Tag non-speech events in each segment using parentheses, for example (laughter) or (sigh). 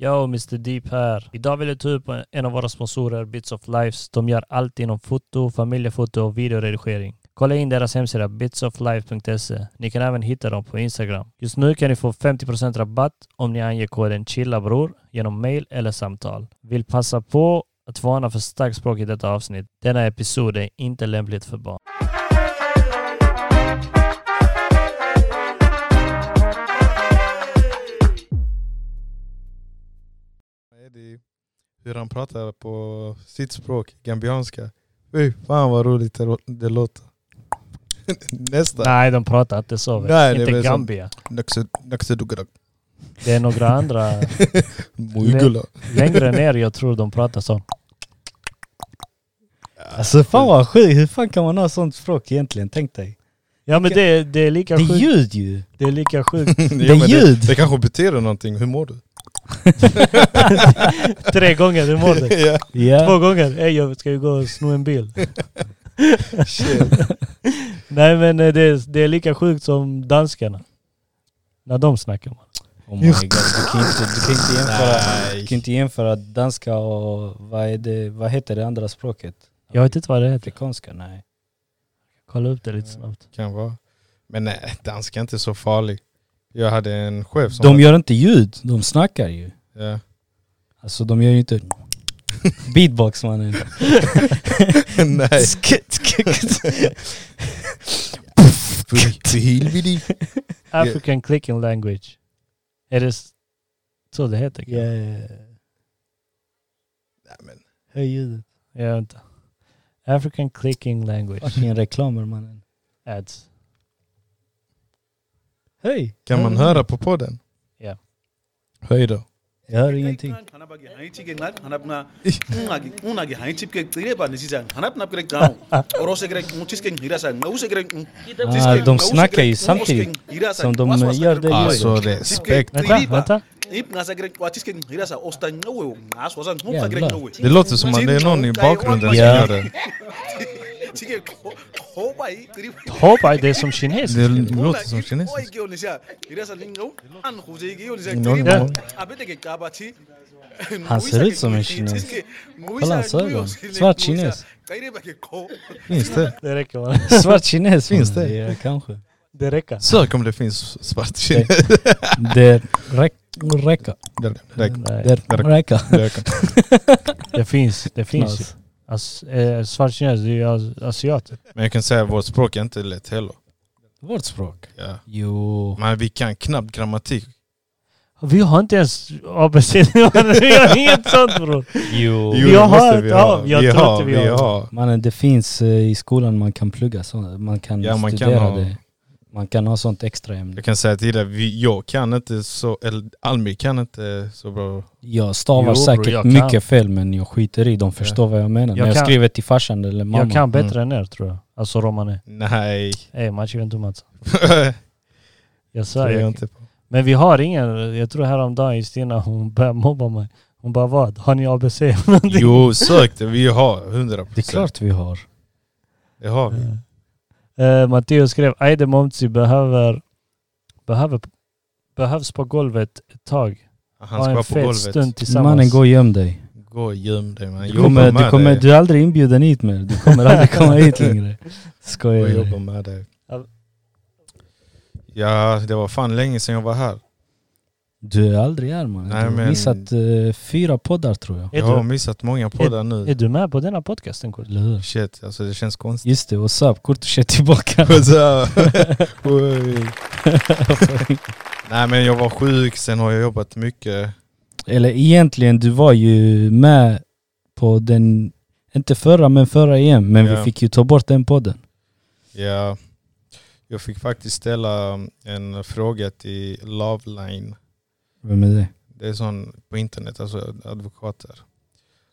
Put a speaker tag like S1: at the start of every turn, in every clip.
S1: Yo, Mr Deep här. Idag vill jag ta upp en av våra sponsorer, Bits of Lives. De gör allt inom foto, familjefoto och videoredigering. Kolla in deras hemsida bitsoflife.se. Ni kan även hitta dem på Instagram. Just nu kan ni få 50% rabatt om ni anger koden CHILLABROR genom mail eller samtal. Vill passa på att varna för starkt språk i detta avsnitt. Denna episod är inte lämpligt för barn.
S2: Eddie, hur han pratar på sitt språk, gambianska. Fy fan vad roligt det rå- det låter. (laughs) Nästa.
S1: Nej, de pratar inte så. vet du.
S2: Nej, det är
S1: inte
S2: väl som-
S1: Gambia.
S2: Naxu- Naxudugudag.
S1: Det är några andra
S2: (laughs) Mujgula.
S1: längre ner jag tror de pratar så.
S3: Alltså fan vad sjukt, hur fan kan man ha sånt språk egentligen? Tänk dig.
S1: Ja men det, det är lika
S3: Det är
S1: sjukt.
S3: ljud ju.
S1: Det är lika sjukt.
S2: Ja, men
S3: Det är ljud.
S2: Det, det kanske betyder någonting, hur mår
S3: (laughs)
S2: du?
S1: Tre gånger i morgon. (laughs)
S2: ja,
S1: Två
S3: Ja.
S1: gånger. Hey, jag ska ju gå och sno en bil.
S2: shit.
S1: Nej men eh, det är, det är lika sjukt som danskarna. När de snackar. man.
S3: Oh my god, du kan inte, du kan inte, jämföra, du kan inte jämföra danska och vad, är det, vad heter det andra språket?
S1: Jag vet inte vad det heter.
S3: Afrikanska? Nej.
S1: Kolla upp det lite snabbt.
S2: Kan vara. Men nej, danska är inte så farlig. Jag hade en chef som...
S3: De gör inte ljud, de snackar ju.
S2: ja. (laughs)
S3: Alltså de gör ju inte beatbox mannen.
S2: nej. För- för helvete.
S1: African clicking language. Är det s- så det heter? kanske?
S3: Yeah.
S2: Nej, men
S3: Höj ljudet.
S1: Jag vet inte. African clicking language.
S3: Fucking reklamer mannen.
S1: Ads.
S3: Höj!
S2: Kan man höra på podden?
S1: Ja.
S2: Höj då.
S3: Jag hör ingenting.
S4: Ah, de snackar ju samtidigt som de gör det
S2: Alltså respekt.
S1: Vänta, vänta.
S4: ljudet.
S2: Det låter som att det är någon i bakgrunden som
S3: Ja.
S2: gör det.
S1: Hoppa, det är som kines.
S2: Det låter som kinesiskt.
S4: Ja.
S3: Han ser ut som en kines. Kolla hans ögon. Svart kines.
S2: Finns det?
S1: Det räcker bara.
S3: Svart kines
S2: Finns
S3: mannen.
S2: det?
S3: Ja, kanske.
S1: Det räcker.
S2: Sök om det finns svart kines.
S3: Det räck, räcker.
S2: Där, där, (laughs) där,
S1: Nej.
S3: Det räcker.
S2: där kan-
S1: Det finns. Det finns. ju.
S3: Knas.
S1: As, eh, svart kines, det är ju as- asiater.
S2: Men jag kan säga att vårt språk är inte lätt heller.
S3: Vårt språk.
S2: Ja.
S3: Jo.
S2: Men vi kan knappt grammatik.
S1: Vi har inte ens ABC. (laughs) vi har inget sånt bror.
S3: Jo.
S1: Jo.
S2: det
S1: har
S2: måste
S1: ett av. Jag
S2: vi
S1: tror
S2: har,
S1: inte vi
S2: vi
S1: har.
S2: har.
S3: Mannen det finns eh, i skolan man kan plugga sånt. Man kan
S2: Ja, man kan
S3: studera
S2: ha-
S3: det. Man kan ha sånt extra ämne.
S2: Jag kan säga till dig, vi, jag kan inte så, eller Almi kan inte så bra.
S3: Jag stavar
S1: Jo, bror,
S3: säkert
S1: jag kan.
S3: mycket fel men jag skiter i, de förstår vad jag menar.
S1: Jag
S3: När jag
S1: kan.
S3: skriver till farsan eller mamma.
S1: Jag kan bättre än er tror jag. Alltså romani.
S2: Nej,
S1: Ey, matchen inte matcha.
S2: det
S1: Jag sa
S2: tror jag
S1: jag.
S2: inte på.
S1: Men vi har ingen. Jag tror häromdagen Justina hon började mobba mig. Hon bara vad? Har ni ABC? (laughs)
S2: Jo, sök det. Vi har 100
S3: Det är klart vi har.
S2: Det har vi.
S1: Eh, Matteo skrev Aide Momsi behöver, behöver behövs på golvet ett tag.
S2: Han
S1: Ha
S2: ska
S1: en
S2: vara på
S1: fet
S2: golvet.
S1: stund tillsammans.
S3: Mannen gå och göm dig.
S2: Gå och göm dig man.
S3: Du
S2: Jobba
S3: kommer,
S2: med
S3: du, kommer,
S2: dig.
S3: du är aldrig inbjuden hit mer. Du kommer aldrig komma
S2: (laughs)
S3: hit längre. Skojar.
S2: Och
S3: jag.
S2: jobba med dig.
S1: Ja.
S2: Ja, det var fan länge sedan jag var här.
S3: Du är aldrig här mannen. Du
S2: Nej,
S3: har
S2: men-
S3: missat eh, fyra poddar tror jag.
S1: Är
S2: Jag har
S1: du,
S2: missat många poddar
S1: är
S2: nu.
S1: du med på denna podcasten? Kurt?
S3: Eller hur?
S2: Shit, alltså det känns konstigt.
S3: Just det, what's up? Kurtus
S2: (laughs)
S3: är tillbaka.
S2: What's up?
S1: (laughs)
S2: Oj. Nej men jag var sjuk, sen har jag jobbat mycket.
S3: Eller egentligen, du var ju med på den, inte förra men förra igen, men
S2: Ja.
S3: vi fick ju ta bort den podden.
S2: Ja. Jag fick faktiskt ställa um, en fråga till Loveline.
S3: Vem är det?
S2: Det är sån på internet, alltså advokater.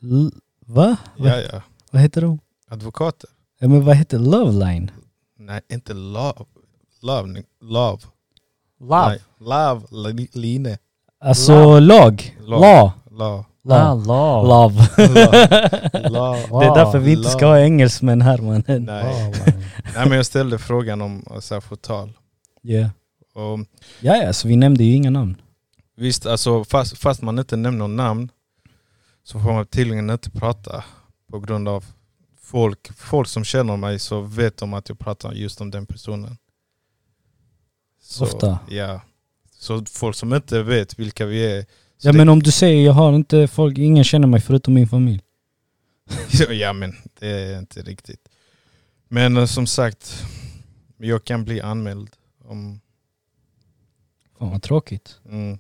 S3: L- Va?
S2: Ja ja,
S3: Vad heter de?
S2: advokater.
S3: Ja, men vad heter Loveline?
S2: Nej inte love. Love. Love.
S1: Love.
S2: Nej, love. Li- Line.
S3: Alltså
S1: Law.
S3: lag?
S2: Law.
S3: Law?
S1: (laughs)
S2: Love.
S1: Ah,
S3: Law?
S1: love.
S3: Love.
S2: love.
S3: Det är därför vi inte ska ha engelsmän här mannen.
S2: Nej.
S1: Wow, wow.
S2: Nej men jag ställde frågan om alltså, förtal.
S3: Ja,
S2: Och
S3: ja, så vi nämnde ju inga namn.
S2: Visst, alltså, fast, fast man inte nämner namn så får man tydligen inte prata på grund av folk. Folk som känner mig så vet de att jag pratar just om den personen. Så,
S3: Ofta.
S2: Ja. Så folk som inte vet vilka vi är. så
S3: Ja men om du säger jag har inte folk, ingen känner mig förutom min familj.
S2: det, (laughs) ja men det är inte riktigt. Men eh, som sagt, jag kan bli anmäld om
S3: Fan vad tråkigt.
S2: Mm.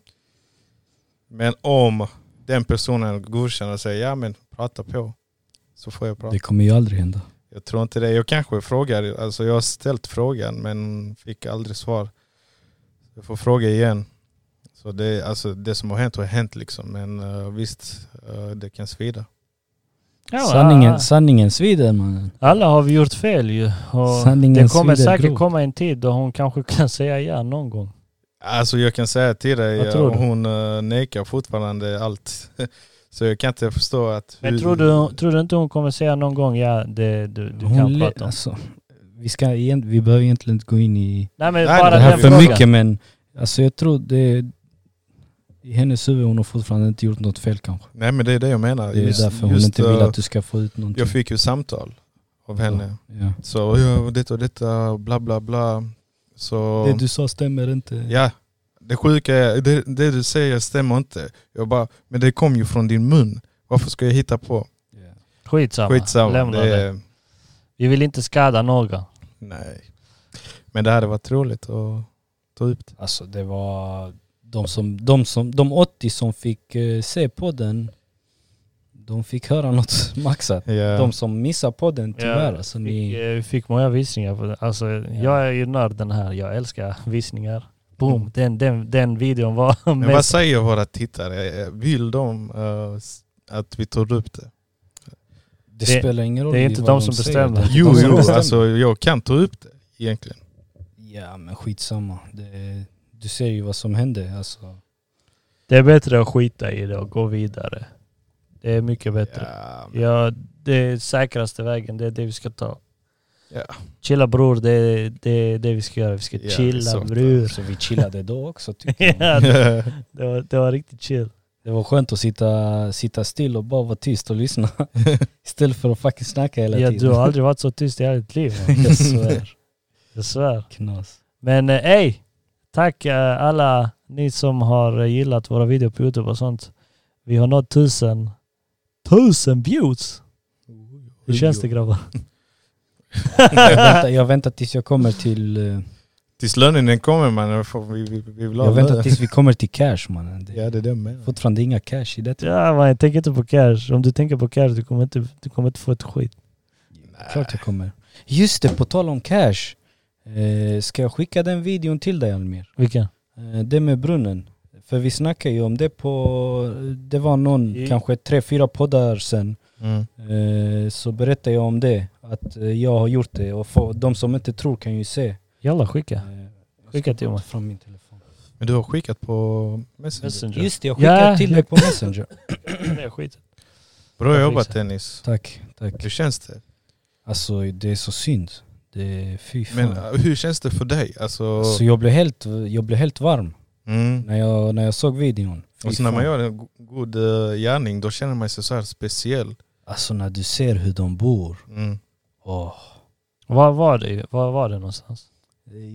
S2: Men om den personen godkänner och säger ja men prata på. Så får jag prata.
S3: Det kommer ju aldrig hända.
S2: Jag tror inte det. Jag kanske frågar, alltså jag har ställt frågan men fick aldrig svar. Jag får fråga igen. Så det, alltså, det som har hänt har hänt liksom. Men eh, visst, eh, det kan svida.
S1: Ja,
S3: Sanningen, sanningen svider mannen.
S1: Alla har vi gjort fel ju. Och
S3: Sanningen
S1: det kommer
S3: svider
S1: säkert
S3: grovt.
S1: komma en tid då hon kanske kan säga ja någon gång.
S2: Alltså jag kan säga till dig,
S1: Vad tror
S2: eh,
S1: du?
S2: hon eh, nekar fortfarande allt. (laughs) Så jag kan inte förstå att...
S1: Men
S2: hur-
S1: tror du, tror du inte hon kommer säga någon gång ja, det, du, du
S3: Hon
S1: kan
S3: le-
S1: prata om?
S3: alltså, vi, ska egent, vi behöver egentligen inte gå in i
S1: Nej men
S2: Nej,
S1: bara
S3: det
S1: den
S2: det här
S3: här
S2: är
S1: frågan.
S3: för mycket men alltså jag tror det... I hennes huvud hon har fortfarande inte gjort något fel kanske.
S2: Nej men det är det jag menar.
S3: Det är
S2: Just-
S3: därför hon
S2: just,
S3: inte vill
S2: eh,
S3: att du ska få ut någonting.
S2: Jag fick ju samtal av henne.
S3: Ja.
S2: Så ja, detta och detta, bla bla bla. Så
S3: Det du sa stämmer inte.
S2: ja, det sjuka är, det, det du säger stämmer inte. Jag bara, men det kom ju från din mun. Varför ska jag hitta på?
S1: Skitsamma.
S2: Skitsamma.
S1: Lämna det.
S2: det,
S1: Vi vill inte skada någon.
S2: Nej. Men det hade varit roligt att ta upp det.
S3: Alltså det var de, som, de, som, de 80 som fick eh, se podden, de fick höra något (laughs) maxat.
S2: Ja.
S3: De som missar podden tyvärr
S1: Ja,
S3: alltså
S1: Fick,
S3: ni...
S1: eh, fick många visningar. På det. Alltså, Jag är ju nörden här. Jag älskar visningar.
S3: Mm.
S1: Boom. Den, den, den videon var
S2: men vad
S1: mest...
S2: säger våra tittare? Vill de eh, s- att vi tar upp det?
S1: det-
S3: Det, spelar ingen roll
S1: det är inte
S3: vad
S1: de som
S3: säger.
S1: bestämmer.
S3: Det är inte
S2: Jo,
S3: de som
S2: jo
S3: bestämmer.
S2: alltså, jag kan ta upp det egentligen.
S3: Ja men skitsamma. Det, du ser ju vad som hände alltså.
S1: Det är bättre att skita i det och gå vidare. Det är mycket bättre.
S2: Ja,
S1: Ja, det är säkraste vägen. Det är det vi ska ta.
S2: Ja.
S1: Chilla bror, det är det, är det vi ska göra. Vi ska
S2: Ja,
S1: chilla
S2: exakt.
S1: bror.
S3: Så vi chillade då också tyckte jag.
S1: (laughs)
S2: Mm.
S1: ja, det,
S2: (laughs)
S1: det, var, det var riktigt chill.
S3: Det var skönt att sitta, sitta still och bara vara tyst och lyssna. (laughs) Istället för att fucking snacka hela
S1: Ja, du
S3: tiden.
S1: har aldrig varit så tyst i hela ditt liv. man.
S3: Jag svär.
S1: Jag svär.
S3: Knas.
S1: Men eh, ey, tack eh, alla ni som har eh, gillat våra videor på Youtube och sånt. Vi har nått tusen, tusen views! Hur känns det grabbar?
S3: Jag väntar, jag väntar tills jag kommer till... eh,
S2: Tills lönen kommer man, får vi, vi, vi vill ha
S3: Jag väntar
S2: lön.
S3: tills vi kommer till cash mannen.
S2: (laughs)
S3: Det
S2: Ja det är det jag menar.
S3: Fortfarande inga cash i detta.
S1: Ja man, jag tänker inte på cash. Om du tänker på cash, du kommer inte, du kommer inte få ett skit.
S3: Klart jag kommer. Just det, på tal om cash. Eh, ska jag skicka den videon till dig Almir?
S1: Vilken?
S3: Eh, det med brunnen. För vi snackade ju om det på... Det var någon,
S1: Mm.
S3: kanske tre, fyra poddar sen.
S2: Mm.
S3: Eh, så berättade jag om det. Att eh, jag har gjort det. Och få- de som inte tror kan ju se.
S1: Jalla (clears throat) skicka.
S3: Eh,
S1: Skicka till mig.
S3: Från min telefon.
S2: Men du har skickat på Messenger.
S1: Messenger.
S3: Just det, jag skickade
S1: Ja.
S3: till
S1: (laughs)
S3: dig på Messenger.
S1: Det är skit.
S2: Bra
S1: Jag
S2: jobbat
S1: fixar.
S2: Dennis.
S3: Tack, tack.
S2: Hur känns det?
S3: Alltså det är så synd. Det är fy fan.
S2: Men äh, hur känns det för dig? Alltså,
S3: Så jag blev helt, jag blev helt varm
S2: mm.
S3: när jag, när jag såg videon. Fy
S2: Och så när man
S3: fan.
S2: gör en go- god eh, gärning då känner man sig så här speciell.
S3: Alltså när du ser hur de bor.
S2: Mm.
S3: Åh.
S1: Var var det, var var det någonstans?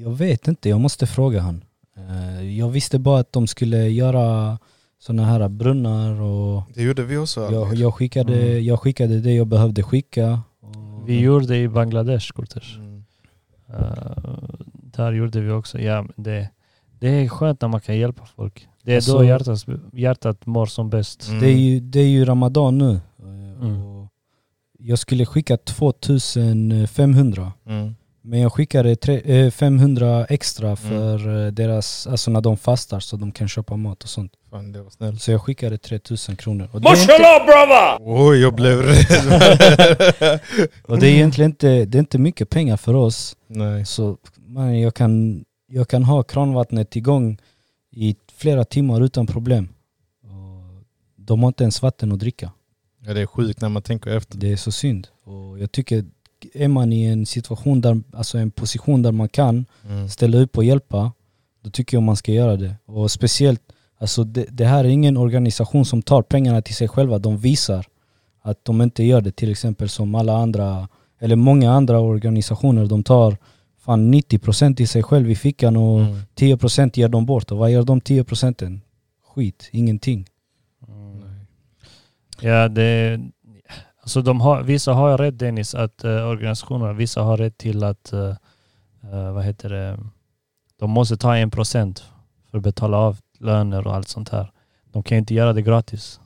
S3: Jag vet inte, jag måste fråga han. Eh, Jag visste bara att de skulle göra sådana här brunnar och
S2: Det gjorde vi också.
S3: jag, jag, skickade,
S1: Mm.
S3: jag skickade det jag behövde skicka. Och
S1: Vi gjorde det i Bangladesh, Kurters.
S2: Mm.
S1: Eh, där gjorde vi också. Ja, men det, det är skönt när man kan hjälpa folk. Det är
S3: Alltså-
S1: då hjärtat, hjärtat mår som bäst.
S2: Mm.
S3: det, är ju, det är ju Ramadan nu. Eh,
S1: Mm.
S3: Och jag skulle skicka 2500
S2: Mm.
S3: Men jag skickade tre, eh, 500 extra för eh, deras, alltså när de fastar så de kan köpa mat och sånt.
S2: Fan det var snällt.
S3: Så jag skickade 3000 kronor. Och det, är inte,
S4: Mashallah brother!
S2: Oj jag blev rädd.
S3: (laughs)
S2: (laughs)
S3: och det är egentligen inte, det är inte mycket pengar för oss.
S2: Nej.
S3: Så man, jag, kan, jag kan ha kranvattnet igång i flera timmar utan problem. Och de har inte ens vatten att dricka.
S2: Ja, det är sjukt när man tänker efter.
S3: Det är så synd. Och jag tycker, är man i en situation där, alltså en position där man kan
S2: Mm.
S3: ställa upp och hjälpa, då tycker jag man ska göra det. Och speciellt, Alltså det, det här är ingen organisation som tar pengarna till sig själva. De visar att de inte gör det till exempel som alla andra, eller många andra organisationer. De tar fan 90% till sig själv i fickan och
S2: Mm.
S3: 10% ger de bort. Och vad gör de 10%? Skit, ingenting.
S1: Ja, det... Alltså de har, vissa har rätt Dennis, att eh, organisationerna, vissa har rätt till att, eh, eh, vad heter det, de måste ta en procent för att betala av löner och allt sånt här. De kan ju inte göra det gratis.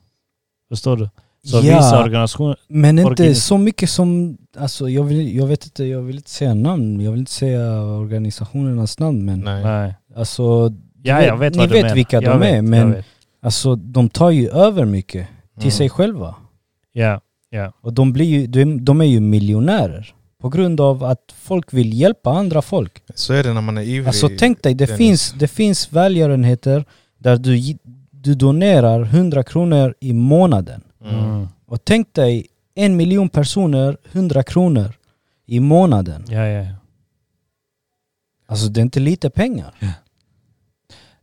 S1: Förstår du? Så vissa organisationer,
S3: Men inte
S1: Organ-
S3: så mycket som, alltså jag, vill, jag vet inte, jag vill inte säga namn, jag vill inte säga organisationernas namn men
S2: Nej.
S1: nej.
S3: alltså,
S1: Ja, jag vet
S3: ni
S1: vad du
S3: vet
S1: menar.
S3: vilka de
S1: jag
S3: är,
S1: vet, jag
S3: men-
S1: vet.
S3: alltså de tar ju över mycket till
S2: Mm.
S3: sig själva.
S1: Ja,
S3: Och de, blir ju, de, de är ju miljonärer på grund av att folk vill hjälpa andra folk.
S2: Så är det när man är ivrig.
S3: Alltså tänk dig, det
S2: Dennis.
S3: finns, det finns välgörenheter där du, gi- du donerar 100 kronor i månaden.
S2: Mm.
S1: mm.
S3: Och tänk dig en miljon personer, 100 kronor i månaden.
S1: ja, ja. ja.
S3: Alltså det är inte lite pengar.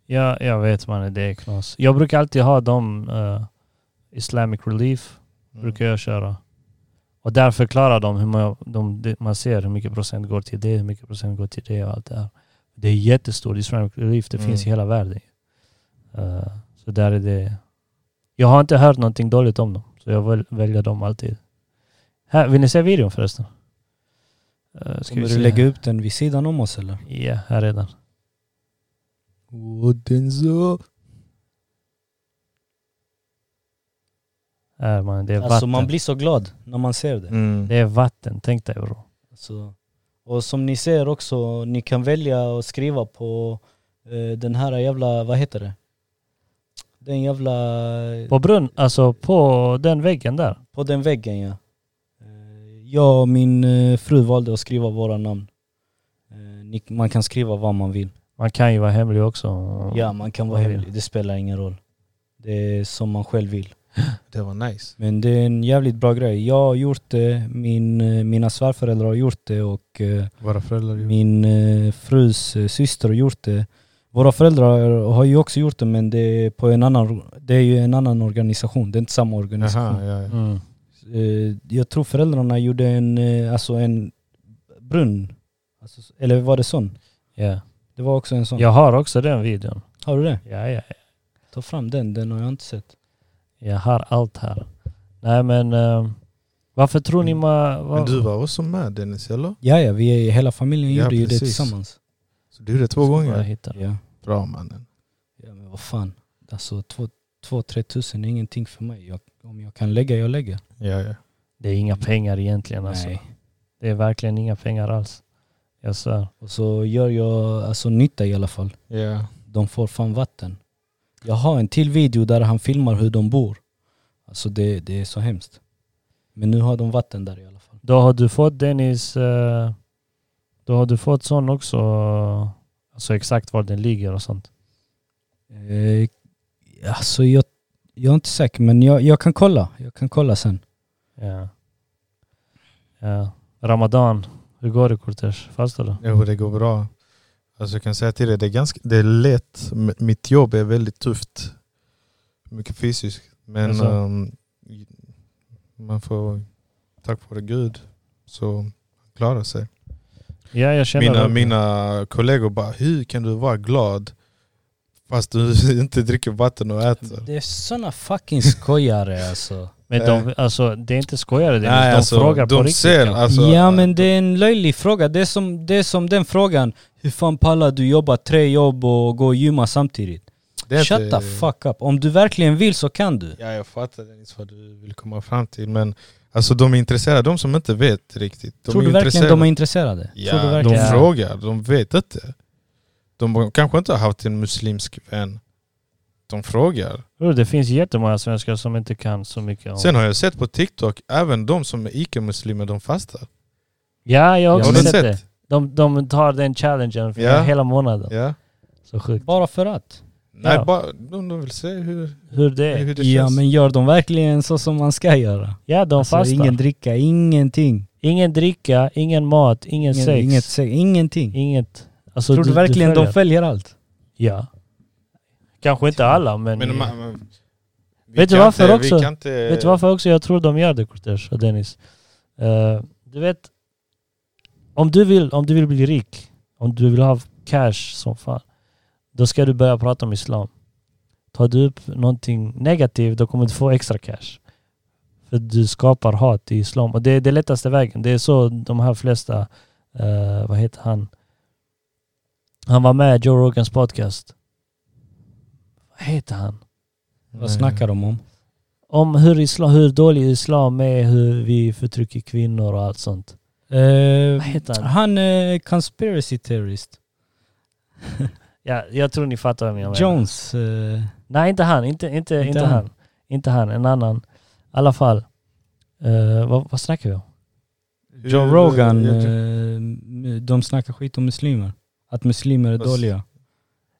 S1: Ja, jag vet man det är knas. Jag brukar alltid ha dem, eh, Islamic Relief
S3: Mm.
S1: brukar jag köra. Och där förklarar de hur man, de, det- man ser hur mycket procent går till det, hur mycket procent går till det och allt det här. Det är jättestort, Islamic Relief, det
S2: Mm.
S1: finns i hela världen. Eh, så där är det. Jag har inte hört någonting dåligt om dem, så jag väl, väljer dem alltid. Här, vill ni se videon förresten? Uh,
S3: Kommer du lägga upp den vid sidan om oss eller?
S1: Ja, här redan.
S2: Och den så.
S1: Här, man, det är
S3: Alltså
S1: vatten.
S3: man blir så glad när man ser det.
S2: Mm.
S1: Det är vatten, tänk dig bro.
S3: Alltså, och som ni ser också, ni kan välja att skriva på eh, den här jävla, vad heter det? Den jävla,
S1: På brunn, alltså på den väggen där.
S3: på den väggen ja. Eh, Jag och min eh, fru valde att skriva våra namn. Eh, ni- Man kan skriva vad man vill.
S1: Man kan ju vara hemlig också.
S3: Ja, man kan vara
S1: Vad vill.
S3: hemlig. Det spelar ingen roll. Det är som man själv vill.
S2: Det var nice.
S3: Men det är en jävligt bra grej. Jag har gjort det, min, eh, mina svärföräldrar har gjort det och eh,
S2: Våra föräldrar gjorde
S3: min eh, frus eh, syster har gjort det. Våra föräldrar har ju också gjort det men det är, på en annan, det är ju en annan organisation, det är inte samma
S2: Jaha,
S3: organisation.
S2: ja, ja.
S1: Mm.
S3: Eh, Jag tror föräldrarna gjorde en, eh, alltså en brunn, alltså, eller var det sån?
S1: Ja.
S3: Det var också en sån.
S1: Jag har också den videon.
S3: Har du det?
S1: Ja, ja, ja.
S3: Ta fram den, den har jag inte sett.
S1: Jag har allt här. Nej men, eh, varför tror ni man...
S2: Men du var också med Dennis, eller?
S3: Ja, ja, vi är, hela familjen
S2: Ja,
S3: gjorde ju det
S2: precis.
S3: tillsammans.
S2: Så du gjorde det två gånger?
S1: Hittar.
S3: Ja.
S2: Bra mannen.
S3: ja, men vad fan. Alltså två, två, tre tusen är ingenting för mig. Jag, om jag kan lägga, jag lägger.
S2: Ja, ja.
S1: Det är inga pengar egentligen alltså.
S3: Nej.
S1: Det är verkligen inga pengar alls. Jag svär.
S3: Och så gör jag alltså nytta i alla fall.
S2: ja.
S3: De får fan vatten. Jag har en till video där han filmar hur de bor. Alltså det, det är så hemskt. Men nu har de vatten där i alla fall.
S1: Då har du fått Dennis, eh, då har du fått sån också, alltså exakt var den ligger och sånt.
S3: Eh, alltså jag, jag är inte säker men jag, jag kan kolla. Jag kan kolla sen.
S1: Ja. Ja. Ramadan, hur går det Kurtesh? Fastar du?
S2: Jo, det går bra. Alltså jag kan säga till dig, det är, ganska, det är lätt. M- Mitt jobb är väldigt tufft. Mycket fysiskt. Men
S1: Alltså.
S2: ehm, man får, tack vare Gud, så klarar sig.
S1: Ja, jag känner
S2: Mina,
S1: verkligen.
S2: mina kollegor bara, hur kan du vara glad fast du (laughs) inte dricker vatten och äter?
S3: Det är såna fucking skojare alltså.
S1: Men de, alltså, det är inte skojare, det är
S2: Eh. Nej,
S1: de
S2: alltså,
S1: frågar på
S2: de
S1: riktigt.
S2: ser,
S1: kanske.
S2: alltså,
S3: ja men det är en löjlig fråga. Det är, som, det är som den frågan, hur fan pallar du jobba tre jobb och gå och gymma samtidigt?
S2: det är
S3: Shut
S2: inte-
S3: the fuck up. Om du verkligen vill så kan du.
S2: Ja, jag fattar Dennis vad du vill komma fram till. Men alltså de är intresserade, de som inte vet riktigt. De
S3: Tror
S2: är
S3: du verkligen
S2: intresserade.
S3: de är intresserade? Tror du
S2: Ja, de
S3: verkligen?
S1: Ja.
S2: frågar. De vet inte. De kanske inte har haft en muslimsk vän. De frågar.
S1: Bror, Det finns jättemånga svenskar som inte kan så mycket om...
S2: Sen har jag sett på TikTok, även de som är icke-muslimer, de fastar.
S1: ja, jag har också
S2: har
S1: sett, det. De, de tar den challengen för
S2: Ja.
S1: hela månaden.
S2: Ja.
S1: Så sjukt.
S3: Bara för att?
S2: Nej,
S1: Ja.
S2: bara de, de vill se hur,
S1: Hur det är.
S2: hur det
S3: Ja
S2: känns.
S3: men gör de verkligen så som man ska göra?
S1: Ja, de
S3: Alltså,
S1: fastar.
S3: ingen
S1: Ingen,
S3: dricka, ingenting.
S1: dricka, ingen mat, ingen,
S3: Ingen,
S1: sex.
S3: inget sex, ingenting.
S1: inget. Alltså,
S3: Tror du, verkligen de
S1: följer?
S3: följer allt?
S1: Ja. Kanske inte alla men...
S2: Men, man- man- vi
S1: Vet du
S2: kan
S1: varför
S2: inte,
S1: också?
S2: Vi kan inte,
S1: Vet du varför också jag tror de gör det Kurtesh och Dennis? Eh, du vet, om du, vill, om du vill bli rik, om du vill ha cash som fan, då ska du börja prata om islam. Tar du upp någonting negativt, då kommer du få extra cash. För du skapar hat i islam. Och det är den lättaste vägen. Det är så de här flesta, eh, vad heter han? Han var med i Joe Rogans podcast. Vad heter han?
S3: Vad snackar de om?
S1: om hur, islam, hur dålig islam är, hur vi förtrycker kvinnor och allt sånt. Vad
S3: Eh,
S1: heter han?
S3: han är conspiracy terrorist.
S1: Ja, jag tror ni fattar vem jag menar.
S3: Jones. Eh,
S1: Nej, inte han. Inte, inte, inte,
S3: Inte
S1: han.
S3: han.
S1: Inte han, en annan. I alla fall. Eh, vad, vad snackar vi om?
S3: Joe
S2: Eh,
S3: Rogan. Eh, de snackar skit om muslimer. Att muslimer är
S2: Fast-
S3: dåliga.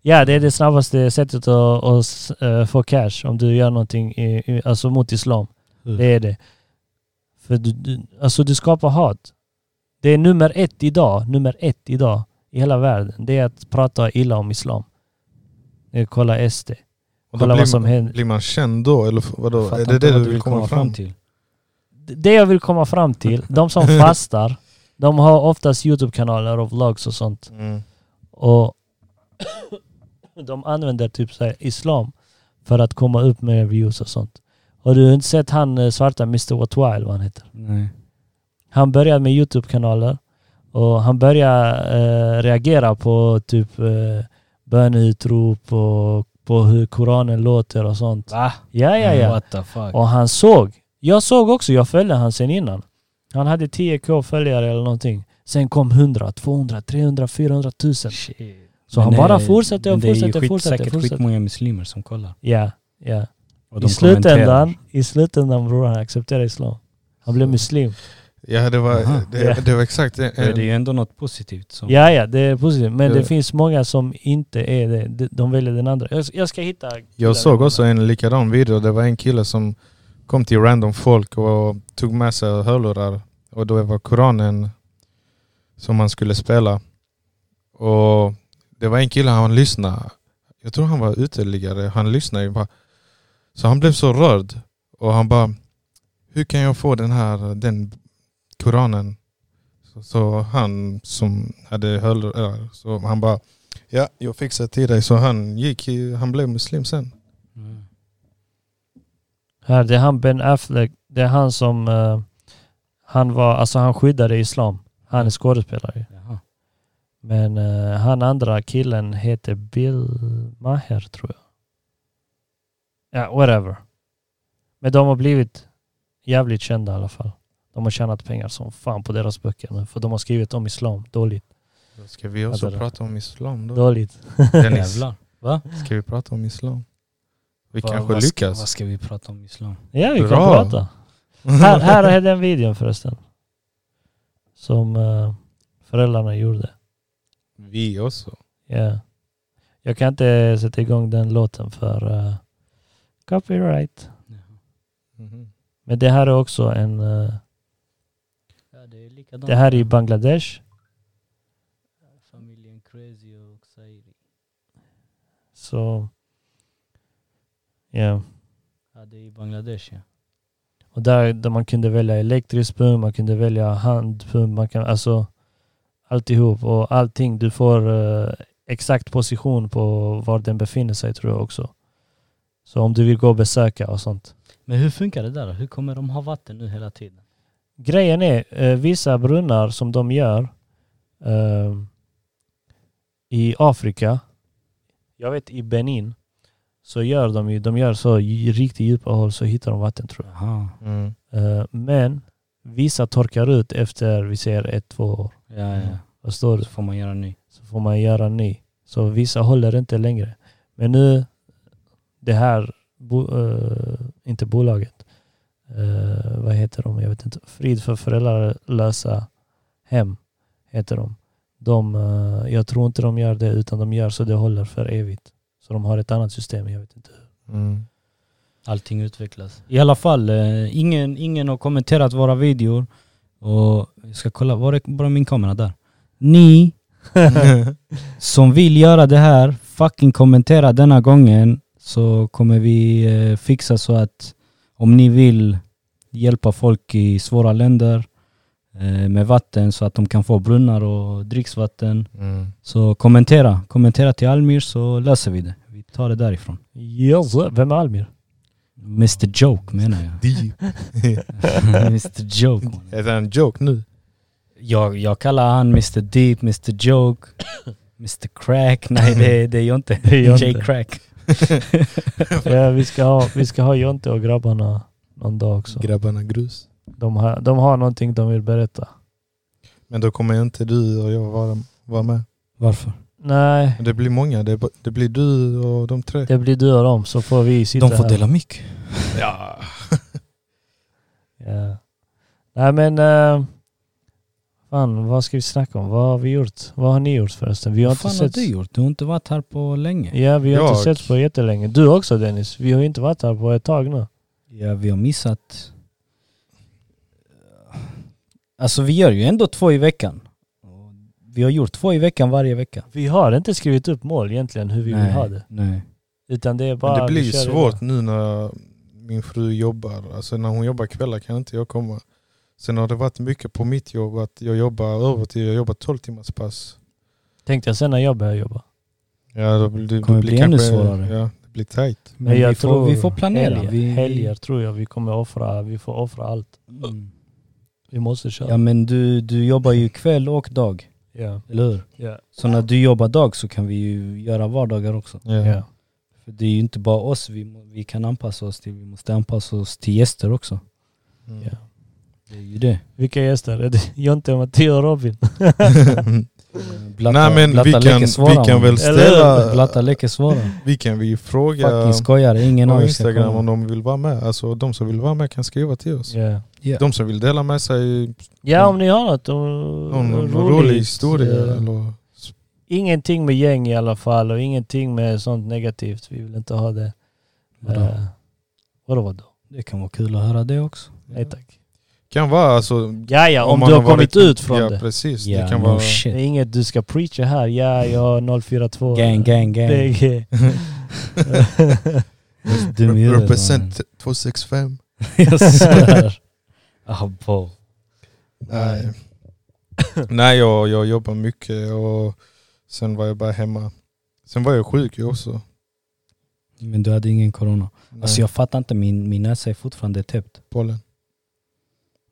S1: Ja, det är det snabbaste sättet att, att s- eh, få cash om du gör någonting i, i, alltså mot islam.
S3: Mm.
S1: Det är det. För du, du, alltså du skapar hat. Det är nummer ett idag, nummer ett idag i hela världen. Det är att prata illa om islam. Det är att Kolla SD.
S2: Och då
S1: Kolla
S2: blir,
S1: vad som händer.
S2: blir man känd då? Eller f- vadå?
S3: Fattar
S2: Är det
S3: inte
S2: det
S3: vad
S2: du vill komma fram till?
S3: till.
S1: Det jag vill komma fram till, de
S2: (laughs)
S1: som fastar, de har oftast YouTube-kanaler och vlogs och sånt.
S2: Mm.
S1: Och de använder typ så här islam för att komma upp med views och sånt. Har du inte sett han eh, svarta Mr. Watwa eller vad han heter?
S3: Nej.
S1: Han började med YouTube-kanaler och han började eh, reagera på typ eh, böneutrop och på hur Koranen låter och sånt.
S3: Va?
S1: Ja, ja, ja.
S3: What the fuck?
S1: Och han såg. Jag såg också, jag följde han sen innan. Han hade 10k följare eller någonting. Sen kom 100, 200, 300, 400 000.
S3: Shit.
S1: Så
S3: Men
S1: han bara
S3: det-
S1: fortsätter
S3: men
S1: och
S3: Det är
S1: fortsätter
S3: ju
S1: och
S3: skit,
S1: fortsätter.
S3: säkert
S1: fortsätter.
S3: skitmånga muslimer som kollar.
S1: Ja, ja.
S3: Och
S1: I
S3: de kommenterar.
S1: slutändan, i slutändan bror, han accepterade islam. Han blev muslim.
S2: Ja, det
S3: Aha.
S2: var, det,
S1: Ja.
S2: det var exakt en,
S3: Det är ju
S2: en,
S3: ändå något positivt. Som,
S1: Ja, ja, det är positivt. Men
S2: Ja.
S1: det finns många som inte är det. De- De väljer den andra. Jag- Jag ska hitta... killar.
S2: Jag såg också en likadan video. Det var en kille som kom till random folk och tog med sig hörlurar. Och då var Koranen som han skulle spela. Och det var en kille, han lyssnade. Jag tror han var uteliggare. Han lyssnade ju bara. Så han blev så rörd. Och han bara, hur kan jag få den här, den Koranen? Så, så han som hade hörlurar, så han bara, ja jag fixar till dig. Så han gick, i- han blev muslim sen.
S3: Mm.
S1: Här, det är han Ben Affleck. Det är han som... eh, han var... Alltså han skyddade islam. Han är skådespelare.
S3: Jaha.
S1: Men eh, han andra killen heter Bill Maher tror jag. Ja, whatever. Men de har blivit jävligt kända i alla fall. De har tjänat pengar som fan på deras böcker nu. För de har skrivit om islam. Dåligt.
S2: Då Ska vi
S1: Ja,
S2: också
S1: det där.
S2: prata om islam då?
S1: Dåligt.
S2: Dennis,
S3: Jävlar.
S2: ska vi prata om islam? Vi
S3: Vad-
S2: kanske
S3: vad ska-
S2: lyckas.
S3: Vad ska vi prata om islam?
S1: Ja, vi kan
S2: Bra.
S1: prata. Här, här är den videon förresten. Som eh, föräldrarna gjorde.
S2: Vi också.
S1: Ja. Jag kan inte sätta igång den låten för eh, copyright.
S2: Mhm.
S1: Men det här är också en... eh,
S3: Ja, det, är likadant.
S1: det här är i Bangladesh.
S3: Familjen Crazy och Sairi.
S1: Så... Ja.
S3: Ja, det är i Bangladesh ja.
S1: Och där, där man kunde välja elektrisk pump, man kunde välja handpump, man kan alltså alltihop och allting. Du får eh, exakt position på var den befinner sig tror jag också. Så om du vill gå och besöka och sånt.
S3: Men hur funkar det där då? Hur kommer de ha vatten nu hela tiden?
S1: Grejen är, eh, vissa brunnar som de gör eh, i Afrika, jag vet i Benin, så gör de ju, de gör så i riktigt djupa hål så hittar de vatten tror jag.
S3: Jaha.
S2: Mm.
S1: Eh, Men vissa torkar ut efter, vi säger ett, två år.
S3: Ja, ja.
S1: Förstår du?
S3: Så får man göra ny.
S1: Så får man göra en ny. Så vissa håller inte längre. Men nu, det här, bo, eh, inte bolaget, eh, vad heter de? Jag vet inte. Frid för föräldralösa hem heter de. de eh, jag tror inte de gör det utan de gör så det håller för evigt. Så de har ett annat system, jag vet inte.
S2: Mm.
S3: Allting utvecklas. I alla fall, eh, ingen, ingen har kommenterat våra videor. Och jag ska kolla, (laughs) var är bara min kamera där? Ni som vill göra det här, fucking kommentera denna gången så kommer vi eh, fixa så att om ni vill hjälpa folk i svåra länder eh, med vatten så att de kan få brunnar och dricksvatten.
S2: Mm.
S3: Så kommentera. Kommentera till Almir så löser vi det. Vi tar det därifrån.
S1: Yes. Vem är Almir?
S3: Mr Joke menar jag.
S2: Deep.
S3: (laughs) Mr Joke. mannen.
S2: Är det en joke nu?
S3: Jag, jag kallar han Mr Deep, Mr (laughs) Joke, Mr Crack. Nej det, det är jag inte. (laughs)
S1: är jag
S3: J
S1: inte.
S3: Crack.
S1: Ja, vi, ska ha, vi ska ha Jonte och grabbarna någon dag också.
S2: Grabbarna grus.
S1: De har, de har någonting de vill berätta.
S2: Men då kommer inte du och jag vara, vara med.
S3: Varför?
S1: Nej,
S2: Men det blir många. Det, b- det blir du och de tre.
S1: det blir du och dem så får vi sitta
S3: De får
S1: här.
S3: dela mick.
S2: Ja.
S1: Ja. Nej men... eh, fan, vad ska vi snacka om? Vad har vi gjort? Vad har ni gjort förresten? Vi har
S3: Vad
S1: inte
S3: fan har
S1: sett...
S3: du gjort? Du har inte varit här på länge.
S1: Ja, vi har inte
S2: Jag?
S1: sett på jättelänge. Du också Dennis. Vi har ju inte varit här på ett tag nu.
S3: Ja, vi har missat... Alltså vi gör ju ändå två i veckan. Och Vi har gjort två i veckan varje vecka.
S1: Vi har inte skrivit upp mål egentligen hur vi vill ha det.
S3: Nej.
S1: Utan det är
S2: Men
S1: bara...
S2: det blir
S1: vi
S2: ju
S1: kör
S2: svårt
S1: idag.
S2: nu när min fru jobbar. Alltså när hon jobbar kvällar kan inte jag komma. Sen har det varit mycket på mitt jobb att jag jobbar övertid. Jag jobbar 12 timmars pass.
S1: Tänkte jag sen när jag börjar jobba.
S2: Ja, då blir, det
S3: Kommer bli ännu svårare.
S2: Ja, det blir tajt.
S3: Men
S1: jag
S3: vi, får, vi får planera.
S1: Helger,
S3: vi...
S1: helger tror jag vi kommer offra. Vi får offra allt.
S3: Mm.
S1: Vi måste köra.
S3: Ja men du, du jobbar ju kväll och dag,
S1: Ja.
S3: eller hur?
S1: Ja.
S3: Så när du jobbar dag så kan vi ju göra vardagar också.
S2: Ja.
S1: Ja.
S3: För det är ju inte bara oss vi, må- vi kan anpassa oss till, vi måste anpassa oss till gäster också.
S2: Mm.
S1: Ja.
S3: Det är ju det.
S1: Vilka gäster? (laughs) Är det Jonte, Matteo och Robin?
S3: Blatta,
S2: Nej men
S3: blatta
S2: vi
S3: leker
S2: kan,
S3: svara,
S2: vi kan
S3: mannen.
S2: väl
S1: Eller
S2: ställa,
S3: Blatta leker svara.
S2: (laughs) vi kan vi ju fråga
S3: Fucking skojar, ingen av
S2: på
S3: er ska
S2: Instagram om
S3: komma.
S2: de vill vara med. Alltså de som vill vara med kan skriva till oss.
S1: Ja.
S2: De som vill dela med sig
S1: Ja, om ni har något om,
S2: Mm. någon, någon
S1: roligt.
S2: rolig historia
S1: Eh,
S2: eller
S1: Ingenting med gäng i alla fall och ingenting med sånt negativt. Vi vill inte ha det.
S3: Vadå?
S1: Eh, vadå vadå?
S3: Det kan vara kul att höra det också.
S1: Nej tack.
S2: kan vara alltså
S1: Ja, ja, om,
S2: man
S1: du har
S2: varit-
S1: kommit ut från
S2: ja,
S1: det.
S2: Precis.
S3: Ja,
S2: det kan
S3: no
S2: vara
S1: Det
S3: shit.
S1: är inget du ska preacha här. Ja, jag har 042.
S3: Gang, gang, Alltså, gang.
S1: Det är-
S3: Dum i huvudet, mannen.
S2: represent 265.
S3: Jag svär.
S2: (laughs)
S3: Ah, bo.
S2: Nej, (laughs) Nej jag, jag jobbar mycket och sen var jag bara hemma. Sen var jag sjuk ju också.
S3: Men du hade ingen corona.
S2: Nej,
S3: Alltså jag fattar inte, min, min näsa är fortfarande täppt.
S2: pollen.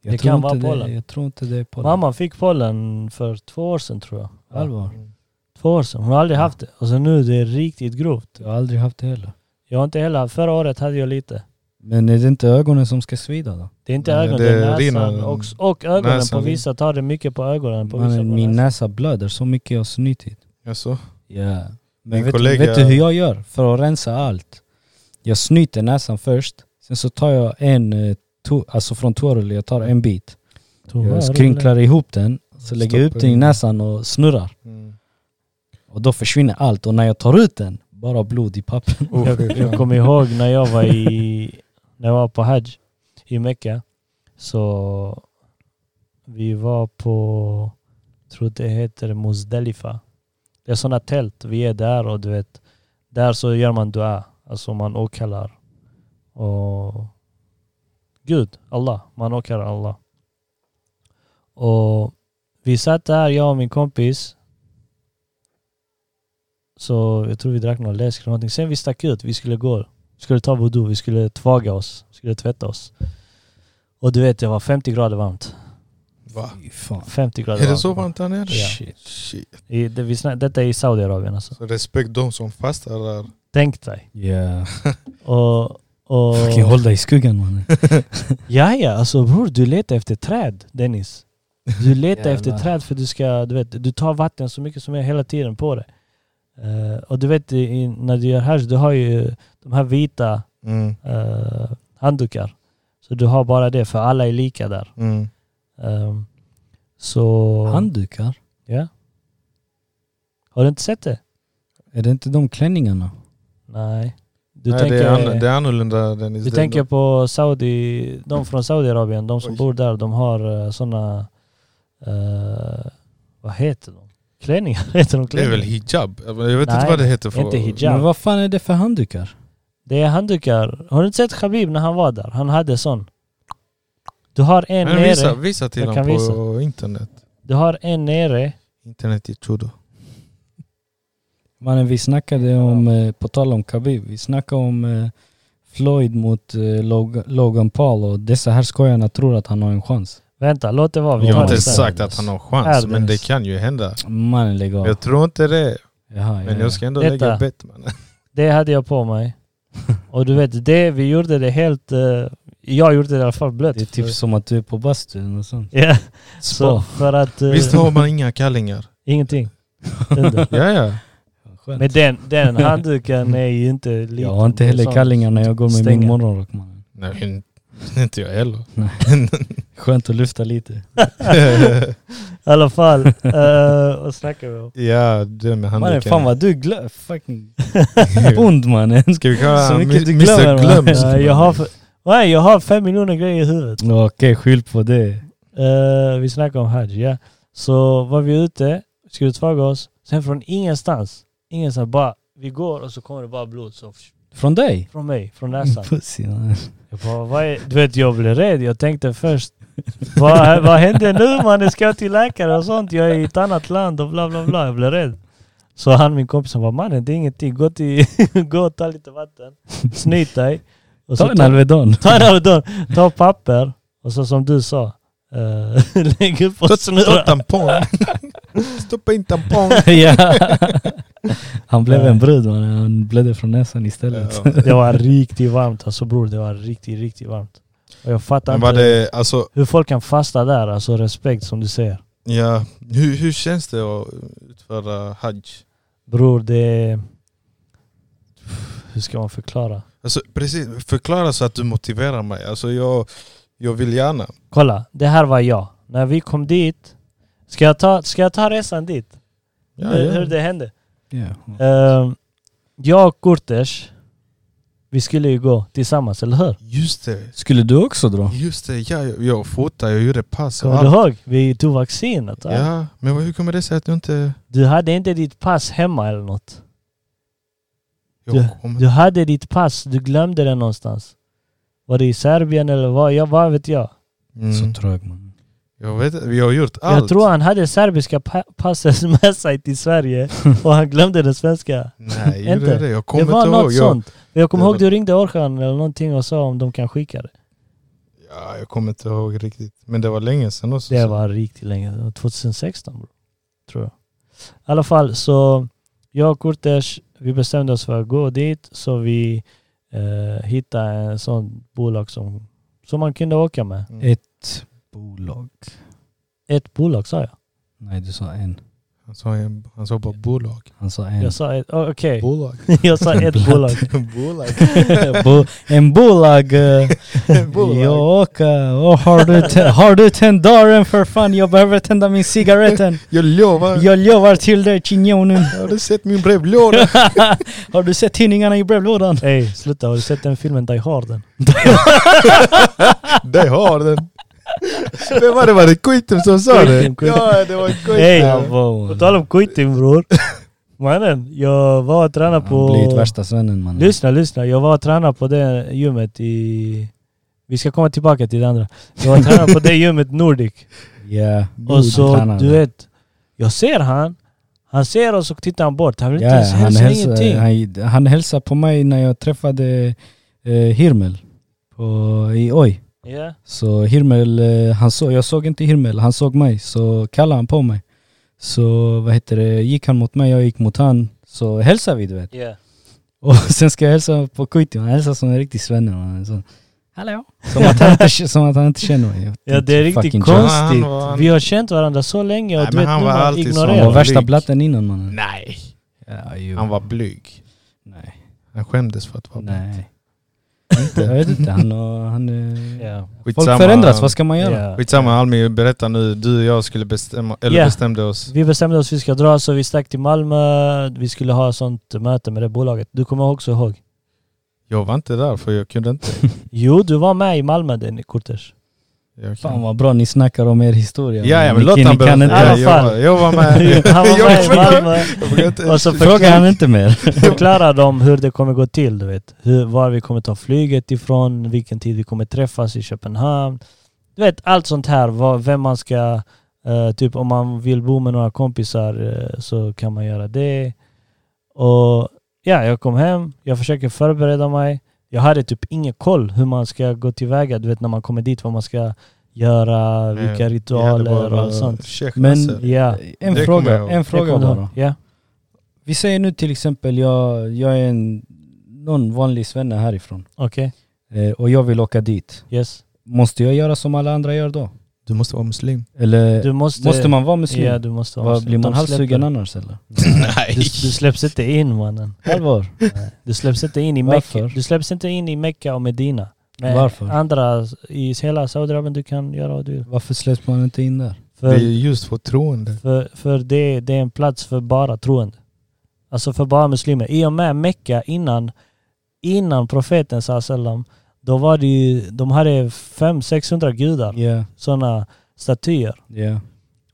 S3: Jag
S1: Det
S3: tror
S1: kan
S3: inte
S1: vara pollen.
S3: Jag tror inte det är pollen.
S1: Mamma fick pollen för två år sedan tror jag.
S3: Allvar.
S2: Mm.
S1: Två år sedan. Hon har aldrig haft det. Och så nu det är riktigt grovt.
S3: Jag har aldrig haft det heller.
S1: Jag har inte heller, förra året hade jag lite.
S3: Men är det inte ögonen som ska svida då?
S1: Det är inte
S2: Nej,
S1: ögonen,
S2: det
S1: det är näsan
S2: rinner.
S1: och, och ögonen
S2: Näsan
S1: på vissa tar det mycket på ögonen. På vissa
S3: Mannen,
S1: på
S3: min
S1: näsan.
S3: näsa blöder så mycket jag har snutit.
S2: Jaså?
S3: Ja. Men
S2: Min
S3: vet,
S2: kollega-
S3: vet du hur jag gör för att rensa allt? Jag snyter näsan först, sen så tar jag en, eh, to- alltså från toarullen, jag tar en bit. Jag skrynklar ihop den, så lägger jag upp
S2: Stoppar
S3: den i
S2: in.
S3: näsan och snurrar.
S2: Mm.
S3: Och då försvinner allt och när jag tar ut den, bara blod i pappen.
S2: Oh,
S1: jag,
S2: fy
S1: jag
S2: fan.
S1: kommer ihåg när jag var i när jag var på Hajj i Mecka. Så vi var på, jag tror det heter Muzdalifa. Det är sådana tält, vi är där och du vet, där så gör man dua. Alltså man åkallar. Och Gud, Allah. Man åkallar Allah. Och vi satt där, jag och min kompis. Så jag tror vi drack någon läsk eller någonting. Sen vi stack ut, vi skulle gå. Vi skulle ta voodoo, vi skulle tvaga oss, vi skulle tvätta oss. Och du vet, det var 50 grader varmt.
S2: Va?
S3: (laughs) Fy fan.
S1: 50 grader
S2: Är det så varmt där nere?
S1: Ja.
S3: Shit.
S2: Shit.
S1: I, det, vi snack, detta är i Saudiarabien alltså.
S2: Så respekt de som fastar där.
S1: Tänk dig.
S3: Yeah.
S1: Och, och,
S3: Fucking håll dig i skuggan mannen.
S1: ja, ja, alltså bror, du letar efter träd, Dennis.
S3: (laughs)
S1: Du letar efter
S3: Jävlar.
S1: träd för du ska, du vet, du tar vatten så mycket som möjligt hela tiden på det. Eh, och du vet, i, när du gör hash, du har ju de här vita
S2: Mm.
S1: eh, handdukar. Så du har bara det, för alla är lika där.
S2: Mm.
S1: Ehm, så...
S3: Handdukar?
S1: Ja. Har du inte sett det?
S3: Är det inte de klänningarna?
S1: Nej. Du
S2: Nej,
S1: tänker,
S2: det, är annorlunda, det är annorlunda Dennis.
S1: du
S2: Det-
S1: tänker på Saudi, de från Saudiarabien, de som
S2: Oj.
S1: bor där, de har sådana... eh, vad heter de? Klänningar? (laughs) Heter de
S2: Det är
S1: klänningar?
S2: väl hijab? Jag vet inte
S1: Nej,
S2: vad det heter för...
S1: inte hijab.
S3: Men vad fan är det för handdukar?
S1: Det är handdukar. Har du inte sett Khabib när han var där? Han hade sån. Du har en
S2: Men visa,
S1: nere.
S2: visa till
S1: Jag
S2: honom
S1: kan
S2: på
S1: visa.
S2: internet.
S1: Du har en nere.
S2: Internet i judo.
S3: Mannen vi snackade om, eh, på tal om Khabib, vi snackade om eh, Floyd mot eh, Log- Logan Paul och dessa här skojarna tror att han har en chans.
S1: Vänta, låt det vara. Vi
S2: Jag har
S1: tar det
S2: inte
S1: sen.
S2: sagt att han har chans,
S1: Ärdeles.
S2: men det kan ju hända.
S3: Mannen lägg av.
S2: Jag tror inte det,
S3: Jaha,
S2: men
S3: ja, ja.
S2: jag ska ändå
S1: Detta.
S2: lägga bett man.
S1: Det hade jag på
S3: (laughs)
S1: mig. Och du vet, det vi gjorde det helt... eh, jag gjorde det i alla fall blött.
S3: Det är typ som att du är på bastun och sånt.
S1: (laughs) Ja,
S3: Spa.
S1: så för att... eh,
S2: Visst har man inga kallingar?
S1: (laughs)
S3: (laughs)
S1: Ingenting. Den där.
S2: Ja, ja.
S3: Skönt.
S1: Men den, den handduken är ju inte liten.
S3: jag har inte heller
S1: Sån.
S3: kallingar när jag går med
S1: Stänger.
S3: min morgonrock mannen.
S2: Nej, in- inte jag heller.
S3: Skönt att lyfta lite.
S1: I alla
S3: (laughs)
S1: fall, eh, vad snackar vi om?
S2: ja, det med
S3: Mannen
S2: handduken.
S3: fan vad du glömmer. Fucking bond mannen.
S2: Ska vi kalla
S3: Så
S2: han
S3: mycket
S2: mi-
S3: du glömmer,
S2: Mr
S3: va?
S2: Glömsk?
S1: Eh, jag, har, f- nej, jag har fem miljoner grejer i huvudet.
S3: Okej, skyll på det.
S1: Eh, vi snackar om Hajj, ja. Så var vi ute, skulle tvaga oss. Sen från ingenstans, ingenstans bara, vi går och så kommer det bara blod. Så,
S3: Från dig?
S1: från mig, från näsan.
S3: Pussy mannen.
S1: Jag bara, vad är, du vet jag blev rädd. Jag tänkte först, vad, vad hände nu mannen? Ska jag till läkare och sånt? Jag är i ett annat land och bla bla bla. Jag blev rädd. Så han min kompis han bara, mannen det är ingenting. Gå, till, (laughs) gå och ta lite vatten. Snyt dig. Och så
S3: Ta en Alvedon.
S1: ta, en Alvedon. ta papper. Och så som du sa, eh, (laughs) lägg upp och
S2: Stoppa
S1: snurra. (laughs)
S2: tampong! Stoppa in tampong!
S3: (laughs) ja. Han blev en brud mannen. Han blödde från näsan istället.
S2: Ja.
S1: Det var riktigt varmt alltså bror. Det var riktigt, riktigt varmt. Och jag fattar
S2: Men var
S1: inte
S2: det, alltså,
S1: hur folk kan fasta där. Alltså respekt som du säger.
S2: ja, hur, hur känns det att utföra hajj?
S1: Bror, det... Hur ska man förklara?
S2: Alltså, precis, förklara så att du motiverar mig. Alltså, jag, jag vill gärna.
S1: Kolla, det här var jag. När vi kom dit... Ska jag ta, ska jag ta resan dit?
S2: Ja,
S1: hur,
S2: ja.
S1: hur det hände?
S3: Ja.
S1: Ehm, jag och Kurtesh, vi skulle ju gå tillsammans, eller hur?
S2: Just det,
S3: Skulle du också dra?
S2: just det. Ja, jag, jag fotade, jag gjorde pass. och
S1: Kommer du
S2: allt.
S1: ihåg? Vi tog vaccinet. va?
S2: Ja, men hur kommer det sig att du inte...
S1: Du hade inte ditt pass hemma eller något.
S2: Jag
S1: Ja,
S2: kommer-
S1: Du hade ditt pass, du glömde det någonstans. Var det i Serbien eller vad? Ja, vad vet jag?
S2: Mm.
S3: Så trög mannen.
S2: Jag vet vi har gjort allt.
S1: Jag tror han hade serbiska pa- passet (laughs) med sig till Sverige och han glömde det svenska.
S2: Nej, gjorde
S1: Inte?
S2: jag det? Jag
S1: Det
S2: kommer
S1: var
S2: inte ihåg.
S1: något
S2: Jag,
S1: sånt. Jag kommer
S2: Det
S1: ihåg
S2: var-
S1: du ringde Orhan eller någonting och sa om de kan skicka det.
S2: ja, jag kommer inte ihåg riktigt. Men det var länge sedan också.
S1: Det
S2: så-
S1: var riktigt länge, det var 2016 bro. tror jag. I alla fall så, jag och Kurtesh, vi bestämde oss för att gå dit så vi eh, hittade en sån bolag som, som man kunde åka med.
S2: Mm.
S3: Ett bolag.
S1: Ett bolag sa jag.
S3: Nej du sa en.
S2: Han, sa, en- han sa bara
S3: (laughs)
S2: bolag.
S3: Han sa en.
S1: Jag sa ett, oh, okej.
S2: Bolag.
S1: (laughs) jag sa ett bolag.
S2: bolag.
S3: Bo-
S1: (laughs)
S3: en bolag. eh,
S2: (laughs) Bolag.
S3: Jag åker. Och har, du te- har du tänt dörren för fan? Jag behöver tända min cigaretten.
S2: Jag lovar.
S3: Jag lovar till dig chinjonen.
S2: Har du sett min brevlåda?
S3: har du sett tidningarna i brevlådan?
S1: Ey, sluta. Har du sett den filmen Die Harden?
S2: Där har den. Vem var det? Var det Kuitem som sa det?
S1: Kuitem, Kuitem.
S2: Ja, det var Kuitem.
S1: Hey.
S3: Ja,
S2: Ja.
S3: wow.
S1: På tal om quitting
S3: (laughs)
S1: bror. Mannen, jag var och tränade
S3: Han har blivit
S1: på...
S3: värsta svennen mannen.
S1: Lyssna, lyssna. Jag var och tränade på det gymmet i... Vi ska komma tillbaka till det andra. Jag var och tränade
S3: (laughs)
S1: på det gymmet Nordic.
S3: Ja.
S1: Och så, du vet. Jag ser han. Han ser oss och tittar han bort. Han vill inte
S3: Ja,
S1: ens
S3: han,
S1: hälsa,
S3: hälsade,
S1: ingenting.
S3: han, han hälsade på mig när jag träffade eh, Hirmel på, i Oj.
S1: Ja.
S3: Så Hirmel, eh, han så, jag såg inte Hirmel, han såg mig. Så kallade han på mig. Så vad heter det, gick han mot mig, jag gick mot han. Så hälsade vi du vet. (laughs)
S1: Ja.
S3: Och sen ska jag hälsa på Kuitti, han hälsar som en riktig svenne. man. Så, Hallå? Som att, han inte, som att han inte känner mig. Jag
S1: (laughs) ja, det är
S3: tänkte,
S1: riktigt
S3: fucking
S2: Ja,
S1: konstigt.
S3: joke.
S2: han var-
S1: Vi har känt varandra så länge och
S2: Nej,
S1: du
S2: men
S1: vet
S2: han
S1: nu
S2: var
S1: man
S2: alltid så.
S1: ignorerar.
S3: Han var värsta
S2: Blyg.
S3: blatten innan mannen.
S2: Nej,
S3: Ja, jo.
S2: han var blyg.
S3: Nej.
S2: Han skämdes för att vara blyg.
S3: Nej. Jag vet inte, han, har- han eh, är...
S1: Ja.
S2: Skitsamma.
S3: Folk förändras, vad ska man göra?
S1: Ja.
S2: Skitsamma Almi, berätta nu. Du och jag skulle bestämma, eller
S1: Ja.
S2: bestämde oss.
S1: Vi bestämde oss vi ska dra så vi stack till Malmö. Vi skulle ha sånt möte med det bolaget. Du kommer också ihåg?
S2: Jag var inte där för jag kunde inte.
S1: Jo, du var med i Malmö Denny Kurtesh.
S2: Jag
S3: Fan vad bra ni snackar om er historia.
S2: Ja, ja men
S3: Ni-
S2: låt
S3: ni
S2: han
S3: kan
S2: berätta.
S1: Ja,
S2: Jag
S3: inte-
S1: i alla
S2: jobbar-
S1: fall. (laughs)
S2: jobbar med...
S1: Han
S2: (laughs) Jag
S1: var med i
S2: försöker-
S1: Malmö.
S2: jag försöker inte-
S1: Och så
S3: Fråga han inte (laughs) mer.
S1: förklarar de hur det kommer gå till, du vet. Hur, var vi kommer ta flyget ifrån, vilken tid vi kommer träffas i Köpenhamn. Du vet, allt sånt här. Vad, vem man ska... eh, typ om man vill bo med några kompisar eh, så kan man göra det. Och ja, jag kom hem. Jag försöker förbereda mig. Jag hade typ ingen koll hur man ska gå tillväga, du vet när man kommer dit, vad man ska göra,
S3: Mm.
S2: Nej,
S1: vilka
S2: Vi hade
S1: ritualer och
S2: bara alltså.
S1: allt sånt.
S3: Men-
S2: tjechrasser.
S1: Ja,
S3: En
S2: Det kommer jag
S3: fråga,
S2: ihåg.
S3: en fråga
S1: jag kommer ihåg.
S3: bara.
S1: Ja.
S3: Vi säger nu till exempel jag, jag är en, någon vanlig svenne härifrån
S1: Okej,
S3: eh, och jag vill åka dit.
S1: yes.
S3: Måste jag göra som alla andra gör då?
S2: Du måste vara
S1: (clears throat)
S2: muslim.
S3: Eller
S1: Du måste...
S3: Eh, måste man vara muslim?
S1: Ja, du måste vara
S3: Vad,
S1: muslim.
S3: blir man
S1: De släpper-
S3: halssugen annars eller?
S1: Du, du släpps inte in
S3: (laughs)
S1: mannen.
S3: Allvar?
S1: Du släpps inte in i
S3: Varför?
S1: Mecka. Du släpps inte in i Mecka och Medina. Men
S3: Varför?
S1: andra i hela Saudiarabien du kan göra vad du vill.
S3: Varför släpps man inte in där?
S2: Det är
S1: För,
S2: ju just förtroende.
S1: för, för det, det är en plats för bara troende. Alltså för bara muslimer. I och med Mecka innan, innan profeten sallam, då var det ju, de hade 500-600 gudar,
S3: Ja, yeah,
S1: sådana statyer.
S3: yeah.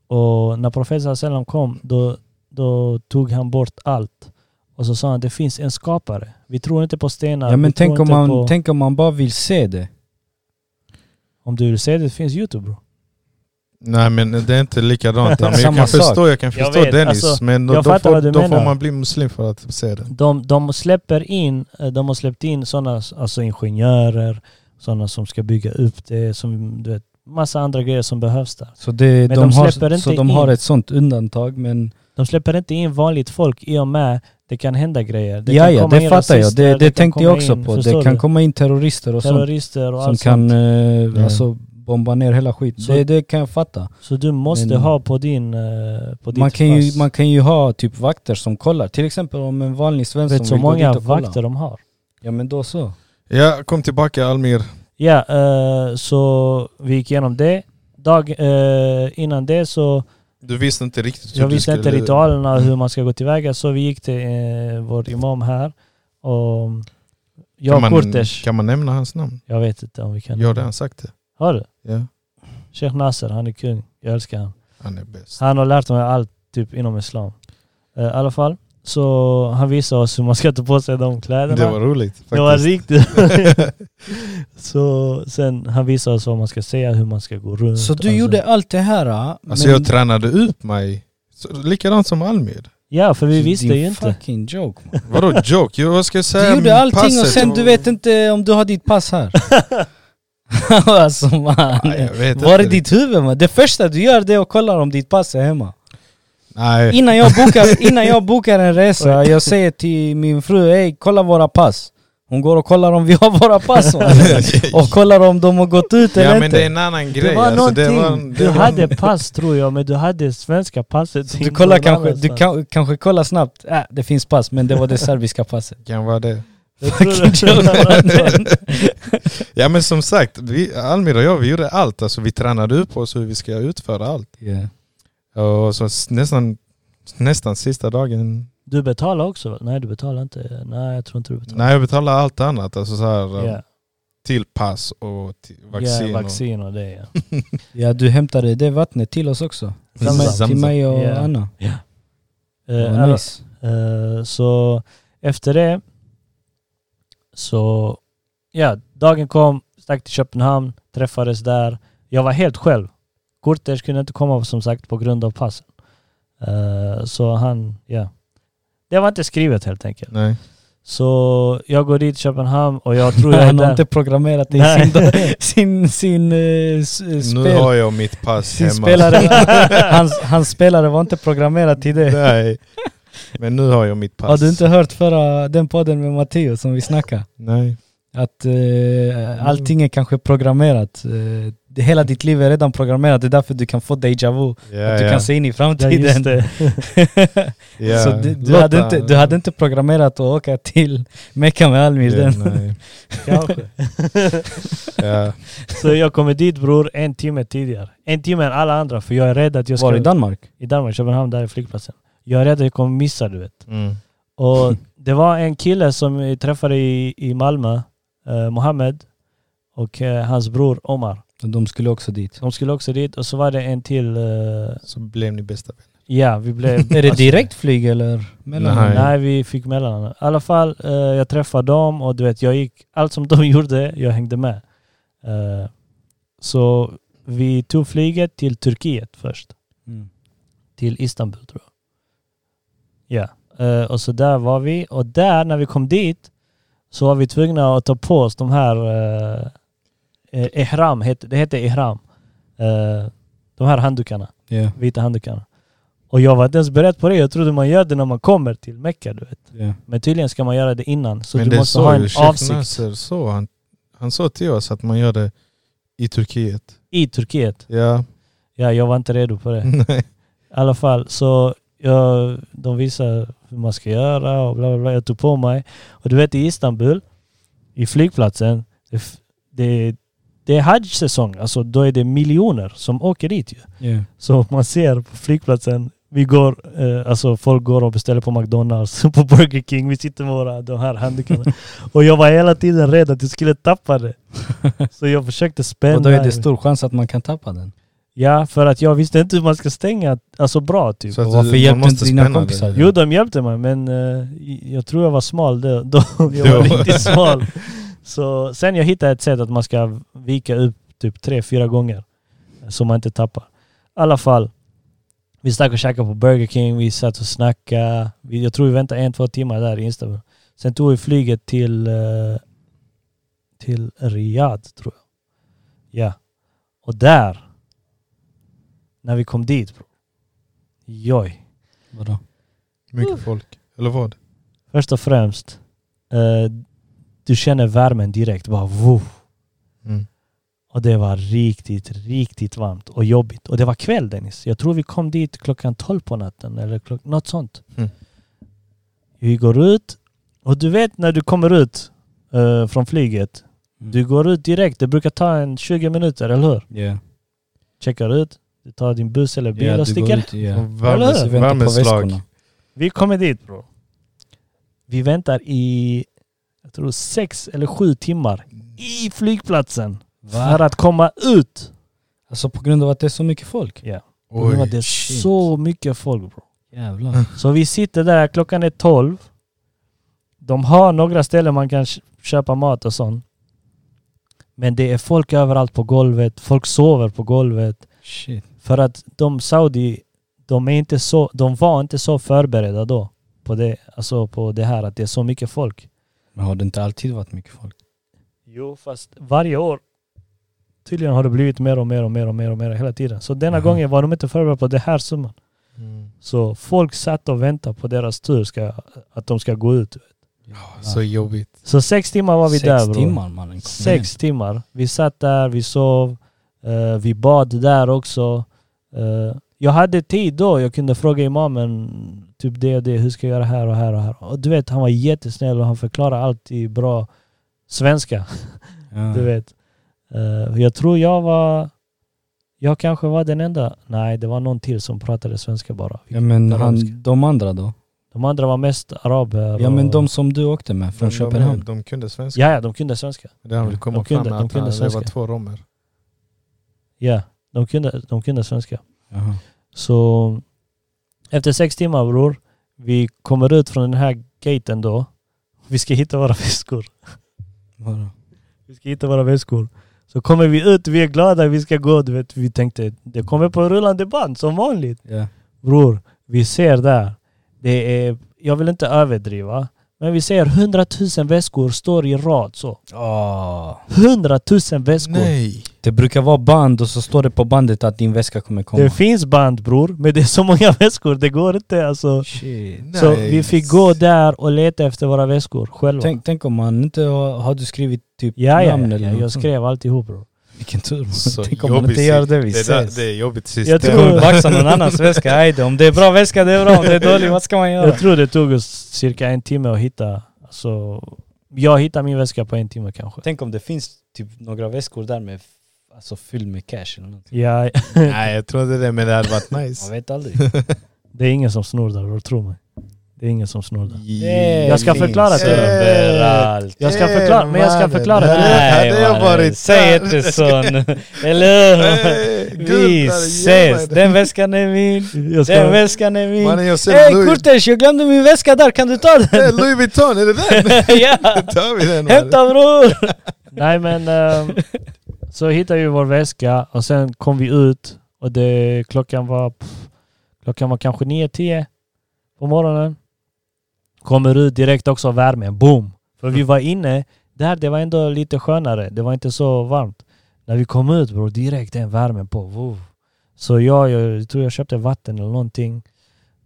S1: Och när profeten sallam kom, då, då tog han bort allt. Och så sa han, det finns en skapare. Vi tror inte på stenar.
S3: ja
S1: vi
S3: men
S1: tror
S3: tänk om,
S1: inte på...
S3: man, tänk om man bara vill se det.
S1: Om du vill säga det, det finns YouTube bro.
S2: Nej men det är
S1: (laughs)
S2: inte likadant. Men jag
S3: Samma
S2: kan
S3: sak.
S2: förstå, jag kan förstå
S1: vet,
S2: Dennis.
S1: alltså,
S2: men då,
S1: jag
S2: då,
S1: fattar
S2: får,
S1: vad du
S2: då får
S1: menar.
S2: man bli muslim för att se det.
S1: De, de släpper in, eh, de har släppt in sådana alltså ingenjörer, sådana som ska bygga upp det, som du vet, massa andra grejer som behövs där.
S3: Så, det, de,
S1: Men de släpper
S3: har,
S1: inte
S3: så de
S1: in.
S3: har ett sånt undantag men
S1: De släpper inte in vanligt folk i och med det kan hända grejer. Det
S3: ja,
S1: kan
S3: ja
S1: komma in
S3: det fattar jag.
S1: rasister,
S3: Det, det
S1: kan
S3: tänkte jag
S1: komma
S3: också
S1: in,
S3: på.
S1: förstår
S3: Det kan
S1: du?
S3: komma in terrorister och sånt
S1: terrorister och
S3: som
S1: allt
S3: kan
S1: sånt.
S3: eh,
S2: Ja.
S3: alltså, bomba ner hela skiten.
S1: Så-
S3: Det, det kan jag fatta.
S1: Så du måste
S3: Men-
S1: ha på din... eh, På ditt
S3: Man kan, ju,
S1: pass.
S3: man kan ju ha typ vakter som kollar. Till exempel om en vanlig svensk
S1: vet
S3: som
S1: så
S3: vill gå
S1: många
S3: dit och kolla.
S1: vakter Mm. de har.
S3: Ja men då så.
S2: Ja, kom tillbaka Almir.
S1: Ja, eh, så vi gick igenom det. Dag, eh, innan det så,
S2: Du visste inte riktigt
S1: jag
S2: du
S1: visste inte
S2: skulle- Mm.
S1: ritualerna hur man ska gå tillväga så vi gick till eh, vår imam här. Och
S2: Kan
S1: jag
S2: Mm. man-
S1: Kurtesh,
S2: Kan man nämna hans namn?
S1: jag vet inte om vi kan...
S2: Jag har redan sagt det.
S1: Har du?
S2: Ja,
S1: Sheikh Nasser, han är kung. Jag älskar han.
S2: han är bäst.
S1: Han har lärt mig allt typ inom islam. Eh, I alla fall, så han visade oss hur man ska ta på sig de kläderna.
S2: Det var roligt faktiskt.
S1: Det var riktigt.
S3: (laughs)
S1: så sen han visade oss vad man ska säga, hur man ska gå runt.
S3: Så du
S1: Alltså-
S3: gjorde allt det här? ah,
S2: Alltså
S3: men-
S2: jag tränade ut mig. Så, likadant som Almir.
S1: Ja, för vi
S3: Din
S1: visste ju inte.
S3: fucking joke. man.
S2: Vadå joke? Jag, vad ska jag säga?
S3: Du gjorde
S2: om
S3: allting och
S2: passet?
S3: sen du vet inte om du har ditt
S1: (laughs)
S3: pass här. (laughs) alltså man.
S2: Nej, jag vet
S3: Var är
S2: inte.
S3: ditt huvud man? Det första du gör det är att kolla om ditt pass är hemma.
S2: Nej.
S3: Innan jag bokar, innan jag bokar en resa, jag säger till min fru hej kolla våra pass. Hon går och kollar om vi har våra
S2: (laughs)
S3: pass va? och kollar om de har gått ut eller
S2: Ja men
S3: inte.
S2: det är en annan grej.
S1: Det var
S2: alltså,
S1: någonting.
S2: det
S1: du
S2: var-
S1: hade pass tror jag, men du hade svenska passet.
S3: Så du kollar kanske, du kan, kanske kollar snabbt, äh, det finns pass men det
S2: (laughs)
S3: var det serbiska passet.
S2: kan vara det.
S1: Fucking
S3: (laughs)
S2: Ja men som sagt, vi, Almir och jag vi gjorde allt. Alltså, vi tränade upp oss hur vi ska utföra allt.
S3: yeah.
S2: Och så s- nästan, nästan sista dagen,
S1: (laughs) Du betalar också? va? Nej, du betalar inte. Nej, jag tror inte du betalar.
S2: nej jag betalade allt annat. Alltså så här,
S1: Ja,
S2: till pass och till vaccin.
S1: ja, vaccin och det ja.
S3: Ja du hämtade det vattnet till oss också. Till
S1: Samma.
S3: mig, till mig och
S1: Yeah.
S3: Anna.
S1: Eh,
S3: Vad
S1: alla-
S3: nice.
S1: Eh, Så efter det så, ja, dagen kom, stack till Köpenhamn, träffades där. Jag var helt själv. Kurters kunde inte komma som sagt på grund av passen. Eh, Så han, ja. Det var inte skrivet helt enkelt.
S2: och, nej.
S1: Så jag går dit till Köpenhamn och jag tror
S3: (laughs)
S1: jag är
S3: Han har
S1: där.
S3: inte programmerat det i
S1: Nej.
S3: sin,
S1: (laughs)
S3: sin, sin eh, s-
S2: Nu
S3: spel.
S2: har jag mitt pass
S3: Sin
S2: hemma.
S3: spelare, hans, hans spelare var inte programmerad till
S2: (laughs)
S3: det.
S2: Nej. Men nu har jag mitt pass.
S3: Har du inte hört förra den podden med Matteo som vi snackade?
S2: Nej.
S3: Att eh, allting är kanske programmerat. Eh, det- hela ditt liv är redan programmerat, det är därför du kan få deja vu.
S2: Ja,
S3: att du
S2: ja.
S3: kan se in
S1: Ja,
S3: i
S1: just
S3: framtiden.
S1: det.
S2: Ja.
S3: (laughs) Så du, du,
S2: Låt
S3: hade inte,
S2: han-
S3: du hade inte programmerat att åka till Mecka med Almir
S2: Ja,
S3: den.
S2: nej.
S1: Kanske.
S2: Ja.
S1: Så jag kommer dit bror en timme tidigare. En timme än alla andra för jag är rädd att jag ska...
S3: (laughs) Var i Danmark?
S1: I Danmark, Köpenhamn, där är flygplatsen. Jag är rädd att jag kommer missa du vet.
S2: Mm.
S3: (laughs)
S1: Och det var en kille som vi träffade i, i Malmö, eh, Mohammed, och eh, hans bror Omar.
S3: Så de skulle också dit.
S1: De skulle också dit och så var det en till... eh,
S2: Så blev ni bästa vänner.
S1: ja, vi blev...
S3: (laughs)
S1: Alltså, mm,
S3: Är det direktflyg eller? Mellan?
S2: Nej.
S1: Nej, vi fick mellan. I alla fall, eh, jag träffade dem och du vet, jag gick... Allt som (laughs) de gjorde, jag hängde med. Eh, så vi tog flyget till Turkiet först.
S3: Mm.
S1: till Istanbul tror jag. Ja, Eh, och så där var vi. Och där, när vi kom dit, så var vi tvungna att ta på oss de här eh, eh, ihram, het, det hette ihram. Eh, de här handdukarna,
S3: Ja,
S1: vita handdukarna. Och jag var inte ens beredd på det. Jag trodde man gör det när man kommer till Mecka, du vet.
S3: ja.
S1: Men tydligen ska man göra det innan. Så
S2: Men
S1: du
S2: det
S1: måste
S2: sa
S1: ha
S2: ju
S1: en
S2: Sheikh
S1: avsikt
S2: Nasser, så han, han sa till oss att man gör det i Turkiet.
S1: i Turkiet.
S2: Ja,
S1: Ja, jag var inte redo på det.
S2: (laughs) nej.
S1: I alla fall så jag, de visar hur man ska göra och bla bla bla. Jag tog på mig. Och du vet i Istanbul, i flygplatsen, det, f- det, det är hajj-säsong. Alltså då är det miljoner som åker dit ju.
S3: ja.
S1: Så man ser på flygplatsen, vi går, eh, alltså folk går och beställer på McDonalds, (laughs) på Burger King, vi sitter med våra, de här
S3: (laughs)
S1: handdukarna. och jag var hela tiden rädd att jag skulle tappa det. Så jag försökte spänna.
S3: Och då är det stor chans att man kan tappa den.
S1: Ja, för att jag visste inte hur man ska stänga, alltså bra typ.
S2: Så att
S3: varför
S2: man
S3: hjälpte
S2: måste
S3: inte dina
S2: spänna
S3: kompisar?
S2: det.
S1: Jo, de hjälpte mig, men eh, jag tror jag var smal då. (laughs) då jag
S2: Jo.
S1: var riktigt smal. Så, sen jag hittade ett sätt att man ska vika upp typ tre, fyra gånger. eh, Så man inte tappar. I alla fall, vi stack och käkade på Burger King, vi satt och snackade. Vi, jag tror vi väntade en, två timmar där i Istanbul. Sen tog vi flyget till, eh, till Riyadh, tror jag. Ja. Och där, när vi kom dit, bro. Joj.
S3: Vadå?
S2: Mycket folk. Eller vad?
S1: Först och främst, eh, du känner värmen direkt. Bara, woo.
S2: Mm.
S1: Och det var riktigt, riktigt varmt och jobbigt. Och det var kväll Dennis. Jag tror vi kom dit klockan 12 på natten eller klock, något sånt.
S2: Mm.
S1: Vi går ut och du vet när du kommer ut eh, från flyget.
S3: Mm.
S1: Du går ut direkt. Det brukar ta en 20 minuter, eller hur?
S3: Ja.
S1: Checkar ut, du tar din buss eller bil
S3: Ja,
S1: och
S3: du går
S1: sticker.
S3: ut, ja.
S2: Och
S1: Eller
S2: värmes-
S1: hur?
S3: Alltså, Vi väntar på
S2: Värmeslag.
S3: väskorna.
S1: Vi kommer dit bro. Vi väntar i, jag tror sex eller sju timmar i flygplatsen för
S3: Va?
S1: att komma ut.
S3: Alltså på grund av att det är så mycket folk?
S1: Och nu var
S2: Oj.
S1: det
S3: shit.
S1: så mycket folk bro.
S2: Mm.
S3: Jävlar.
S1: Så vi sitter där, klockan är 12. De har några ställen man kan k- köpa mat och sånt. Men det är folk överallt på golvet, folk sover på golvet.
S3: Shit.
S1: För att de Saudi, de, är inte så, de var inte så förberedda då på det, alltså på det här att det är så mycket folk.
S3: Men har det inte alltid varit mycket folk?
S1: Jo, fast varje år tydligen har det blivit mer och mer och mer och mer och mer hela tiden. Så denna
S3: Aha.
S1: gången var de inte förberedda på det här summan.
S2: Mm.
S1: Så folk satt och väntade på deras tur ska, att de ska gå ut.
S2: Så jobbigt.
S1: Så sex timmar var vi
S3: Sex
S1: där bror.
S3: timmar mannen. Kom
S1: Sex timmar. Vi satt där, vi sov, eh, vi bad där också. Eh, jag hade tid då, jag kunde fråga imamen typ det och det, hur ska jag göra här och här och här. Och du vet, han var jättesnäll och han förklarade allt i bra svenska.
S3: igen.
S1: Du vet. Eh, jag tror jag var... Jag kanske var den enda. Nej, det var någon till som pratade svenska bara.
S3: Ja men
S1: Arabiska.
S3: han, de andra då?
S1: De andra var mest araber.
S3: Ja men
S1: och-
S3: de som du åkte med från
S2: de,
S3: Köpenhamn?
S2: De, de kunde svenska.
S1: Ja, ja, de kunde svenska.
S2: Det han ville komma
S1: De kunde-
S2: fram med
S1: de
S2: att
S1: kunde
S2: han, det var
S1: svenska.
S2: två romer.
S1: Ja, de kunde, de kunde svenska.
S3: Jaha.
S1: Så efter sex timmar bror, vi kommer ut från den här gaten då. Vi ska hitta våra (laughs) väskor.
S3: Vadå?
S1: Vi ska hitta våra väskor. Så kommer vi ut, vi är glada, vi ska gå. Du vet, vi tänkte, det kommer på rullande band som vanligt.
S3: Ja.
S1: Bror, vi ser där. Det är, jag vill inte överdriva, men vi ser hundratusen väskor står i rad så.
S3: Åh.
S1: Hundratusen väskor.
S2: Nej!
S3: Det brukar vara band och så står det på bandet att din väska kommer komma.
S1: Det finns band bror, men det är så många (laughs) väskor, det går inte alltså.
S3: Shit.
S1: Så vi fick gå där och leta efter våra väskor själva.
S3: Tänk, tänk om man inte har, har du skrivit typ
S1: ja, ja,
S3: namn
S1: ja,
S3: eller
S1: ja, jag
S3: något sånt?
S1: skrev alltihop bror.
S3: Vilken tur.
S1: (laughs)
S3: man.
S2: Så
S3: tänk om man
S2: jobbigt
S3: inte gör
S2: sist.
S3: det vi
S2: Det, där,
S3: ses.
S2: det är jobbigt system.
S1: Jag
S3: Jag
S1: tror-
S3: kommer baxa någon annans väska, ajde. Om det är bra väska det är bra, om det är dålig vad ska man göra?
S1: Jag tror det tog oss cirka en timme att hitta. Alltså, jag hittade min väska på en timme kanske.
S3: Tänk om det finns typ några väskor där med, f- alltså fylld med cash eller någonting.
S1: Ja, (laughs)
S2: Nej jag tror inte det men det hade varit
S3: Man
S2: nice.
S3: vet aldrig.
S1: det är ingen som snor där bror, tro mig. Det är ingen som snor där.
S2: Yeah.
S1: Jag ska
S2: finns
S1: förklara det.
S2: överallt.
S1: Jag ska
S2: Eh,
S1: förklara, men jag ska
S2: mannen,
S1: förklara det.
S2: hade-
S1: Nej,
S2: Hade jag
S1: mannen.
S2: varit
S3: Säg
S2: där-
S3: inte sån.
S1: (laughs)
S3: Eller hur?
S2: Eh, Gud,
S3: Vi
S2: där,
S3: ses!
S2: jävlar.
S3: Den väskan är min,
S1: Jag
S3: den
S1: ska,
S3: väskan är min.
S2: Mannen jag ser
S3: Hej
S2: Louis, (laughs)
S3: Kurtes, jag glömde min väska där, kan du ta den?
S2: Eh, Louis Vuitton, är det den?
S3: (laughs) ja!
S2: Tar vi den? mannen?
S3: Hämta bror!
S1: nej men... ehm, så hittade vi vår väska och sen kom vi ut och det, klockan var... Pff, klockan var kanske 9-10 på morgonen. Kommer ut direkt också av värmen, boom! För vi var inne där, det var ändå lite skönare. Det var inte så varmt. När vi kom ut bror, direkt den värmen på. Wow. Så jag, jag tror jag köpte vatten eller någonting.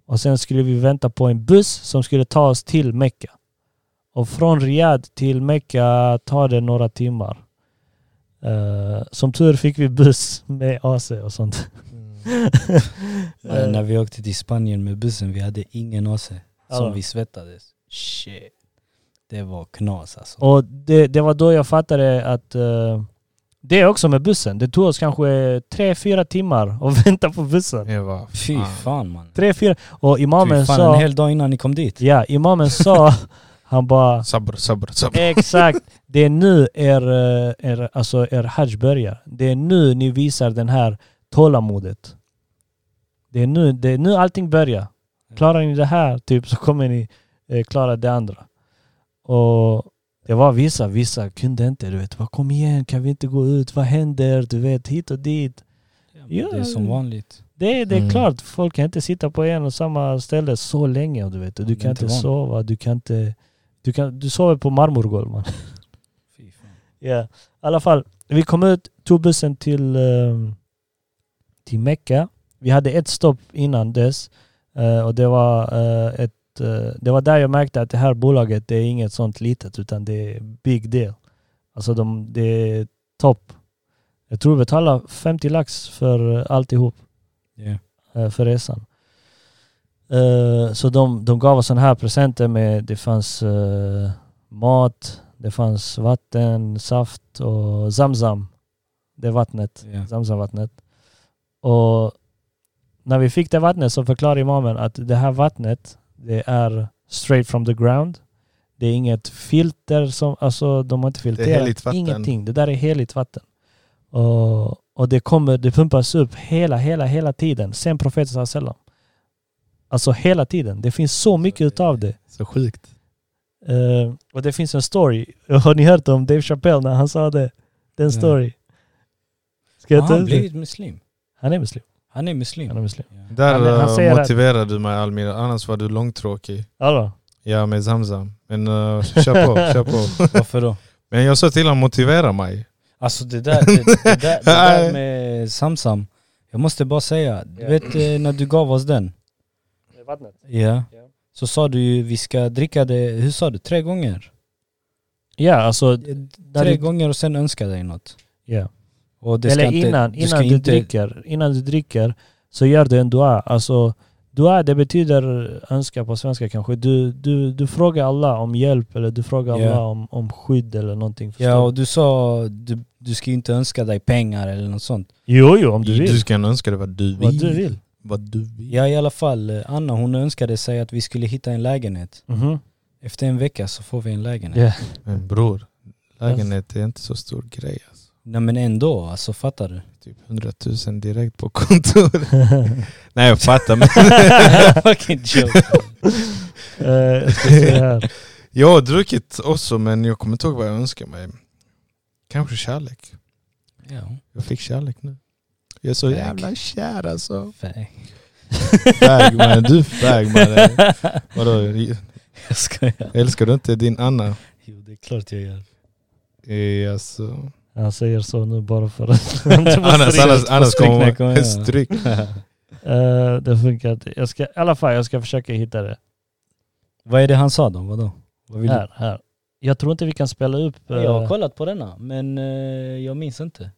S1: Och sen skulle vi vänta på en buss som skulle ta oss till Mecka. Och från Riyadh till Mecka tar det några timmar. Eh, som tur fick vi buss med AC och sånt.
S2: Mm.
S1: Eh,
S3: Eh, när vi åkte till Spanien med bussen, vi hade ingen AC.
S1: Ja.
S3: Som vi svettades. Shit. Det var knas alltså.
S1: Och det, det var då jag fattade att eh, det är också med bussen. Det tog oss kanske tre, fyra timmar att (laughs) vänta på bussen.
S2: Jag bara,
S3: Fy fan man.
S1: Tre, fyra. Och
S3: Fy
S1: imamen
S3: fan, en
S1: Ah. sa...
S3: hel dag innan ni kom dit.
S1: Ja, imamen
S3: (laughs)
S1: sa... Han bara...
S2: Sabr, sabr, sabr.
S1: Exakt. Det är nu er, eh, er, alltså er hajj börjar. Det är nu ni visar den här tålamodet. Det är nu, det är nu allting börjar. Klarar ni det här typ så kommer ni eh, klara det andra. Och det var vissa, vissa kunde inte. Du vet, bara, kom igen, kan vi inte gå ut? Vad händer? Du vet, hit och dit. Ja,
S3: Det är som vanligt.
S1: Det, är- det är
S2: Mm.
S1: klart, folk kan inte sitta på en och samma ställe så länge. Du, vet. Och du
S3: Man är
S1: kan
S3: inte
S1: inte
S3: van.
S1: sova, du kan inte... Du, kan, du sover på marmorgolv man.
S3: Fy fan.
S1: Ja, i alla fall. Vi kom ut, tog bussen till, ehm, till Mecka. Vi hade ett stopp innan dess eh, och det var, eh, ett, eh, det var där jag märkte att det här bolaget, det är inget sånt litet utan det är big deal. Alltså de, det är topp. Jag tror vi betalar 50 lax för eh, alltihop
S3: Ja.
S1: eh, för resan. Eh, Så de, de gav oss sådana här presenter med, det fanns eh, mat, det fanns vatten, saft och zamzam. Det är vattnet,
S3: Ja.
S1: zamzamvattnet. Och när vi fick det vattnet så förklarade imamen att det här vattnet, det är straight from the ground. Det är inget filter som, alltså de har inte
S2: heligt
S1: filtrerat
S2: vatten.
S1: ingenting. Det där är heligt vatten. Och, och det kommer, det pumpas upp hela, hela, hela tiden. Sen profeten sallallahu alaihi wasallam. Alltså hela tiden. Det finns så mycket utav det.
S2: Så sjukt.
S1: Eh, och det finns en story. (laughs) Har ni hört om Dave Chappelle när han sa det? Den
S3: Nej.
S1: story. Ska
S3: Har
S1: jag ta
S3: Ah, han
S1: ut det?
S3: blivit muslim?
S1: Han är muslim.
S3: Han är
S1: Han
S3: muslim.
S1: är muslim.
S3: Ja.
S2: Där
S1: Han- han
S2: eh,
S1: säger att-
S2: motiverar du mig Almir, annars var du långtråkig.
S1: Alltså,
S2: Ja, med Zamzam. Men eh,
S1: (laughs)
S2: kör på, kör på.
S3: Varför då?
S2: Men jag sa till honom, motivera mig.
S3: Alltså det där, det, det där,
S1: (laughs)
S3: det där med Samsam, jag måste bara säga, du
S1: Ja.
S3: vet eh, när du gav oss den,
S1: vattnet.
S3: ja,
S1: Ja.
S3: så sa du ju vi ska dricka det, hur sa du, tre gånger?
S1: Ja, alltså... när
S3: Tre
S1: du-
S3: gånger och sen önska dig något.
S1: Ja.
S3: Och det
S1: Eller
S3: ska inte,
S1: innan,
S3: du ska
S1: innan, du dricker, innan du dricker så gör du en dua. Alltså, dua det betyder önska på svenska kanske. Du, du, du frågar alla om hjälp eller du frågar
S3: Ja.
S1: alla om, om skydd eller någonting. förstår
S3: Ja
S1: du?
S3: och du sa, du, du ska ju inte önska dig pengar eller något sånt.
S1: Jo, jo, om du vill.
S2: ska önska dig vad du vill.
S1: Vad du vill.
S2: Vad du vill.
S3: Ja i alla fall, eh, Anna hon önskade sig att vi skulle hitta en lägenhet.
S1: Mhm.
S3: Efter en vecka så får vi en lägenhet.
S1: Ja.
S2: Men bror, lägenhet är inte så stor grej. Alltså.
S3: Nej men ändå, alltså
S1: (laughs)
S3: fattar du?
S2: Typ 100 000 direkt på kontoret. (laughs) Nej jag fattar men
S3: Fucking joke.
S1: Eh, jag ska se här.
S2: jag har druckit också men jag kommer inte ihåg vad jag önskar mig. Kanske kärlek.
S3: Ja,
S2: Jag fick kärlek nu. Jag är så
S3: Fag.
S2: jävla kär alltså.
S3: fag.
S2: Fag mannen, du är fag mannen. Vadå,
S3: (laughs) Jag skojar.
S2: älskar du inte din Anna?
S3: Jo det är klart jag gör.
S2: Eh, Alltså.
S1: Han säger så nu bara för
S3: (laughs)
S1: att... (laughs)
S2: Annars, annars, annars
S3: stryk när
S2: kommer
S3: jag kommer hem.
S2: stryk.
S1: Eh, det funkar inte. Jag ska, I alla fall, jag ska försöka hitta det.
S3: Vad är det han sa då? Vadå? Vad vill du?
S1: Här, här. Jag tror inte vi kan spela upp... eh,
S3: Jag har kollat på denna men eh, jag minns inte.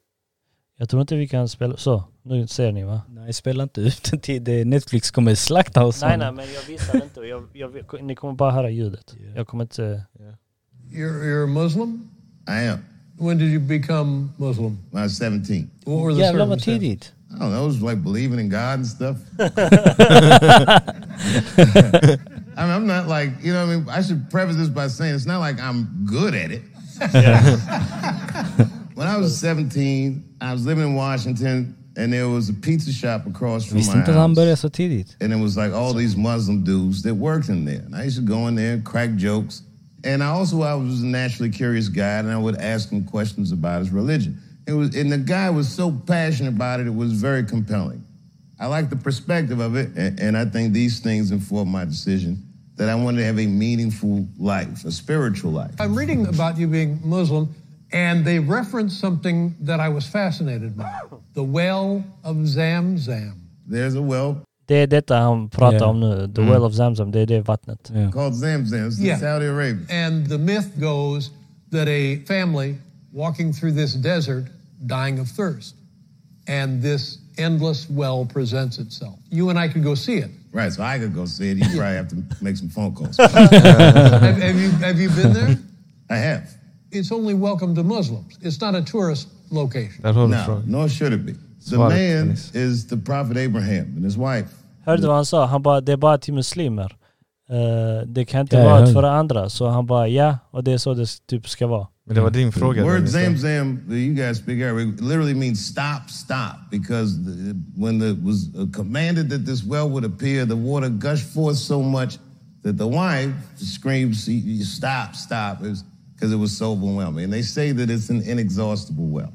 S1: jag tror inte vi kan spela... Så, nu ser ni va?
S3: Nej spela inte ut den till det Netflix kommer slakta oss.
S1: Nej, nej, men jag visar inte. och Jag, jag, ni kommer bara höra ljudet.
S3: Ja.
S1: Jag kommer inte...
S5: You're, you're a Muslim?
S6: I am.
S5: When did you become Muslim?
S6: When I was 17.
S5: What were the
S3: Jävlar vad
S5: circumstances?
S3: tidigt.
S6: I don't know, it was like believing in God and stuff. I mean, I'm not like, you know what I mean? I should preface this by saying it's not like I'm good at it. (laughs) when I was 17, I was living in Washington, and there was a pizza shop across from
S3: Visste
S6: my
S3: inte att han
S6: house.
S3: började så tidigt.
S6: And it was like all these Muslim dudes that worked in there. And I used to go in there and crack jokes. And I also I was a naturally curious guy, and I would ask him questions about his religion. It was, and the guy was so passionate about it; it was very compelling. I like the perspective of it, and, and I think these things informed my decision that I wanted to have a meaningful life, a spiritual life.
S5: I'm reading about you being Muslim, and they reference something that I was fascinated by the well of Zamzam.
S6: There's a well
S1: Det är detta han pratar
S3: Ja.
S1: om nu. The well of Zamzam, det är det vattnet.
S6: called Zamzam. It's in
S5: Yeah.
S6: Saudi Arabia.
S5: And the myth goes that a family walking through this desert dying of thirst, and this endless well presents itself. You and I could go see it.
S6: Right, so I could go see it. You probably have to make some phone calls.
S5: have, have you, have you been there?
S6: I have.
S5: It's only welcome to Muslims, it's not a tourist location.
S2: Där har du
S6: No,
S2: frågan.
S6: nor should it be. The
S2: Svaret,
S6: man
S2: Dennis.
S6: is the Prophet Abraham and his wife.
S1: Hörde du vad han sa? Han bara, det är bara till muslimer. Eh, det kan inte
S3: Ja, jag
S1: vara
S3: hörde.
S1: för andra. Så han bara, ja, och det är så det typ ska vara.
S2: Men det var din fråga.
S6: The word
S2: Dennis.
S6: Zamzam, that you guys speak Arabic, literally means stop, stop, because the, when the was commanded that this well would appear, the water gushed forth so much that the wife screamed, "See, you stop, stop, because it, was so overwhelming. And they say that it's an inexhaustible well.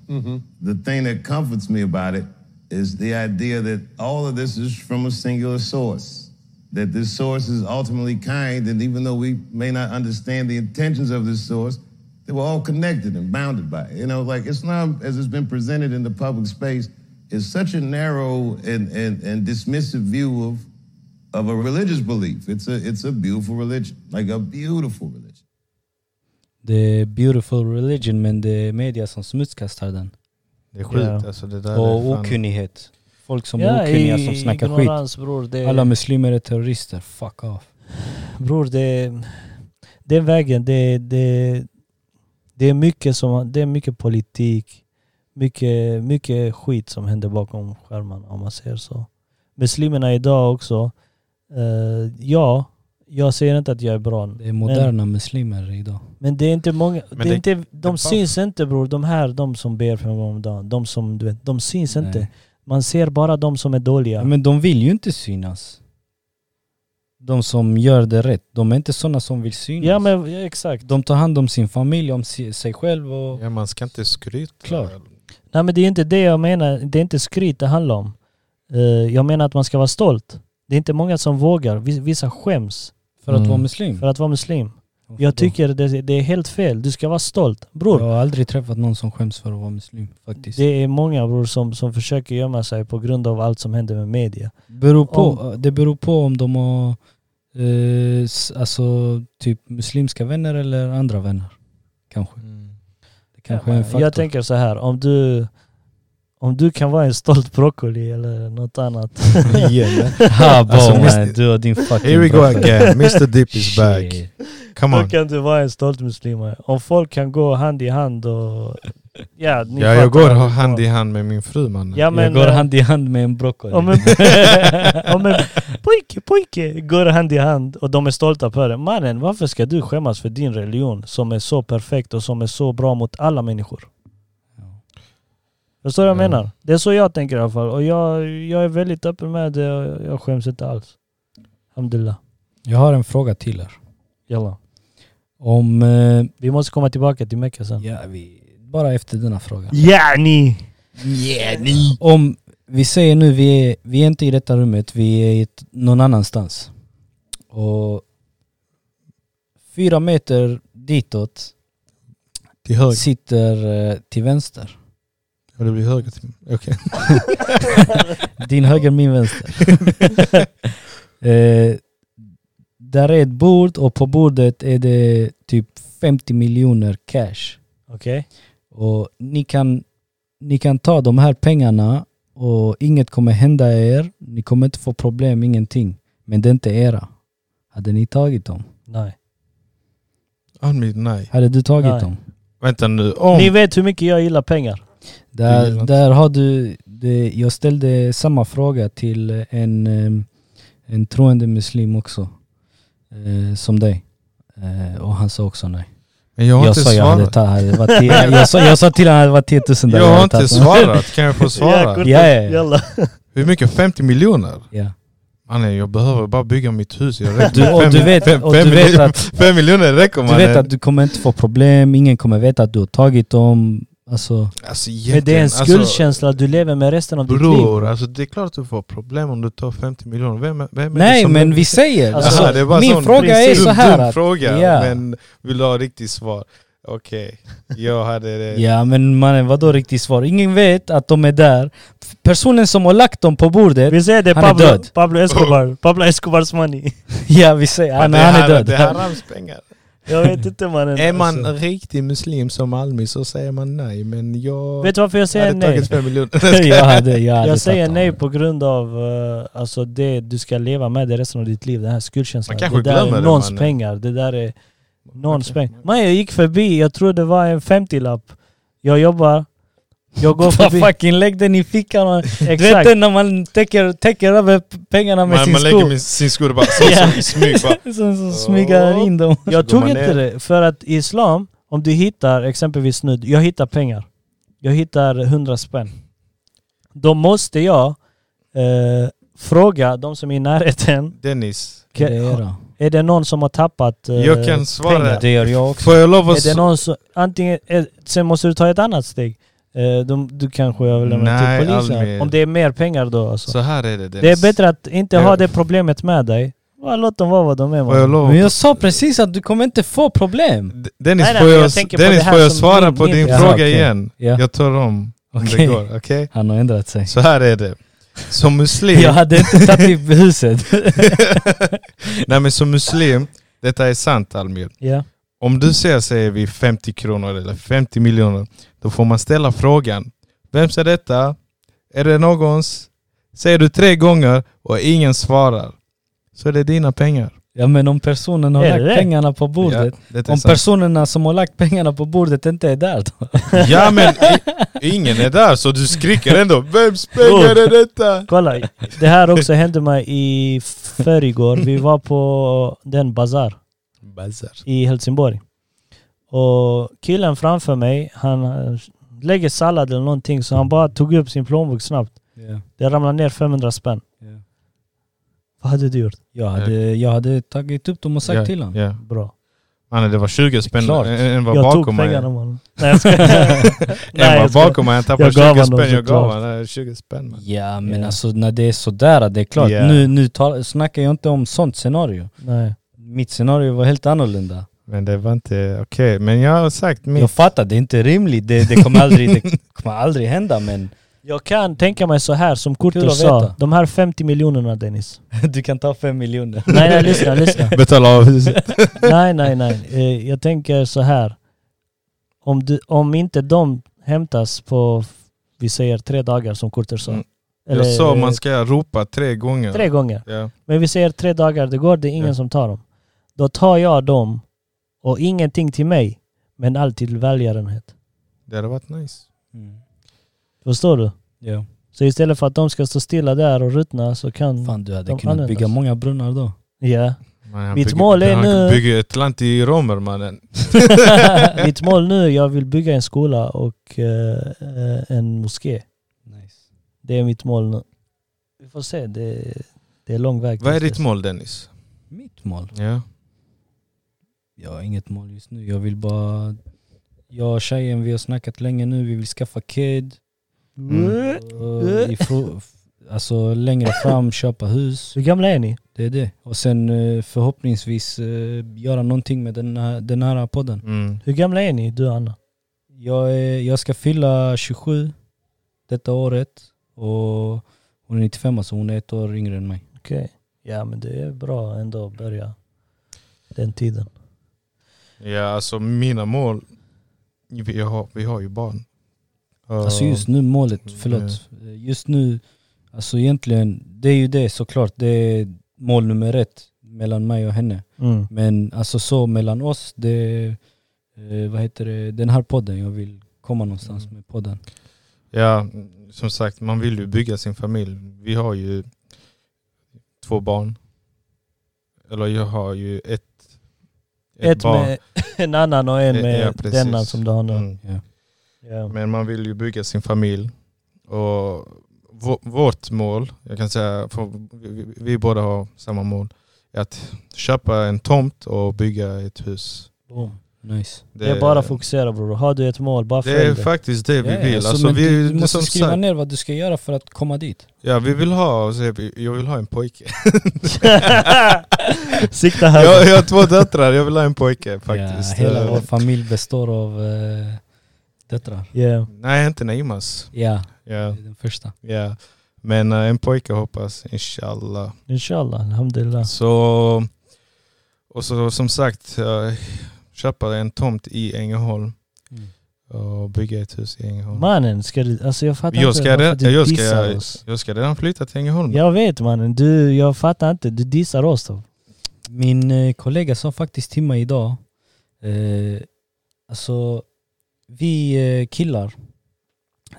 S6: The thing that comforts me about it is the idea that all of this is from a singular source. That this source is ultimately kind, and even though we may not understand the intentions of this source, they were all connected and bounded by it. You know, like Islam, as it's been presented in the public space, is such a narrow and, and, and dismissive view of, of a religious belief. It's a, it's a beautiful religion, like a beautiful religion.
S3: Det är beautiful religion men det är media som smutskastar den.
S2: Det är sjukt
S1: Ja.
S2: alltså. Det där
S3: Och
S2: är fan...
S3: okunnighet. Folk som är okunniga som snackar skit.
S1: ignorans, Bror, det,
S3: Alla muslimer är terrorister, fuck off.
S1: bror, det, den vägen, det, det, det, är mycket som, det är mycket politik. Mycket, mycket skit som händer bakom skärmarna om man säger så. Muslimerna idag också. eh, ja, jag säger inte att jag är bra.
S3: Det är moderna muslimer idag.
S1: Men det är inte många, det, är
S2: det-
S1: inte, de
S2: det-
S1: syns inte bror, de här, de som ber fem gånger om dagen, de som du vet, de syns
S3: Nej.
S1: inte. Man ser bara de som är dåliga.
S3: Men de vill ju inte synas. De som gör det rätt, de är inte sådana som vill synas.
S1: ja men ja, exakt.
S3: De tar hand om sin familj, om si- sig själv och...
S2: Ja, man ska inte skryta.
S3: Klart.
S1: Nej men det är inte det jag menar, det är inte skryt det handlar om. Eh, jag menar att man ska vara stolt. Det är inte många som vågar, Vi- vissa skäms
S3: För att
S2: Mm.
S3: vara muslim.
S1: för att vara muslim.
S3: Varför
S1: Jag
S3: då?
S1: tycker det, det är helt fel, du ska vara stolt.
S3: Jag
S1: Bror,
S3: har aldrig träffat någon som skäms för att vara muslim faktiskt. Det
S1: det är många bror som, som försöker gömma sig på grund av allt som händer med media.
S3: beror på, det beror på om de har eh, s- alltså typ muslimska vänner eller andra vänner. Kanske.
S2: Mm.
S3: Det kanske är en faktor.
S1: Jag
S3: (laughs)
S1: tänker så här, om du, om du kan vara en stolt broccoli eller något annat.
S3: ha, bo,
S2: Alltså,
S3: man,
S2: visst-
S3: du och din fucking
S2: (laughs) Here we go
S3: brother.
S2: again. Mr Deep is
S3: Shit.
S2: back. Come
S1: Då
S2: on.
S1: kan du vara en stolt muslim. Om folk kan gå hand i hand och... Ja, ni
S2: Ja, jag
S1: fattar.
S2: går hand i hand med min fru mannen.
S1: Ja, men,
S3: jag går
S1: eh,
S3: hand i hand med en broccoli.
S1: Om en, om en (laughs) pojke, pojke går hand i hand och de är stolta på det. Mannen, varför ska du skämmas för din religion som är så perfekt och som är så bra mot alla människor? Förstår du vad jag
S2: Ja.
S1: menar? Det är så jag tänker i alla fall. Och jag, jag är väldigt öppen med det och jag skäms inte alls. Alhamdulillah.
S3: Jag har en fråga till er.
S1: Jalla.
S3: Om... Eh,
S1: Vi måste komma tillbaka till Mecka sen.
S3: ja, vi, bara efter denna fråga.
S1: Yani!
S3: Om vi säger nu, vi är, vi är inte i detta rummet, vi är i ett, någon annanstans. Och fyra meter ditåt
S2: Till höger.
S3: sitter eh, till vänster.
S2: Ja, det blir höger till Okej. (laughs)
S3: Din höger, min vänster. eh, där är ett bord och på bordet är det typ 50 miljoner cash.
S1: Okej.
S3: Och ni kan, ni kan ta de här pengarna och inget kommer hända er. Ni kommer inte få problem, ingenting. Men det är inte era. Hade ni tagit dem?
S1: Nej.
S2: On me, nej.
S3: Hade du tagit
S1: Nej.
S3: dem?
S2: Vänta nu. Om...
S1: Ni vet hur mycket jag gillar pengar.
S2: Det gillar
S3: Där,
S2: inte.
S3: där har du, det, jag ställde samma fråga till en, eh, en troende muslim också. eh, som dig. Eh, och han sa också nej.
S2: Men jag har
S3: jag
S2: inte
S3: sa jag hade
S2: svarat.
S3: tagit, hade
S2: (laughs)
S3: varit tio- jag, sa, jag sa till honom att det var 10 000 där.
S2: Jag
S3: hade
S2: har inte
S3: tagit.
S2: svarat. Kan
S1: (laughs)
S2: jag få
S1: Ja,
S2: svara?
S1: kortet.
S3: Ja, ja, ja.
S1: Jalla.
S2: Hur mycket? 50 miljoner?
S3: Ja.
S2: Mannen jag behöver bara bygga mitt hus. Jag räcker
S3: Du,
S2: med
S3: och
S2: fem-
S3: du vet,
S2: fem-
S3: och
S2: fem
S3: du vet
S2: miljoner-
S3: att
S2: Fem miljoner räcker
S3: Du
S2: mannen.
S3: vet att du kommer inte få problem, ingen kommer veta att du har tagit dem. Alltså,
S2: Alltså,
S1: Men det är en
S2: egentligen,
S1: skuldkänsla du lever med resten av ditt liv.
S2: Bror, alltså det är klart att du får problem om du tar 50 miljoner. Vem, vem är det
S3: nej
S2: som-
S3: men vi säger.
S1: Alltså,
S3: Alltså,
S2: Aha, det är bara
S3: min
S2: sån
S3: fråga är
S1: princip.
S3: så här
S2: Dum
S3: att,
S2: fråga,
S3: ja.
S2: men vill du ha riktigt svar? Okej, jag hade det.
S3: Ja men mannen vadå riktigt svar? Ingen vet att de är där. Personen som har lagt dem på bordet,
S1: Vi säger det,
S3: Han är
S1: Pablo,
S3: död.
S1: Pablo
S2: (laughs)
S1: Escobar. Pablo Escobars money.
S3: ja vi säger,
S2: Men
S3: han,
S2: det
S3: han
S2: här-
S3: är död.
S2: Det här är
S3: (laughs)
S2: harams pengar.
S1: Jag vet inte mannen.
S2: Är man
S1: Alltså,
S2: en riktig muslim som Almi så säger man nej, men jag
S1: vet du varför jag säger
S2: hade
S1: nej?
S2: tagit 5 miljoner.
S3: jag hade, jag hade
S1: Jag säger
S3: tagit
S1: nej
S3: honom.
S1: på grund av eh, alltså det du ska leva med det resten av ditt liv, den här skuldkänslan.
S2: Man kanske
S1: det där
S2: glömmer
S1: är
S2: det,
S1: någons
S2: mannen.
S1: pengar, det där är någons pengar. Man, jag gick förbi, jag tror det var en 50-lapp. Jag jobbar, jag går
S3: Bara
S1: förbi.
S3: fucking lägg den i
S1: (laughs)
S3: fickan och... Du vet
S1: Exakt.
S3: den när man täcker, täcker över p- pengarna med
S2: (laughs) Man,
S3: sin
S2: man lägger
S3: sko?
S2: med sin skor och
S1: (laughs)
S2: bara så, så, smyg bara.
S3: Sen så smyger in dem.
S1: Jag
S2: går
S1: tog
S2: man
S1: inte
S2: ner.
S1: det, för att i Islam, om du hittar exempelvis nu, jag hittar pengar. Jag hittar 100 spänn. Då måste jag eh, fråga de som är i närheten,
S2: Dennis,
S3: Det är det.
S1: är det någon som har tappat eh,
S2: jag kan svara.
S1: pengar?
S3: Det gör jag också.
S2: Får jag lov att...
S1: Är det någon som, antingen, eh, sen måste du ta ett annat steg. Eh, de, du kanske överlämnar
S2: Nej,
S1: till polisen.
S2: Almir.
S1: Om det är mer pengar då alltså.
S2: Så här är det
S1: Det är
S2: Dennis.
S1: bättre att inte
S2: Jag-
S1: ha det problemet med dig. Bara låt dem vara vad de är.
S2: Får jag
S1: man.
S2: lov
S3: Men jag sa precis att du kommer inte få problem.
S2: D- Dennis,
S1: Nej, nej,
S2: får
S1: men
S2: jag,
S1: jag tänker på det
S2: Dennis,
S1: här
S2: får jag
S1: som
S2: svara
S1: min-
S2: på
S1: min-
S2: din
S1: Ja,
S2: fråga
S3: okej.
S2: igen?
S3: Ja.
S2: Jag tar om, om
S3: Okej.
S2: det går. Okej?
S3: Han har ändrat sig.
S2: Så här
S1: (laughs)
S2: är det. Som muslim,
S3: Jag hade inte tagit i huset.
S2: nej men som muslim, detta är sant Almir.
S1: Ja.
S2: Om du ser, säger vi 50 kronor eller 50 miljoner, då får man ställa frågan. Vems är detta? Är det någons? Säger du tre gånger och ingen svarar, så är det dina pengar.
S3: Ja men om personen har
S1: Är det
S3: lagt
S1: det?
S3: pengarna på bordet.
S2: Ja, detta är
S3: Om
S2: sant.
S3: personerna som har lagt pengarna på bordet inte är där då.
S2: ja men i- ingen är där så du skriker ändå. Vems pengar är detta?
S1: Kolla, det här också hände mig i förrgår. Vi var på den bazar
S2: Bazar.
S1: i Helsingborg. Och killen framför mig, han eh, lägger sallad eller någonting så han bara tog upp sin plånbok snabbt. Det ramlade ner 500 spänn.
S3: Ja.
S1: Vad hade du gjort?
S3: Jag, hade, jag hade tagit upp dem och sagt
S2: Ja,
S3: till honom.
S2: ja.
S1: Bra.
S2: Mannen det var 20 spänn,
S3: Klart.
S2: en en var
S1: jag
S2: bakom
S1: tog
S2: mig.
S1: pengarna mannen. Nej jag
S2: (laughs)
S1: skojar.
S2: En var
S1: jag skojar.
S2: bakom mig, han tappade
S1: Jag gav
S2: 20
S1: honom
S2: spänn, jag gav
S1: såklart.
S2: honom eh, 20 spänn. man.
S3: Ja men
S1: Ja.
S3: alltså när det är sådär, det är klart.
S2: Ja.
S3: Nu, nu tal- snackar jag inte om sånt scenario.
S1: Nej.
S3: Mitt scenario var helt annorlunda.
S2: Men det var inte okej, men jag har sagt
S3: Jag
S2: mitt.
S3: fattar, det är inte rimligt. Det, det, kommer, aldrig, det kommer aldrig hända men (laughs)
S1: Jag kan tänka mig så här som
S3: Kul
S1: Kurtur
S3: att
S1: sa.
S3: veta.
S1: De här 50 miljonerna Dennis.
S3: du kan ta fem miljoner.
S1: Nej nej lyssna, lyssna.
S2: (laughs) Betala av huset.
S1: Nej nej nej. Eh, Jag tänker så här. Om, du, om inte de hämtas på, vi säger tre dagar som Kurtur sa.
S2: Mm.
S1: Eller,
S2: Jag sa
S1: eh,
S2: man ska ropa tre gånger.
S1: Tre gånger.
S2: Ja.
S1: Men vi säger tre dagar, det går, det är ingen
S2: Ja.
S1: som tar dem. Då tar jag dem och ingenting till mig, men allt till välgörenhet.
S2: Det hade varit nice.
S3: Mm.
S1: Förstår du?
S3: Ja.
S1: Så istället för att de ska stå stilla där och ruttna så kan...
S3: Fan du hade
S1: De
S3: kunnat
S1: användas.
S3: bygga många brunnar då.
S2: (laughs)
S1: Ja.
S2: Man, han
S1: Mitt
S2: bygger-
S1: mål är
S2: han
S1: nu-
S2: bygger ett land i romer mannen.
S1: Mitt mål nu, jag vill bygga en skola och eh, eh, en moské.
S3: Nice.
S1: Det är mitt mål nu. Vi får se, det, det är lång väg.
S2: Vad är
S1: tills
S2: ditt
S1: dess.
S2: mål Dennis?
S3: Mitt mål?
S2: Ja.
S3: Jag har inget mål just nu. Jag vill bara... Jag och tjejen, vi har snackat länge nu. Vi vill skaffa kid.
S2: Mm.
S3: Och i fro- alltså längre fram köpa hus.
S1: Hur gamla är ni?
S3: Det är det. Och sen eh, förhoppningsvis eh, göra någonting med den här, den här podden.
S2: Mm.
S1: Hur gamla är ni, du och Anna?
S3: Jag, är, jag ska fylla 27 detta året och hon är 95 så hon är ett år yngre än mig.
S1: Okej. Ja men det är bra ändå att börja den tiden.
S2: Ja alltså mina mål, vi har, vi har ju barn.
S3: Alltså just nu målet, förlåt. Eh, Just nu, alltså egentligen, det är ju det såklart. Det är mål nummer ett mellan mig och henne.
S1: Mm.
S3: Men alltså så mellan oss, det är, eh, vad heter det, den här podden. Jag vill komma någonstans
S2: Mm.
S3: med podden.
S2: Ja, som sagt, man vill ju bygga sin familj. Vi har ju två barn. Eller jag har ju ett,
S1: Ett med (laughs) en annan och en
S2: Ja,
S1: med
S2: ja, precis.
S1: denna som du har nu.
S2: Mm.
S1: Ja.
S2: Men man vill ju bygga sin familj. Och vå- vårt mål, jag kan säga, för vi- vi, vi båda har samma mål, är att köpa en tomt och bygga ett hus.
S1: Boom.
S3: Nice.
S1: Det är bara att fokusera bror. Har du ett mål, bara
S2: Det är
S1: följ det.
S2: faktiskt det vi
S3: Ja, ja,
S2: vill.
S3: alltså,
S2: Alltså,
S3: men
S2: vi,
S3: du, du
S2: det är
S3: måste
S2: som
S3: skriva
S2: sagt,
S3: ner vad du ska göra för att komma dit.
S2: ja, vi vill ha, så jag- jag vill ha en
S3: (laughs)
S2: pojke.
S1: (laughs) Sikta
S2: jag,
S1: högre.
S2: jag har två döttrar, jag vill ha en pojke faktiskt.
S3: Ja, hela
S2: Eh,
S3: vår familj består av eh, döttrar.
S1: Yeah.
S2: Nej, inte Naimas.
S3: Ja, det
S2: Ja,
S3: är den första.
S2: ja. Men eh, en pojke hoppas, inshallah.
S1: Inshallah, alhamdulillah.
S2: Så, och så som sagt, eh, köpa en tomt i Ängelholm
S3: Mm.
S2: och bygga ett hus i Ängelholm.
S1: Mannen, ska du, alltså jag fattar
S2: jag,
S1: inte
S2: ska
S1: varför
S2: re-
S1: du
S3: typ
S2: jag,
S1: dissar
S2: ska,
S1: oss.
S2: jag ska redan flytta till Ängelholm.
S1: Jag vet mannen, du, jag fattar inte. Du dissar oss då.
S3: Min eh, kollega sa faktiskt till mig idag, eh, alltså vi eh, killar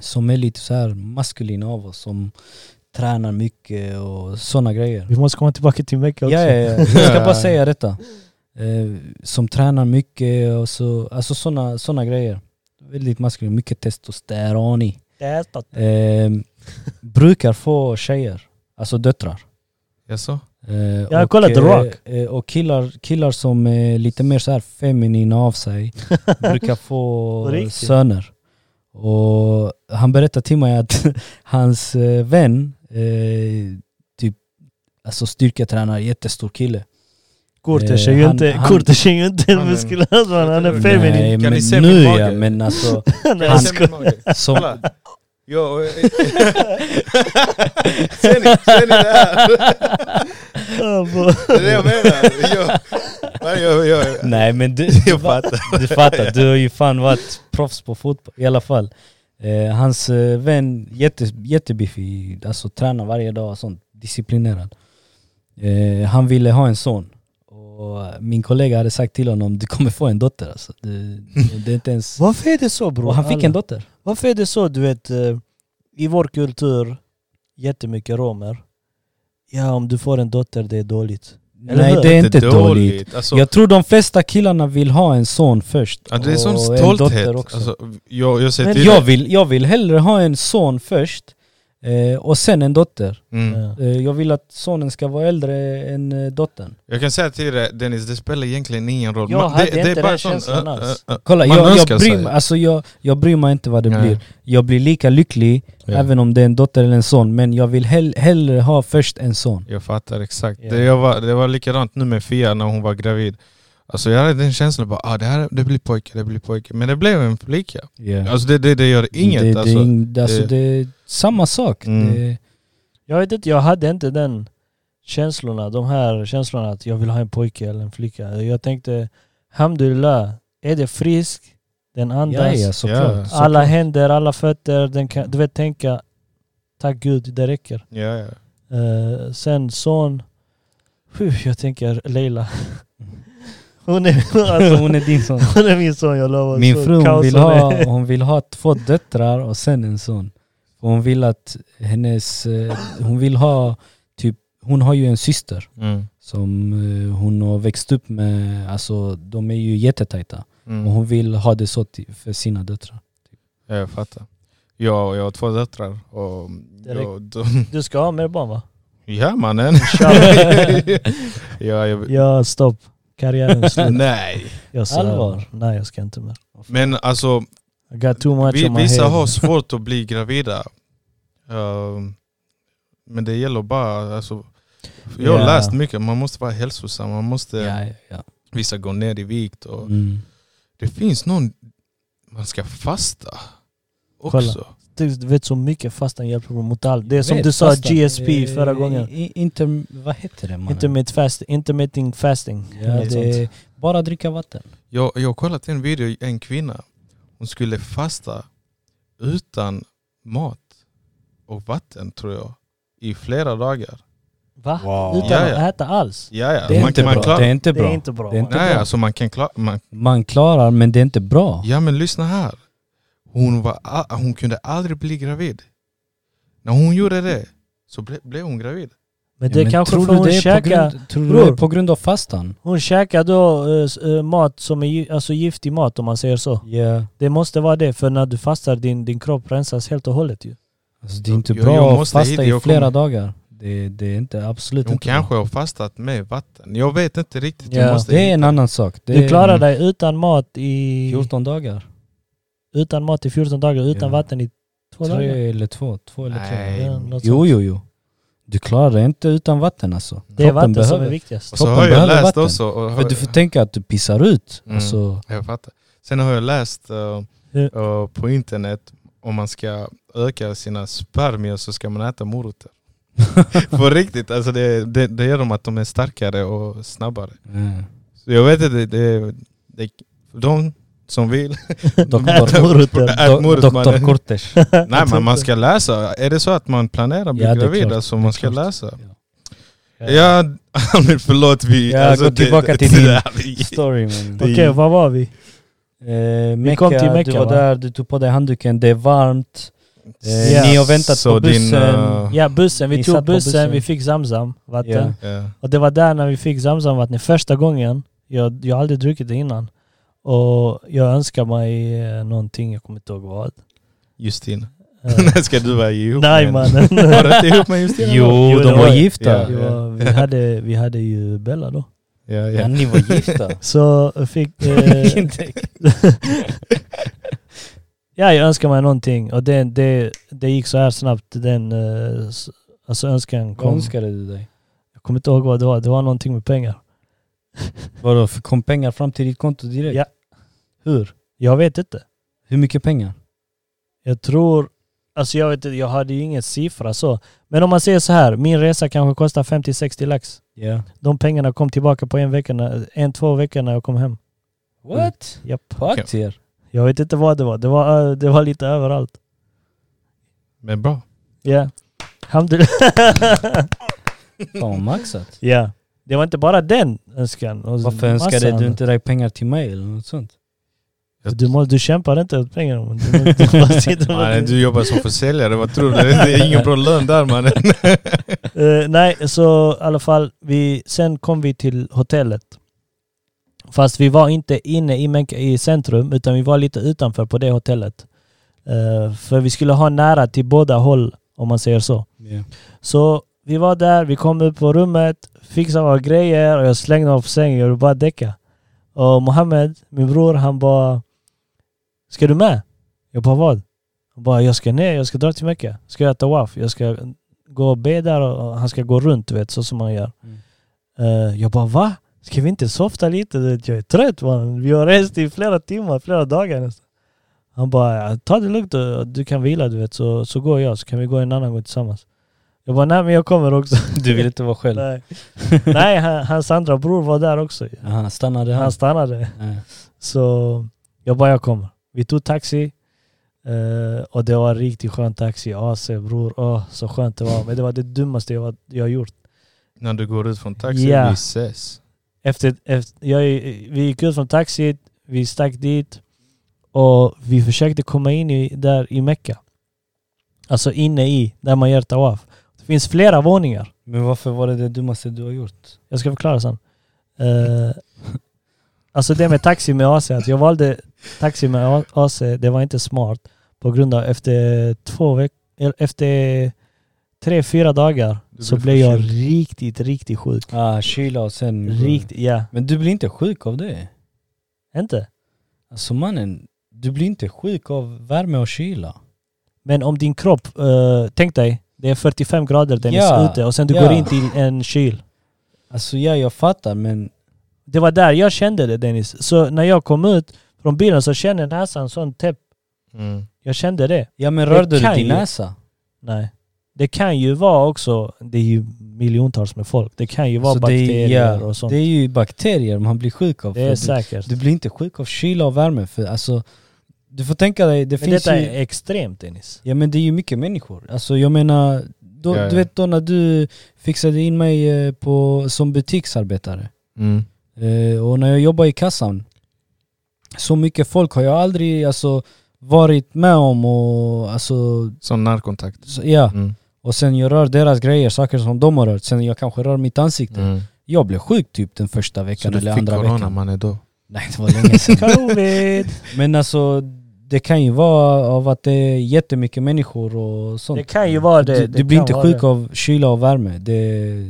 S3: som är lite så här maskulina av oss, som tränar mycket och sådana grejer.
S1: Vi måste komma tillbaka till Mecca också.
S3: Ja, ja, ja. Jag ska
S1: (laughs)
S3: bara säga detta. Eh, som tränar mycket och så, alltså sådana såna grejer. Väldigt maskulin, mycket testosteron i.
S1: Det är spott.
S3: Eh, brukar få tjejer, alltså döttrar.
S2: Jaså?
S3: Eh,
S1: har kollat The Rock.
S3: eh, och killar, killar som är lite mer så här feminina
S1: (laughs)
S3: av sig brukar
S1: På
S3: få
S1: riktigt?
S3: söner. Och han berättade till mig att (laughs) hans eh, vän, eh, typ, alltså styrketränare, jättestor kille.
S1: Kurtish är
S3: Eh,
S1: ju
S3: han-
S1: inte,
S3: han-
S1: Kurtish är ju inte
S2: Han
S1: en
S2: är-
S1: muskulös man, han är
S2: Nej,
S1: feminin.
S3: Nej,
S2: Kan
S3: men
S2: ni se
S3: nu
S2: min
S3: ja,
S2: mage?
S3: men
S2: (laughs)
S3: alltså
S1: Han är
S3: han-
S1: sko-
S3: som,
S2: Yo, (laughs) ser, ni, ser ni det här? Det är det jag menar. Jag, nej, jag, jag,
S3: Nej men du, du,
S2: (laughs) Jag
S3: fattar. du fattar, du har ju fan varit proffs på fotboll i alla fall eh, Hans eh, vän, jätte, jättebiffig, alltså tränar varje dag och sånt, disciplinerad eh, Han ville ha en son och min kollega hade sagt till honom du kommer få en dotter alltså. du, det är
S1: (laughs)
S3: inte ens...
S1: Varför är det så bror?
S3: Och han fick en dotter
S1: Varför är det så, du vet, eh, i vår kultur, jättemycket romer. Ja, om du får en dotter, det är dåligt. Eller
S3: Nej
S1: hur?
S3: det är inte dåligt,
S2: Alltså,
S3: Jag tror de flesta killarna vill ha en son först
S2: ja, det är sån
S3: och en
S2: stolthet.
S3: dotter
S2: Alltså, jag, jag ser
S1: Men
S2: till
S3: Jag vill, jag vill hellre ha en son först eh, och sen en dotter.
S2: Mm.
S1: Ja.
S3: Eh, jag vill att sonen ska vara äldre än eh, dottern.
S2: Jag kan säga till dig Dennis, det spelar egentligen ingen roll.
S1: Jag
S2: Man-
S1: hade
S2: det, det
S1: inte
S2: är
S1: den
S2: bara sån,
S1: känslan
S2: äh,
S1: alls.
S2: äh, äh.
S3: Kolla,
S2: Man
S3: jag, jag,
S2: önskar
S3: bryr,
S2: sig.
S3: mig- alltså, jag, jag bryr mig inte vad det
S2: Nej.
S3: blir. Jag blir lika lycklig
S2: Ja.
S3: även om det är en dotter eller en son, men jag vill hell, hellre ha först en son.
S2: Jag fattar exakt.
S1: Ja.
S2: Det, jag var, det var likadant nu med Fia när hon var gravid. Alltså jag hade den känslan bara, ah, det, här, det blir pojke, det blir pojke. Men det blev en flicka. Alltså det, det, det gör inget.
S3: det,
S2: alltså.
S3: det, är ing- alltså,
S2: det-
S3: det är samma sak.
S2: Mm.
S3: Det,
S1: Jag vet inte, jag hade inte den känslorna, de här känslorna att jag vill ha en pojke eller en flicka. Jag tänkte, alhamdulillah, är det frisk, den
S3: ja,
S1: andas,
S3: ja, såklart.
S2: Ja.
S3: såklart.
S1: (laughs) alla händer, alla fötter, den kan, du vet tänka, tack gud, det räcker.
S2: ja, ja.
S1: Eh, sen son, Puh, jag tänker Leila. (laughs) Hon är, (laughs) alltså,
S3: Hon är din son.
S1: hon är min son, jag lovar.
S3: Min
S1: Så
S3: fru hon
S1: kaos
S3: vill,
S1: hon är.
S3: ha, (laughs) hon vill ha två döttrar och sen en son. Och Hon vill att hennes, eh, hon vill ha, typ, hon har ju en syster
S2: Mm.
S3: som eh, hon har växt upp med, alltså de är ju jättetajta. Och
S2: Mm.
S3: hon vill ha det så till, för sina döttrar.
S2: Ja, jag fattar. Jag, jag har två döttrar och...
S1: Direkt.
S2: Jag, de,
S1: Du ska ha mer barn va?
S2: (laughs) ja mannen! (laughs) ja, jag,
S1: Ja, stopp. Karriären är (laughs) slut.
S2: nej.
S1: Jag svär.
S3: Allvar?
S1: Nej, jag ska inte mer.
S2: Men alltså
S1: I got too much
S2: Vi,
S1: on my
S2: vissa
S1: head.
S3: (laughs)
S2: har svårt att bli gravida. Ehm, men det gäller bara... Alltså, jag har
S1: Ja.
S2: läst mycket, man måste vara hälsosam. Man måste,
S3: Ja, ja, ja.
S2: Vissa går ner i vikt. Och,
S3: Mm.
S2: Det finns någon... Man ska fasta
S1: Kolla.
S2: också.
S1: Du vet så mycket fastan hjälper mot allt. Det är som
S3: Vet,
S1: du sa,
S3: fastan.
S1: GSP
S3: Eh,
S1: förra gången.
S3: i- Inte, vad heter det? Man?
S1: Intermittent fast, intermittent fasting.
S3: ja,
S1: Något sånt.
S3: det, bara dricka vatten.
S2: Jag, jag har kollat en video, en kvinna. Hon skulle fasta utan mat och vatten tror jag. I flera dagar.
S1: Va?
S3: Wow.
S1: Utan
S2: Ja, ja.
S1: att äta alls?
S2: Ja, ja.
S3: Det är,
S2: man,
S3: inte
S2: man
S3: bra.
S2: klarar-
S3: det är inte
S1: Det
S3: bra.
S1: är inte bra.
S3: Det är inte
S2: Nej,
S3: bra.
S2: alltså man kan klara... Man,
S3: Man klarar men det är inte bra.
S2: Ja men lyssna här. Hon, var, a- hon kunde aldrig bli gravid. När hon gjorde det så ble, blev hon gravid.
S1: Men det
S3: men
S1: kanske
S3: tror
S1: för
S3: du
S1: hon
S3: det är på
S1: käkar,
S3: grund, tror du
S1: Bror.
S3: det är på grund av fastan?
S1: hon käkar då eh, s- eh, mat som är gi- alltså giftig mat om man säger så.
S3: Ja.
S1: Det måste vara det, för när du fastar din, din kropp rensas helt och hållet ju.
S3: Alltså det är inte
S2: Jag-
S3: bra
S2: jag
S3: att
S2: måste hit,
S3: fasta i
S2: jag
S3: flera
S2: kommer.
S3: dagar. Det, det är inte, absolut
S2: Hon
S3: inte
S2: kanske har fastat med vatten. Jag vet inte riktigt.
S1: Ja.
S2: Jag
S3: bra.
S2: måste
S3: Det är en
S2: hitta.
S3: annan sak. Det
S1: Du
S3: är
S1: klarar dig utan mat i
S3: 14 dagar.
S1: utan mat i 14 dagar, utan
S3: Ja.
S1: vatten i två dagar.
S3: Tre eller två. Två eller tre.
S2: Nej.
S1: Ja, något
S3: Jo,
S1: sånt.
S3: jo, jo. Du klarar dig inte utan vatten alltså.
S1: Det är
S3: Kroppen
S1: vatten som
S3: behöver.
S1: är
S3: (laughs)
S1: viktigast.
S2: Och så
S3: Kroppen
S2: har jag
S3: behöver
S2: läst
S3: vatten.
S2: också. Och har,
S3: För du får tänka att du pissar ut.
S1: (laughs)
S2: Mm.
S3: Alltså,
S2: Jag fattar. Sen har jag läst eh,
S1: Hur-
S2: eh, på internet om man ska öka sina spermier så ska man äta
S3: (laughs)
S2: morötter. På riktigt, alltså det, det, det gör dem att de är starkare och snabbare.
S3: eh,
S2: Så jag vet inte, det, det, de som vill.
S3: doktor,
S1: Morötter.
S2: (laughs) Ät
S3: do,
S2: morot,
S3: doktor
S2: mannen. (laughs)
S3: Kortes.
S2: Nej men man ska läsa. Är det så att man planerar att bli
S3: Ja, det är
S2: gravid
S3: klart.
S2: alltså man ska
S3: Det är klart.
S2: läsa? Ja, (laughs) Amir förlåt vi... alltså,
S3: Ja, gå tillbaka till din- Story man.
S1: Okej, var var vi?
S3: Eh, Mecka,
S1: kom till Mecca,
S3: du var
S1: va?
S3: där, du tog på dig handduken, det är varmt. Eh,
S1: Ja.
S3: Ni har väntat
S2: Så
S3: på
S2: din,
S3: bussen.
S2: eh,
S1: Ja, bussen. Vi
S3: Ni
S1: tog
S3: satt på
S1: bussen,
S3: bussen.
S1: vi fick Zamzam vatten.
S3: Ja.
S2: Ja.
S1: Och det var där när vi fick Zamzamvattnet första gången. Jag, jag har aldrig druckit det innan. Och jag önskar mig eh, någonting, jag kommer inte ihåg vad.
S2: Justin. (laughs)
S1: Eh,
S2: ska du vara
S1: (laughs)
S2: ihop
S1: Nej
S2: med-
S1: mannen.
S2: Var
S1: (laughs)
S2: du inte ihop med Justin?
S3: Jo,
S1: Jo, det
S3: de var
S1: var-
S3: gifta.
S2: Ja.
S1: Jo, vi, hade, vi hade ju Bella då.
S2: Ja,
S3: Ja,
S2: ja.
S3: ni var (laughs) gifta.
S1: Så fick... Eh, (laughs) ja, jag önskar mig någonting. Och det, det, det gick så här snabbt. Den, eh, s- alltså önskan
S3: Vad
S1: kom.
S3: önskade du dig?
S1: Jag kommer inte ihåg vad det var. Det var någonting med pengar.
S3: Vadå, för kom pengar fram till ditt konto direkt?
S1: Ja.
S3: Hur?
S1: Jag vet inte.
S3: Hur mycket pengar?
S1: Jag tror... Alltså jag vet inte, jag hade ju ingen siffra så. Men om man säger så här, min resa kanske kostar 50-60 lax.
S3: Ja.
S1: De pengarna kom tillbaka på en vecka, när- en två veckor när jag kom hem.
S3: What?
S1: Japp.
S3: På aktier?
S1: Jag vet inte vad det var. Det var, eh, det var lite överallt.
S2: Men bra.
S1: Ja. (laughs) Alhamdulillah.
S3: Fan vad maxat.
S1: Ja. Det var inte bara den önskan. Och
S3: (laughs) Varför
S1: massa
S3: önskade
S1: andra.
S3: du inte dig pengar till mig eller något sånt?
S1: För Du, må, du kämpar inte åt pengarna. men Du, du
S3: (laughs)
S1: bara sitter med
S2: Nej,
S1: det.
S2: du jobbar som försäljare, vad tror du? Det är ingen bra lön där mannen.
S1: Eh, nej, så i alla fall, vi, sen kom vi till hotellet. Fast vi var inte inne i, Menka, i centrum, utan vi var lite utanför på det hotellet. Eh, för vi skulle ha nära till båda håll, om man säger så.
S3: Ja.
S1: Så vi var där, vi kom upp på rummet, fixade våra grejer och jag slängde mig på sängen och bara däcka. Och Mohammed, min bror, han bara Ska du med? Jag bara vad? Han bara jag ska ner, jag ska dra till Mecka. Ska göra tawaf, jag ska gå och be där och och han ska gå runt du vet, så som man gör.
S3: Mm.
S1: Eh, jag bara va? Ska vi inte softa lite? Du vet, Jag är trött man. Vi har rest i flera timmar, flera dagar nästan. Han bara "Ja, ta det lugnt, och du kan vila du vet så, så går jag så kan vi gå en annan gång tillsammans. Jag bara nej men jag kommer också.
S3: Du vill inte vara själv?
S1: Nej, Nej han, hans andra bror var där också.
S3: Aha, stannade han?
S1: Han stannade.
S3: Nej.
S1: Så jag bara, jag kommer. Vi tog taxi. eh, och det var en riktigt skön taxi. AC bror, åh så skönt det var. Men det var det dummaste jag, var, jag gjort.
S2: (laughs) När du går ut från taxin,
S1: Ja.
S2: vi ses.
S1: Efter, efter, jag, vi gick ut från taxi, vi stack dit och vi försökte komma in i, där i Mecka. Alltså inne i, där man gör tawaf. Det finns flera våningar.
S3: Men varför var det det dummaste du har gjort?
S1: Jag ska förklara sen. Eh, alltså det med taxi med AC, att jag valde taxi med A- AC, det var inte smart. På grund av efter två veckor, efter tre, fyra dagar
S2: Du
S1: så
S2: blev
S1: blev jag
S2: förkyld.
S1: riktigt, riktigt sjuk.
S3: Ah, kyla och
S2: Mm.
S3: sen...
S1: Riktigt, ja.
S3: Men du blir inte sjuk av det?
S1: Inte?
S3: Alltså mannen, du blir inte sjuk av värme och kyla.
S1: Men om din kropp, eh, tänk dig, det är 45 grader Dennis
S3: Ja,
S1: ute och sen du
S3: ja.
S1: går in till en kyl.
S3: Alltså ja, jag fattar men...
S1: Det var där jag kände det Dennis. Så när jag kom ut från bilen så kände näsan sån täpp.
S2: Mm.
S1: Jag kände det.
S3: Ja men
S1: Det
S3: rörde du
S1: kan
S3: din
S1: ju-
S3: näsa?
S1: Nej. Det kan ju vara också, det är ju miljontals med folk, det kan ju vara
S3: Så Alltså, det är-
S1: bakterier
S3: ja,
S1: och sånt.
S3: Det är ju bakterier man blir sjuk av.
S1: Det är
S3: För
S1: säkert.
S3: du, du blir inte sjuk av kyla och värme för alltså... Du får tänka dig, det
S1: men
S3: finns
S1: detta
S3: ju...
S1: är extremt Dennis.
S3: Ja men det är ju mycket människor. Alltså jag menar, då,
S2: Ja, ja.
S3: du vet då när du fixade in mig eh, på, som butiksarbetare
S2: Mm.
S3: eh, och när jag jobbade i kassan, så mycket folk har jag aldrig alltså, varit med om och alltså,
S2: Som närkontakt.
S3: så, ja.
S2: Mm.
S3: Och sen jag rör deras grejer, saker som de har rört. Sen jag kanske rör mitt ansikte.
S2: Mm.
S3: Jag blev sjuk typ den första
S2: Så
S3: veckan
S2: du
S3: eller
S2: fick
S3: andra
S2: corona
S3: veckan.
S2: mannen då?
S3: Nej det var länge sedan.
S2: (laughs)
S1: Covid!
S3: Men alltså det kan ju vara av att det är jättemycket människor och sånt.
S1: Det kan ju vara det.
S3: du, du
S1: det
S3: blir
S1: kan
S3: inte
S1: vara
S3: sjuk
S1: det.
S3: av kyla och värme. Det,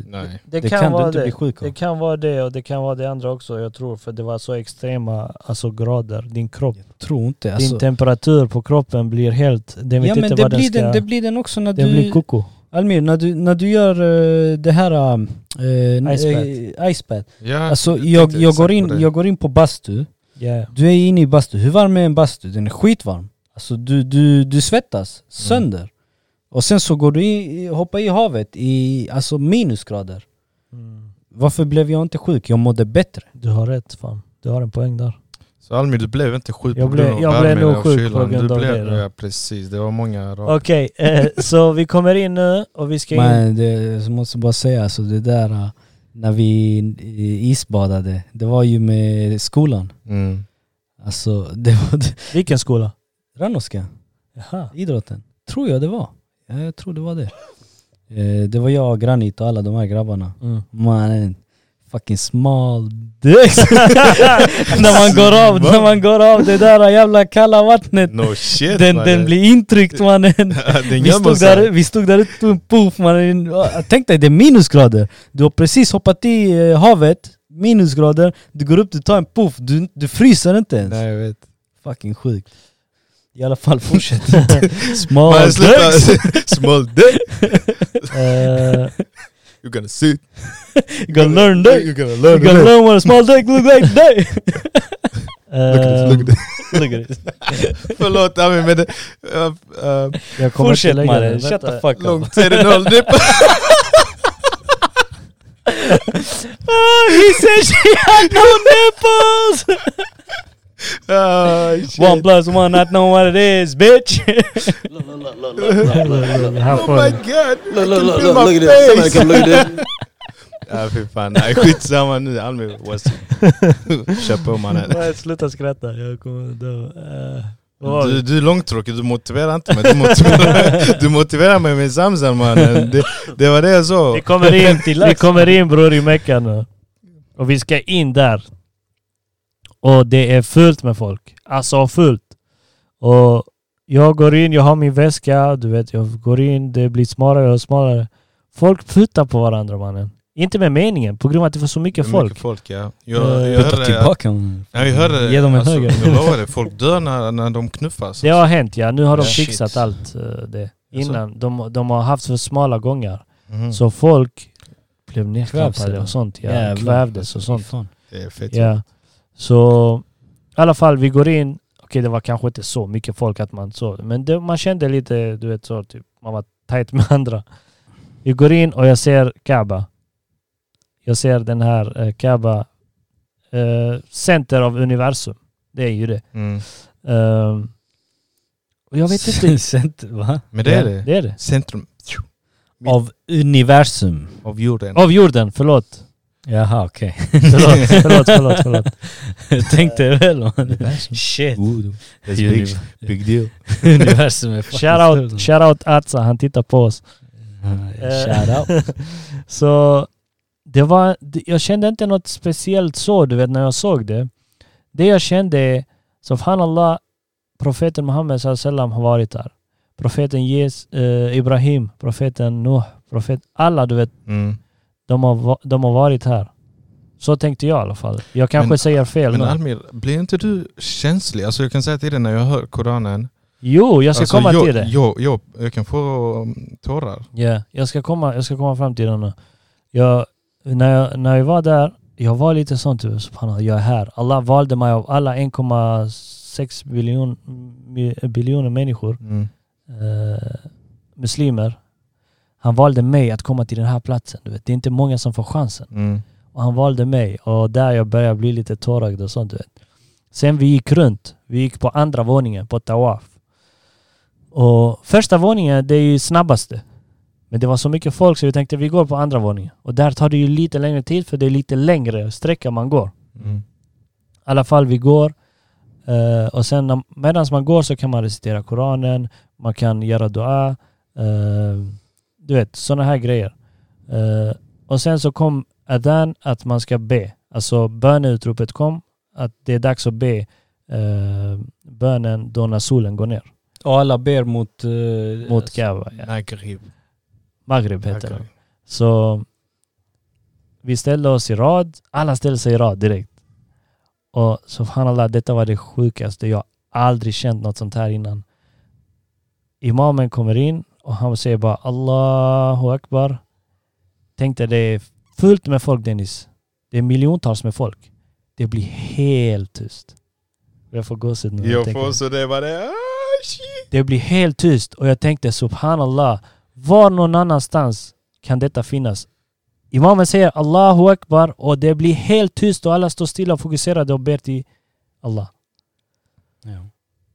S2: Nej.
S1: Det,
S3: det
S1: kan,
S3: kan du
S1: vara
S3: inte
S1: det.
S3: bli sjuk av.
S1: Det kan vara det och det kan vara det andra också jag tror. För det var så extrema alltså, grader. Din kropp,
S3: jag tror inte.
S1: din
S3: Alltså,
S1: temperatur på kroppen blir helt... Den vet
S3: ja
S1: inte
S3: men det
S1: vad
S3: blir,
S1: den ska...
S3: den, det blir den också när
S1: den
S3: du...
S1: blir koko.
S3: Almir, när du, när du gör eh, det här uh,
S1: Icebath.
S3: icebath.
S2: Ja,
S3: Alltså
S2: Ah, jag
S3: jag,
S2: tänkte
S3: jag,
S2: exakt
S3: går
S2: på
S3: in,
S2: det.
S3: jag går in på bastu,
S1: Ja.
S3: du är inne i bastu, hur varm är en bastu? Den är skitvarm. Alltså du, du, du svettas
S1: Mm.
S3: sönder. Och sen så går du i, hoppar i havet i alltså minusgrader.
S2: Mm.
S3: Varför blev jag inte sjuk? Jag mådde bättre.
S1: Du har rätt fan. Du har en poäng där.
S2: Så Almir, du blev inte sjuk
S1: Jag
S2: på
S1: blev-
S2: grund av
S1: jag blev
S2: värmen
S1: nog
S2: och
S1: sjuk på
S2: kylan.
S1: grund
S2: du
S1: av
S2: blev,
S1: det, då.
S2: Ja precis, det var många raka.
S1: Okej, eh, så vi kommer in nu och vi ska in...
S3: Men det, jag måste bara säga, alltså det där äh, när vi eh, isbadade, det var ju med skolan.
S2: Mm.
S3: Alltså (laughs) det var
S1: Vilken skola?
S3: Rannoska.
S1: Jaha.
S3: idrotten. Tror jag det var. Ja, jag tror det var det. Eh, det var jag, Granit och alla de här grabbarna.
S1: Mm.
S3: Mannen, fucking smal dick. när, man går av, när man går av det där jävla kalla
S1: (laughs)
S3: vattnet.
S2: No shit
S3: Den,
S2: mannen.
S3: den
S2: (laughs)
S3: blir intryckt mannen.
S2: den
S3: Vi
S2: gömmer
S3: stod,
S2: sig.
S3: där, vi stod där ute och puff mannen. Tänk dig det är minusgrader. Du har precis hoppat i eh, havet, minusgrader. Du går upp, du tar en puff. Du, du fryser inte ens.
S2: Nej jag vet.
S3: Fucking sjukt. I alla (laughs) fall fortsätt. smal
S2: Man, sluta! (laughs)
S3: dick.
S2: Small dick!
S1: Eh,
S2: You're gonna sit!
S3: You gotta learn that. You
S2: You're gonna learn
S3: gotta
S2: it!
S3: learn what a small dick Eh, look like that.
S2: Look at this, look at this.
S3: look at this.
S2: Förlåt Amin men det... Uh, uh,
S1: jag kommer
S3: Fortsätt
S1: inte lägga
S3: mannen,
S1: det.
S3: shut the
S1: Vänta.
S3: fuck up.
S2: långt är det
S1: (laughs)
S2: noll dipp!
S3: Ah, He said she had no nipples!
S2: Ah,
S3: one
S2: shit.
S3: plus one, not know what it is, bitch!
S1: (laughs) Här får
S2: Oh my
S1: du.
S2: god! I
S4: look,
S2: can
S4: look,
S2: feel
S4: look,
S2: my
S4: look at this. Somebody
S2: face.
S4: come look at this.
S2: Ja fy fan, nej skitsamma nu. Almi, what's
S1: (laughs)
S2: Kör på mannen.
S1: Nej, sluta skratta. Jag kommer dö. Eh, vad var
S2: Du,
S1: vi?
S2: du är långtråkig, du motiverar inte mig.
S1: (laughs)
S2: Du motiverar, du motiverar mig med Samsan mannen. Det, det var det jag sa.
S1: Vi kommer in, (laughs) vi kommer in bror i Mecka nu. Och vi ska in där. Och det är fullt med folk. Alltså fullt. Och jag går in, jag har min väska, du vet jag går in, det blir smalare och smalare. Folk puttar på varandra mannen. Inte med meningen, på grund av att det var så mycket
S2: Hur
S1: folk.
S2: mycket folk ja.
S1: Eh,
S2: Jag, jag
S3: Putta
S2: hörde...
S3: tillbaka honom.
S2: Ja, jag hörde
S3: Ge dem en
S2: alltså,
S3: höger.
S2: jag lovar dig, folk dör när, när de knuffas.
S1: Det har hänt ja, nu har de
S2: Ja.
S1: fixat
S2: Shit.
S1: allt eh, det. Innan, de, de har haft för smala gångar.
S2: Mhm.
S1: Så folk blev
S3: Kvävs det,
S1: nedklampade
S3: va?
S1: och sånt. Ja,
S3: Jävlar.
S1: kvävdes och sånt.
S3: Fan.
S2: Det är fett.
S1: Ja. Så i alla fall, vi går in. Okej, det var kanske inte så mycket folk att man så, men det, man kände lite, du vet så, typ, man var tajt (laughs) med andra. Vi går in och jag ser Kaba. Jag ser den här eh, Kaba, eh, center av universum. Det är ju det.
S2: Mm.
S1: Ehm, och jag vet
S3: (laughs)
S1: inte.
S3: Cent, va?
S2: Men det är det.
S1: Ja, det är det.
S2: Centrum
S3: Av universum.
S2: av jorden.
S1: Av jorden,
S2: (laughs)
S1: förlåt.
S3: Jaha okej.
S1: Förlåt, förlåt, förlåt. förlåt.
S3: Jag (laughs) Tänkte väl man. Shit.
S2: big, big deal.
S3: Universum är fucking
S1: Shoutout,
S3: stort.
S1: shoutout Atza, han tittar på oss.
S3: Eh, Shoutout.
S1: (laughs) Så det var, det- jag kände inte något speciellt så, du vet, när jag såg det. Det jag kände är, subhanallah, profeten Muhammed sallallahu alaihi wasallam har varit där. Profeten Jes, eh, Ibrahim, profeten Nuh, profet, alla du vet,
S2: Mm.
S1: de har, va- de har varit här. Så tänkte jag i alla fall. Jag kanske
S2: Men-
S1: säger fel
S2: Men
S1: nu.
S2: Almir, blir inte du känslig? Alltså jag kan säga till dig när jag hör Koranen.
S1: Jo, jag ska
S2: alltså,
S1: komma
S2: jag,
S1: till det.
S2: Jag, jag, jag kan få um, tårar.
S1: Ja, jag, ska komma, jag ska komma fram till den nu. Jag, när, jag, när jag var där, jag var lite sån typ, subhanallah, jag är här. Allah valde mig av alla 1,6 biljon, mi- biljoner människor,
S2: Mm.
S1: eh, muslimer. Han valde mig att komma till den här platsen. Du vet. Det är inte många som får chansen.
S2: Mm.
S1: Och han valde mig och där jag började bli lite tårögd och sånt du vet. Sen vi gick runt. Vi gick på andra våningen på Tawaf. Och första våningen det är ju snabbaste. Men det var så mycket folk så vi tänkte vi går på andra våningen. Och där tar det ju lite längre tid för det är lite längre sträcka man går.
S2: Mm.
S1: I alla fall vi går. Eh, och sen medan man går så kan man recitera Koranen, man kan göra dua. Eh, Du vet, sådana här grejer. Eh, och sen så kom Adan att man ska be. Alltså böneutropet kom att det är dags att be eh, bönen då när solen går ner.
S3: Och alla ber mot... eh,
S1: Mot Kaaba. Ja.
S2: Nagrib.
S1: Maghrib heter det. Så vi ställde oss i rad. Alla ställde sig i rad direkt. Och subhanallah, detta var det sjukaste. Jag har aldrig känt något sånt här innan. Imamen kommer in och han säger bara Allahu akbar. Tänkte det är fullt med folk Dennis. Det är miljontals med folk. Det blir helt tyst. Jag får gåshud nu. när jag
S2: Jag
S1: tänker på
S2: får
S1: det.
S2: så det var det. Ah, shit.
S1: Det blir helt tyst och jag tänkte subhanallah, var någon annanstans kan detta finnas? Imamen säger Allahu Akbar och det blir helt tyst och alla står stilla och fokuserade och ber till Allah.
S3: Ja.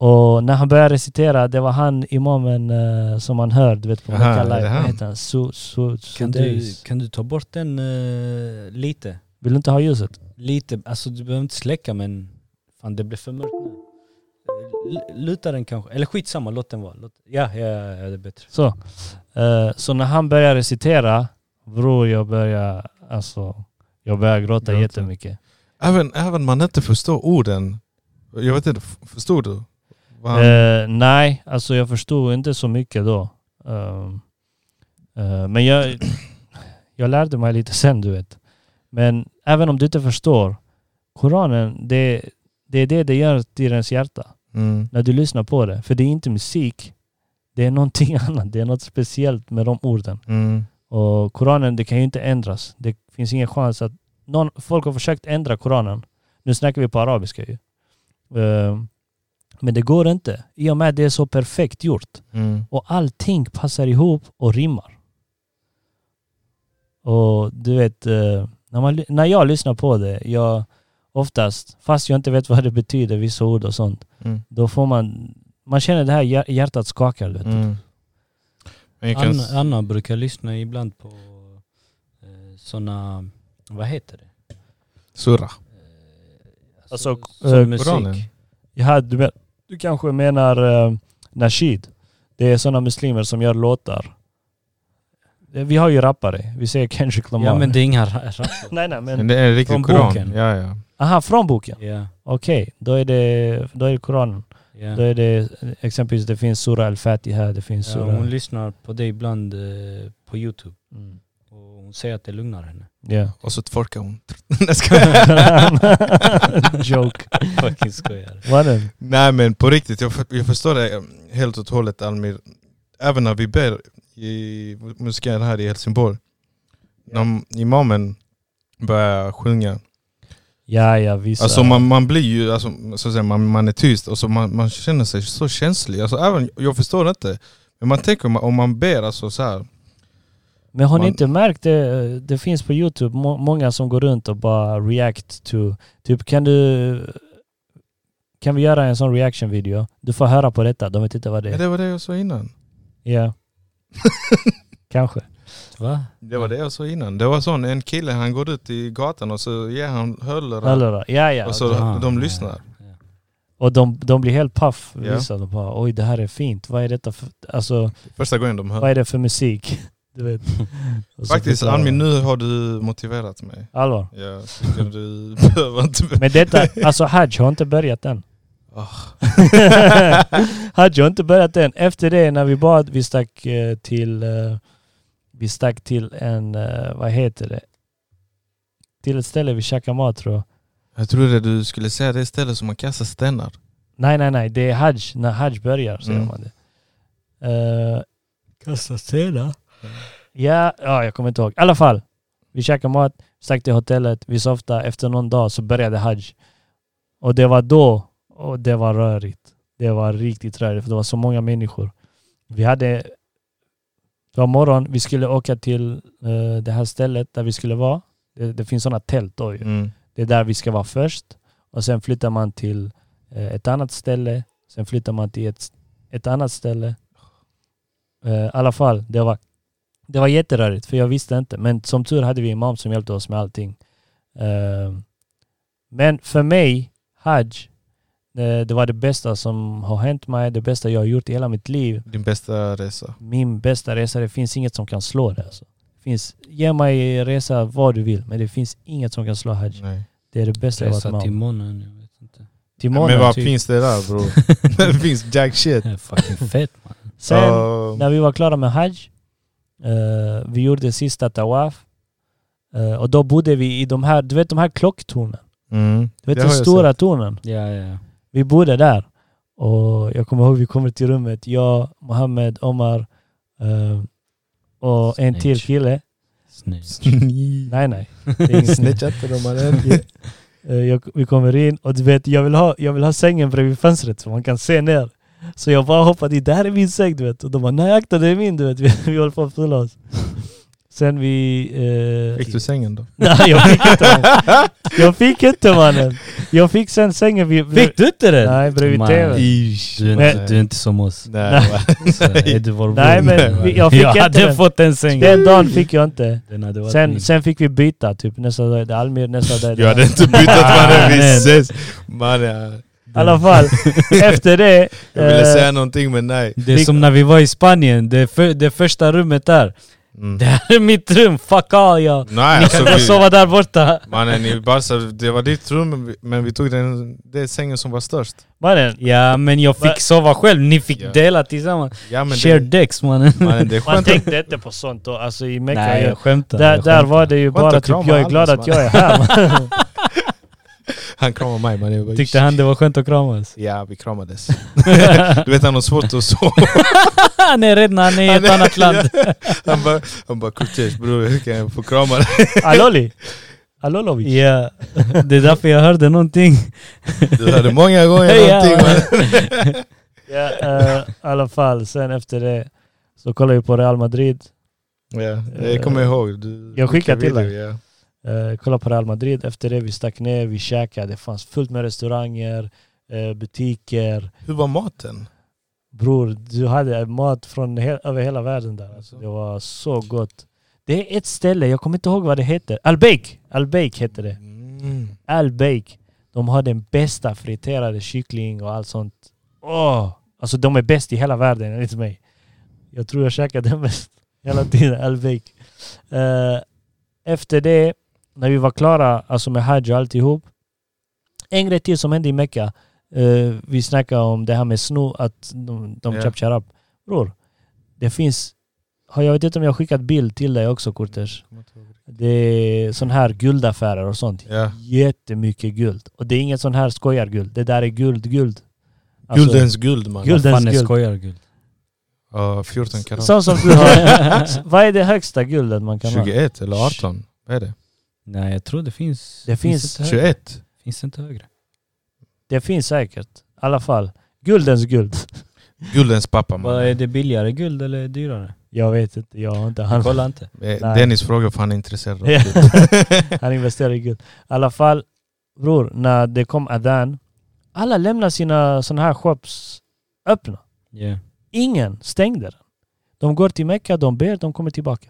S1: Och när han började recitera, det var han imamen eh, som man hör, du vet på
S2: Aha,
S1: Mecca
S2: är det
S1: Live. Vad
S2: han?
S1: heter han? Su, su,
S3: Kan, du,
S1: Sudais.
S3: kan du ta bort den eh, lite?
S1: Vill du inte ha ljuset?
S3: Lite, alltså du behöver inte släcka men fan det blev för mörkt nu. Eh, L- Luta den kanske, eller skitsamma låt den vara. Låt, ja, ja, ja, ja, det är bättre.
S1: Så. Eh, så när han började recitera, bror jag började, alltså, jag började gråta
S2: Gråta.
S1: jättemycket.
S2: Även, även man inte förstår orden. Jag vet inte, f- förstod du? Vad han-
S1: Eh, nej, alltså jag förstod inte så mycket då. Ehm, eh, men jag, (clears throat) jag lärde mig lite sen, du vet. Men även om du inte förstår, Koranen, det, det är det det gör till ens hjärta
S2: Mm.
S1: när du lyssnar på det. För det är inte musik, det är någonting (laughs) annat. Det är något speciellt med de orden.
S2: Mm.
S1: Och Koranen, det kan ju inte ändras. Det finns ingen chans att... Någon, folk har försökt ändra Koranen. Nu snackar vi på arabiska ju. Eh, Men det går inte. I och med att det är så perfekt gjort.
S2: Mm.
S1: Och allting passar ihop och rimmar. Och du vet, eh, när, man, ly- när jag lyssnar på det, jag oftast, fast jag inte vet vad det betyder, vissa ord och sånt,
S2: Mm.
S1: då får man... Man känner det här hjär- hjärtat skakar. du Vet.
S2: Mm. Men jag kan...
S3: Anna,
S2: s-
S3: Anna brukar lyssna ibland på eh, såna, vad heter det?
S2: Surah.
S1: Alltså,
S3: sån
S1: eh,
S3: musik.
S2: Koranen.
S1: Ja, du, men, du kanske menar eh, Nasheed. Det är sådana muslimer som gör låtar. Eh, Vi har ju rappare. Vi säger Kendrick Lamar.
S3: Ja men det är inga ra- (laughs)
S1: (laughs)
S3: rappare.
S1: Nej, nej, men...
S2: Men det är en riktig
S3: Från
S2: koran.
S3: boken.
S2: Ja, ja.
S1: Aha, från boken?
S3: ja,
S1: Okej, då är det, då är det Koranen.
S3: ja.
S1: Då är det eh, exempelvis, det finns Surah Al-Fatiha, det finns
S3: ja,
S1: Surah...
S3: hon lyssnar på det ibland eh, på youtube.
S1: Mm.
S3: Och hon säger att det
S1: (laughs)
S3: lugnar henne.
S1: Ja.
S2: Och så twerkar hon. (laughs) Nej,
S3: (laughs)
S2: skojar.
S1: Joke.
S3: Fucking skojar.
S1: Var den?
S2: Nej men på riktigt, jag, för- jag förstår det helt och hållet Almir. Även när vi ber i moskén här i Helsingborg. När imamen börjar sjunga.
S1: Ja, ja, vissa...
S2: Alltså man, man blir ju, alltså, så att säga, man, man är tyst och så man, man känner sig så känslig. Alltså, även, jag förstår inte. Men man tänker om man, om man ber alltså, så här.
S1: Men har ni
S2: Man-
S1: inte märkt det? Det finns på Youtube må- många som går runt och bara react to... Typ kan du... Kan vi göra en sån reaction video? Du får höra på detta, de vet inte vad det
S2: Ja,
S1: är.
S2: det var det jag sa innan. (laughs)
S1: Ja. Kanske.
S3: Va?
S2: Det var det jag sa innan. Det var sån, en kille han går ut i gatan och så ger han hörlurar.
S1: Eller då? Ja, ja.
S2: Och så
S3: Ah,
S2: de
S3: ja.
S2: lyssnar.
S1: Och de, de blir helt paff.
S2: Ja.
S1: Vissa de bara oj det här är fint. Vad är detta för... Alltså
S2: Första gången de hör.
S1: vad är det för musik? (laughs) Du vet. Och så
S2: Faktiskt
S1: förklarar
S2: Almin,
S1: de.
S2: nu har du motiverat mig.
S1: Allvar.
S2: Jag tycker du (laughs) behöver inte...
S1: Men detta, alltså Hajj har inte börjat än. (laughs) Hajj har inte börjat än. Efter det när vi bad, vi stack eh, till eh, vi stack till en, eh, vad heter det? Till ett ställe vi käkade mat tror jag.
S2: Jag trodde du skulle säga det istället som man kastar stenar.
S1: Nej nej nej, det är Hajj, när Hajj börjar säger
S2: Mm.
S1: man det. Uh, Kasta stenar? Ja, ja, jag kommer inte ihåg. I alla fall, vi käkade mat, stack till hotellet, vi softade. Efter någon dag så började Hajj. Och det var då, och det var rörigt. Det var riktigt rörigt för det var så många människor. Vi hade, det var morgon, vi skulle åka till eh, det här stället där vi skulle vara. Det, det finns sådana tält då ju.
S2: Mm.
S1: Det är där vi ska vara först. Och sen flyttar man till eh, ett annat ställe. Sen flyttar man till ett, ett annat ställe. Eh, I alla fall, det var, det var jätterörigt för jag visste inte. Men som tur hade vi imam som hjälpte oss med allting. Eh, men för mig, Hajj, Eh, Det var det bästa som har hänt mig, det bästa jag har gjort i hela mitt liv.
S2: Din bästa resa.
S1: Min bästa resa, det finns inget som kan slå det. Alltså. Det finns, ge mig resa vad du vill, men det finns inget som kan slå Hajj.
S2: Nej.
S1: Det är det bästa jag har
S3: Resa
S1: varit
S3: till
S1: med om.
S3: månen, jag vet inte.
S1: Timon,
S2: men vad
S1: typ.
S2: finns det
S1: (laughs)
S2: där bror? det finns jack shit.
S3: (laughs) Det är fucking fett man.
S1: Sen
S2: Um,
S1: när vi var klara med Hajj, eh, vi gjorde sista tawaf. Eh, och då bodde vi i de här, du vet de här klocktornen?
S2: mm.
S1: Du vet de
S2: Det har jag
S1: stora tornen?
S3: Ja, ja.
S1: Vi bodde där. Och jag kommer ihåg vi kommer till rummet, jag, Mohammed, Omar eh, och en till
S3: Snitch.
S1: kille.
S3: Snyggt.
S1: Nej nej. Det är ingen snitch.
S2: Snitchat till dem mannen.
S1: (laughs) Eh, jag, vi kommer in och du vet, jag vill, ha, jag vill ha sängen bredvid fönstret så man kan se ner. Så jag bara hoppade i, det här är min säng du vet. Och de bara, nej akta det är min du vet. (laughs) Vi, vi håller på att fylla oss. Sen vi... eh,
S2: Fick du sängen då?
S1: (laughs) Nej jag fick inte mannen. Jag fick inte mannen. Jag fick sen sängen vi... vi
S3: Fick du inte den?
S1: Nej, bredvid
S3: Man,
S1: TV.
S2: Ish.
S3: Du, är inte-
S2: Nej.
S3: du är inte som oss.
S2: (laughs) Nej.
S3: Så, är du vår
S1: Nej,
S3: bror?
S1: men vi- jag fick inte
S3: hade
S1: den.
S3: fått en säng.
S1: Den dagen fick jag inte.
S3: Den hade varit
S1: Sen,
S3: min.
S1: sen fick vi byta typ nästa dag är det Almir, nästa dag är det...
S2: Jag hade inte bytt mannen, vi
S3: (laughs) Nej.
S2: ses. Mannen,
S1: I alla fall, efter det...
S2: jag ville
S1: eh,
S2: säga någonting men nej.
S3: det är som när vi var i Spanien, det, för, det första rummet där.
S2: Mm.
S3: Det här är mitt rum, fuck all jag.
S2: Nej alltså
S3: Jag
S2: vi,
S3: sover där borta.
S2: mannen i Barca, det var ditt rum men vi- men vi tog den, det sängen som var störst.
S1: Mannen,
S3: Ja men jag
S1: Va?
S3: fick sova själv, ni fick
S2: Ja.
S3: dela tillsammans.
S2: Ja men
S3: Share
S2: det,
S3: decks mannen.
S2: mannen, det är
S1: man
S2: skönt att
S1: tänkte inte på sånt då. Alltså i Mecka...
S3: Nej
S1: jag-
S3: jag skämtar.
S1: Där,
S3: jag
S1: där
S3: skämtar.
S1: var det ju
S2: Skönt
S1: bara
S2: att
S1: typ,
S2: krama
S1: jag är
S2: Alice,
S1: glad att
S2: man.
S1: jag är här.
S2: han kramade mig mannen. Jag bara,
S3: Tyckte han det var skönt att kramas?
S2: Ja vi
S3: (laughs)
S2: kramades. du vet han har svårt att sova.
S3: Han är rädd när han är i ett annat land.
S2: Han bara, han bara Kurtish bror kan jag få krama dig?
S1: Aloli! (laughs) Alolovic.
S3: Ja, det är därför jag hörde någonting.
S2: Du hörde många gånger
S3: Ja.
S2: någonting mannen.
S1: Ja, eh, I alla fall, sen efter det så kollade vi på Real Madrid.
S2: Ja, det kommer
S3: Eh,
S2: jag ihåg. Du,
S1: Jag skickar
S2: skickade
S1: till
S2: video, ja.
S1: Uh, kollade på Real Madrid. Efter det vi stack ner, vi käkade. Det fanns fullt med restauranger, eh, butiker.
S2: Hur var maten?
S1: Bror, du hade mat från he- över hela världen där. Alltså,
S2: Alltså.
S1: det var så gott. Det är ett ställe, jag kommer inte ihåg vad det heter. Albeik! Albeik hette det.
S2: Mm.
S1: Albeik. De har den bästa friterade kyckling och allt sånt. Åh! Alltså de är bäst i hela världen enligt mig. Jag tror jag käkar den bäst (laughs) hela tiden, Albeik. Eh, efter det, när vi var klara alltså med Hajj och alltihop. En grej till som hände i Mecka. eh, vi snackade om det här med sno, att de, de
S2: Ja.
S1: chapchar upp. Bror, det finns... har Jag vet inte om jag har skickat bild till dig också, Kurters. Det är sån här guldaffärer och sånt.
S2: Ja.
S1: Jättemycket guld. Och det är inget sån här skojarguld. Det där är guld, guld. Alltså,
S2: Guldens guld mannen.
S1: Guld.
S3: Fan jag
S1: guld.
S3: skojar guld.
S2: Ja, 14 karat.
S1: Sånt som du har. Vad är det högsta guldet man kan ha?
S2: 21 eller 18? Vad är det?
S3: Nej jag tror det finns.
S1: Det finns-
S3: inte högre.
S2: 21?
S3: Finns inte högre.
S1: Det finns säkert. I alla fall. Guldens guld.
S2: Guldens pappa
S3: Vad
S2: mannen.
S3: är det billigare guld eller dyrare?
S1: Jag vet inte. Jag har inte handlat.
S3: Kolla inte.
S2: Eh,
S1: Nej.
S2: Dennis frågar för han är intresserad av
S1: (laughs) Ja.
S2: guld.
S1: Han investerar i guld. I alla fall, bror, när det kom Adan. Alla lämnade sina såna här shops öppna.
S3: Yeah.
S1: Ingen stängde den. De går till Mecka, de ber, de kommer tillbaka.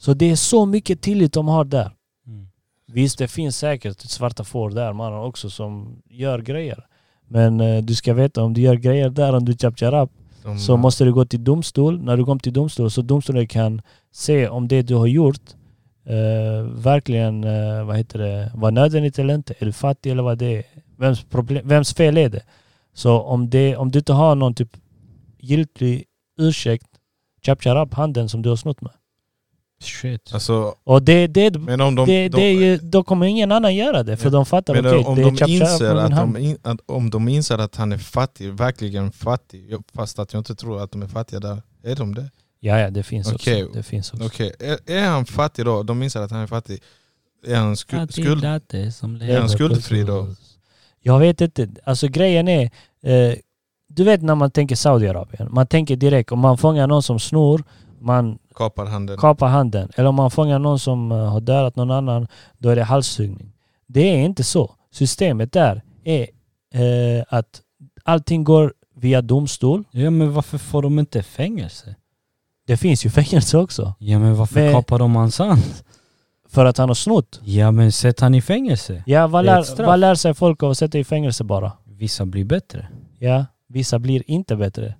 S1: Så det är så mycket tillit de har där.
S3: Mm.
S1: Visst, det finns säkert svarta får där mannen också som gör grejer. Men eh, du ska veta, om du gör grejer där, om du chapchar upp,
S2: De-
S1: så måste du gå till domstol. När du kommer till domstol så domstolen kan se om det du har gjort eh, verkligen eh, vad heter det, var nödvändigt eller inte. Är du fattig eller vad det är? Vems, problem, vems fel är det? Så om, det, om du inte har någon typ giltig ursäkt, chapchar upp handen som du har snott med.
S3: Shit.
S2: Alltså,
S1: Och det, det, det,
S2: men om de,
S1: det,
S2: de,
S1: är ju, då kommer ingen annan göra det för de fattar
S2: men
S1: okej,
S2: om,
S1: det är
S2: de
S1: chapchar upp
S2: inser
S1: med min
S2: att de,
S1: hand.
S2: in, att, om de inser att han är fattig, verkligen fattig, jag- fast att jag inte tror att de är fattiga där, är de det?
S1: Ja, ja, det finns
S2: Okej.
S1: också. Det finns också.
S2: Okej, är, är han fattig då? De inser att han är fattig. Är han sku, skuld?
S3: Är
S2: Är han skuldfri då?
S1: Jag vet inte. Alltså grejen är, eh, du vet när man tänker Saudiarabien, man tänker direkt om man fångar någon som snor,
S3: Mm.
S1: man
S2: Kapar handen?
S1: kapar handen. Eller om man fångar någon som eh, har dödat någon annan, då är det halshuggning. Det är inte så. Systemet där är eh, att allting går via domstol.
S3: Ja men varför får de inte fängelse?
S1: Det finns ju (laughs) fängelse också.
S3: Ja men varför
S1: Men-
S3: kapar de hans hand?
S1: För att han har snott.
S3: Ja men sätt han i fängelse.
S1: Ja, vad
S3: Det är ett
S1: lär,
S3: straff.
S1: vad lär sig folk av att sätta i fängelse bara?
S3: Vissa blir bättre.
S1: Ja, vissa blir inte bättre.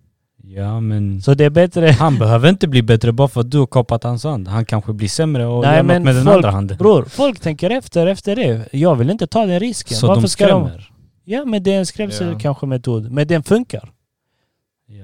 S3: Ja men...
S1: Så det är bättre...
S3: Han behöver inte bli bättre bara för att du har kapat hans hand. Han kanske blir sämre och gör
S1: Nej
S3: något
S1: men
S3: med den
S1: folk,
S3: andra handen.
S1: bror, folk tänker efter efter det. Jag vill inte ta den risken.
S3: så de skrämmer.
S1: Ja men det är en skrämsel
S2: Ja.
S1: kanske metod. Men den
S3: Mm.
S1: funkar.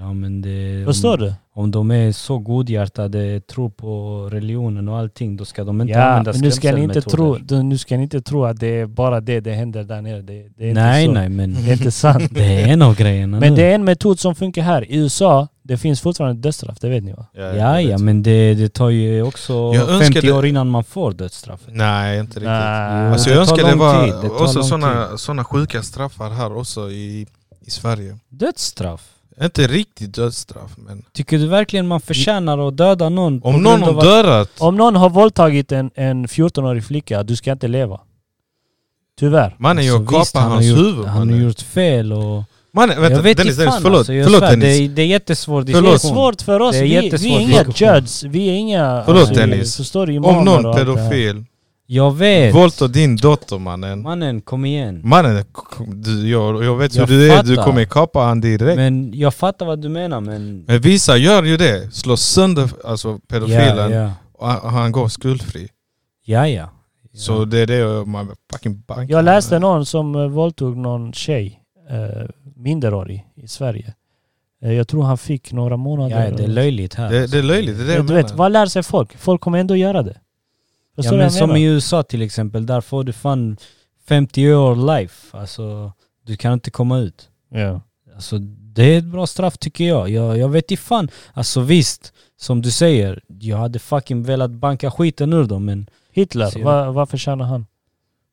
S3: Ja men det...
S1: Förstår
S3: om,
S1: du?
S3: om de är så godhjärtade, tror på religionen och allting, då ska de inte
S1: Ja,
S3: använda
S1: men nu ska, ni inte tro,
S3: skrämselmetoder.
S1: du- nu ska ni inte tro att det är bara det det händer där nere. Det, det är
S3: Nej
S1: inte så.
S3: nej men
S1: Det är inte sant.
S3: (laughs) det är en av grejerna
S1: men
S3: nu.
S1: det är en metod som funkar här. I USA, det finns fortfarande dödsstraff, det vet ni va?
S3: Ja ja men det, det tar ju också
S2: Jag önskar
S3: 50
S2: det-
S3: år innan man får dödsstraffet.
S2: Nej, inte riktigt.
S1: Nej.
S2: Alltså
S3: Jo,
S2: jag
S3: det tar
S2: önskar det
S3: lång
S2: var
S3: tid. Det tar
S2: också
S3: lång
S2: sådana såna sjuka straffar här också i, i Sverige.
S3: Dödsstraff?
S2: Inte riktigt dödsstraff men...
S3: Tycker du verkligen man förtjänar att döda någon? på
S2: Om någon
S3: grund av
S2: har
S3: att-
S2: dödat...
S1: Om någon har våldtagit en, en 14-årig flicka, du ska inte leva. Tyvärr.
S2: Mannen jag
S3: Alltså, visst,
S2: kapar
S3: han har
S2: hans
S3: gjort-
S2: huvud
S3: Han har
S2: mannen.
S3: gjort fel och...
S2: Mannen
S3: jag
S2: vänta
S3: vet
S2: Dennis,
S3: inte
S2: Dennis
S3: fan
S2: förlåt.
S3: alltså, jag
S2: Förlåt
S3: svär,
S2: Dennis.
S3: Det, är- det är jättesvår
S2: Förlåt.
S1: Det är
S3: diskussion.
S1: svårt för oss,
S3: Det är
S1: vi, vi
S3: jättesvår
S1: är inga
S3: diskussion.
S1: judges, vi är inga... alltså,
S2: Förlåt,
S1: vi
S2: Dennis.
S1: Förstår du,
S2: Om
S1: imamer
S2: någon
S1: och allt det här.
S2: pedofil
S3: Jag vet.
S2: våldtar din dotter mannen.
S3: Mannen, kom igen.
S2: Mannen, k- du, jag, jag vet hur
S3: Jag
S2: du är, du
S3: fattar.
S2: kommer kapa han direkt. Men,
S3: Men jag fattar vad du menar men...
S2: vissa gör ju det, slår sönder alltså, pedofilen
S3: Ja, ja.
S2: och han- och han går skuldfri.
S3: ja, ja.
S2: Så det är det man fucking bankar.
S1: Jag läste någon som eh, våldtog någon tjej, eh, minderårig, i Sverige. Eh, jag tror han fick några månader.
S3: Ja, det är löjligt här. alltså.
S2: det, det är löjligt, det är det
S1: Ja,
S2: jag
S1: du
S2: menar.
S1: vet, vad lär sig folk? Folk kommer ändå göra det.
S3: ja,
S1: Förstår du
S3: men
S1: vad jag
S3: som i
S1: menar?
S3: USA till exempel, där får du fan 50 år life. Alltså, du kan inte komma ut.
S1: Ja.
S3: Alltså det är ett bra straff tycker jag. Jag, jag vet inte fan. Alltså visst, som du säger, jag hade fucking velat banka skiten ur dem men
S1: Hitler,
S3: Ser
S1: va, vad förtjänar han?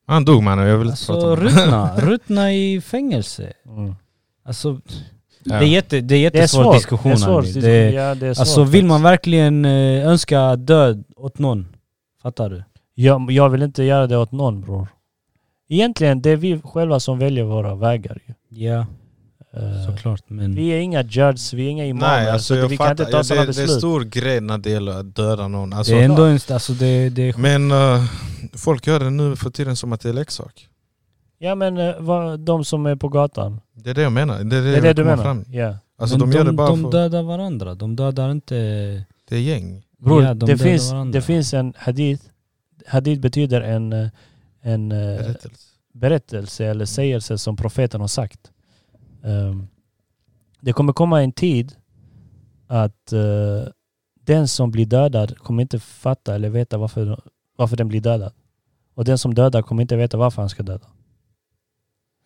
S2: Han dog mannen, jag vill inte prata
S3: alltså
S2: om det.
S1: (laughs)
S3: ruttna, ruttna i fängelse. Alltså
S2: Ja.
S3: det, är jätte, det är
S1: Mm. Det är
S3: jättesvår
S1: svårt.
S3: diskussion.
S1: det är svårt.
S3: Andy. Det är,
S1: ja, det är svårt
S3: alltså vill man
S1: faktiskt.
S3: verkligen eh, önska död åt någon? Fattar du?
S1: jag, jag vill inte göra det åt någon bror. Egentligen, det är vi själva som väljer våra vägar ju.
S3: Ja,
S1: Eh,
S3: såklart. Men
S1: Vi är inga judges, vi är inga imamer,
S2: Nej
S1: så
S2: alltså jag
S1: vi kan
S2: fattar,
S1: inte ta
S2: ja,
S1: sådana
S2: det, det är
S1: beslut.
S2: stor grej när det gäller att döda någon. Alltså,
S3: det är ändå en... Alltså det, det är
S2: Men eh, folk gör det nu för tiden som att det är leksak.
S1: Ja men eh, vad, de som är på gatan.
S2: Det är det jag menar. Det är det,
S1: Det är det
S2: jag
S1: du
S2: kommer
S1: menar?
S2: Fram.
S1: Ja.
S2: Alltså
S3: men
S2: de, gör det bara
S3: de
S2: för...
S3: dödar varandra. De dödar inte...
S2: Det är gäng.
S1: Bror,
S3: ja, de
S1: det,
S3: dödar
S1: finns,
S3: varandra.
S1: det finns en hadith. Hadith betyder en, eh, en eh,
S2: Berättelse.
S1: berättelse eller sägelse som profeten har sagt. Ehm, det kommer komma en tid att eh, den som blir dödad kommer inte fatta eller veta varför, varför den blir dödad. Och den som dödar kommer inte veta varför han ska döda.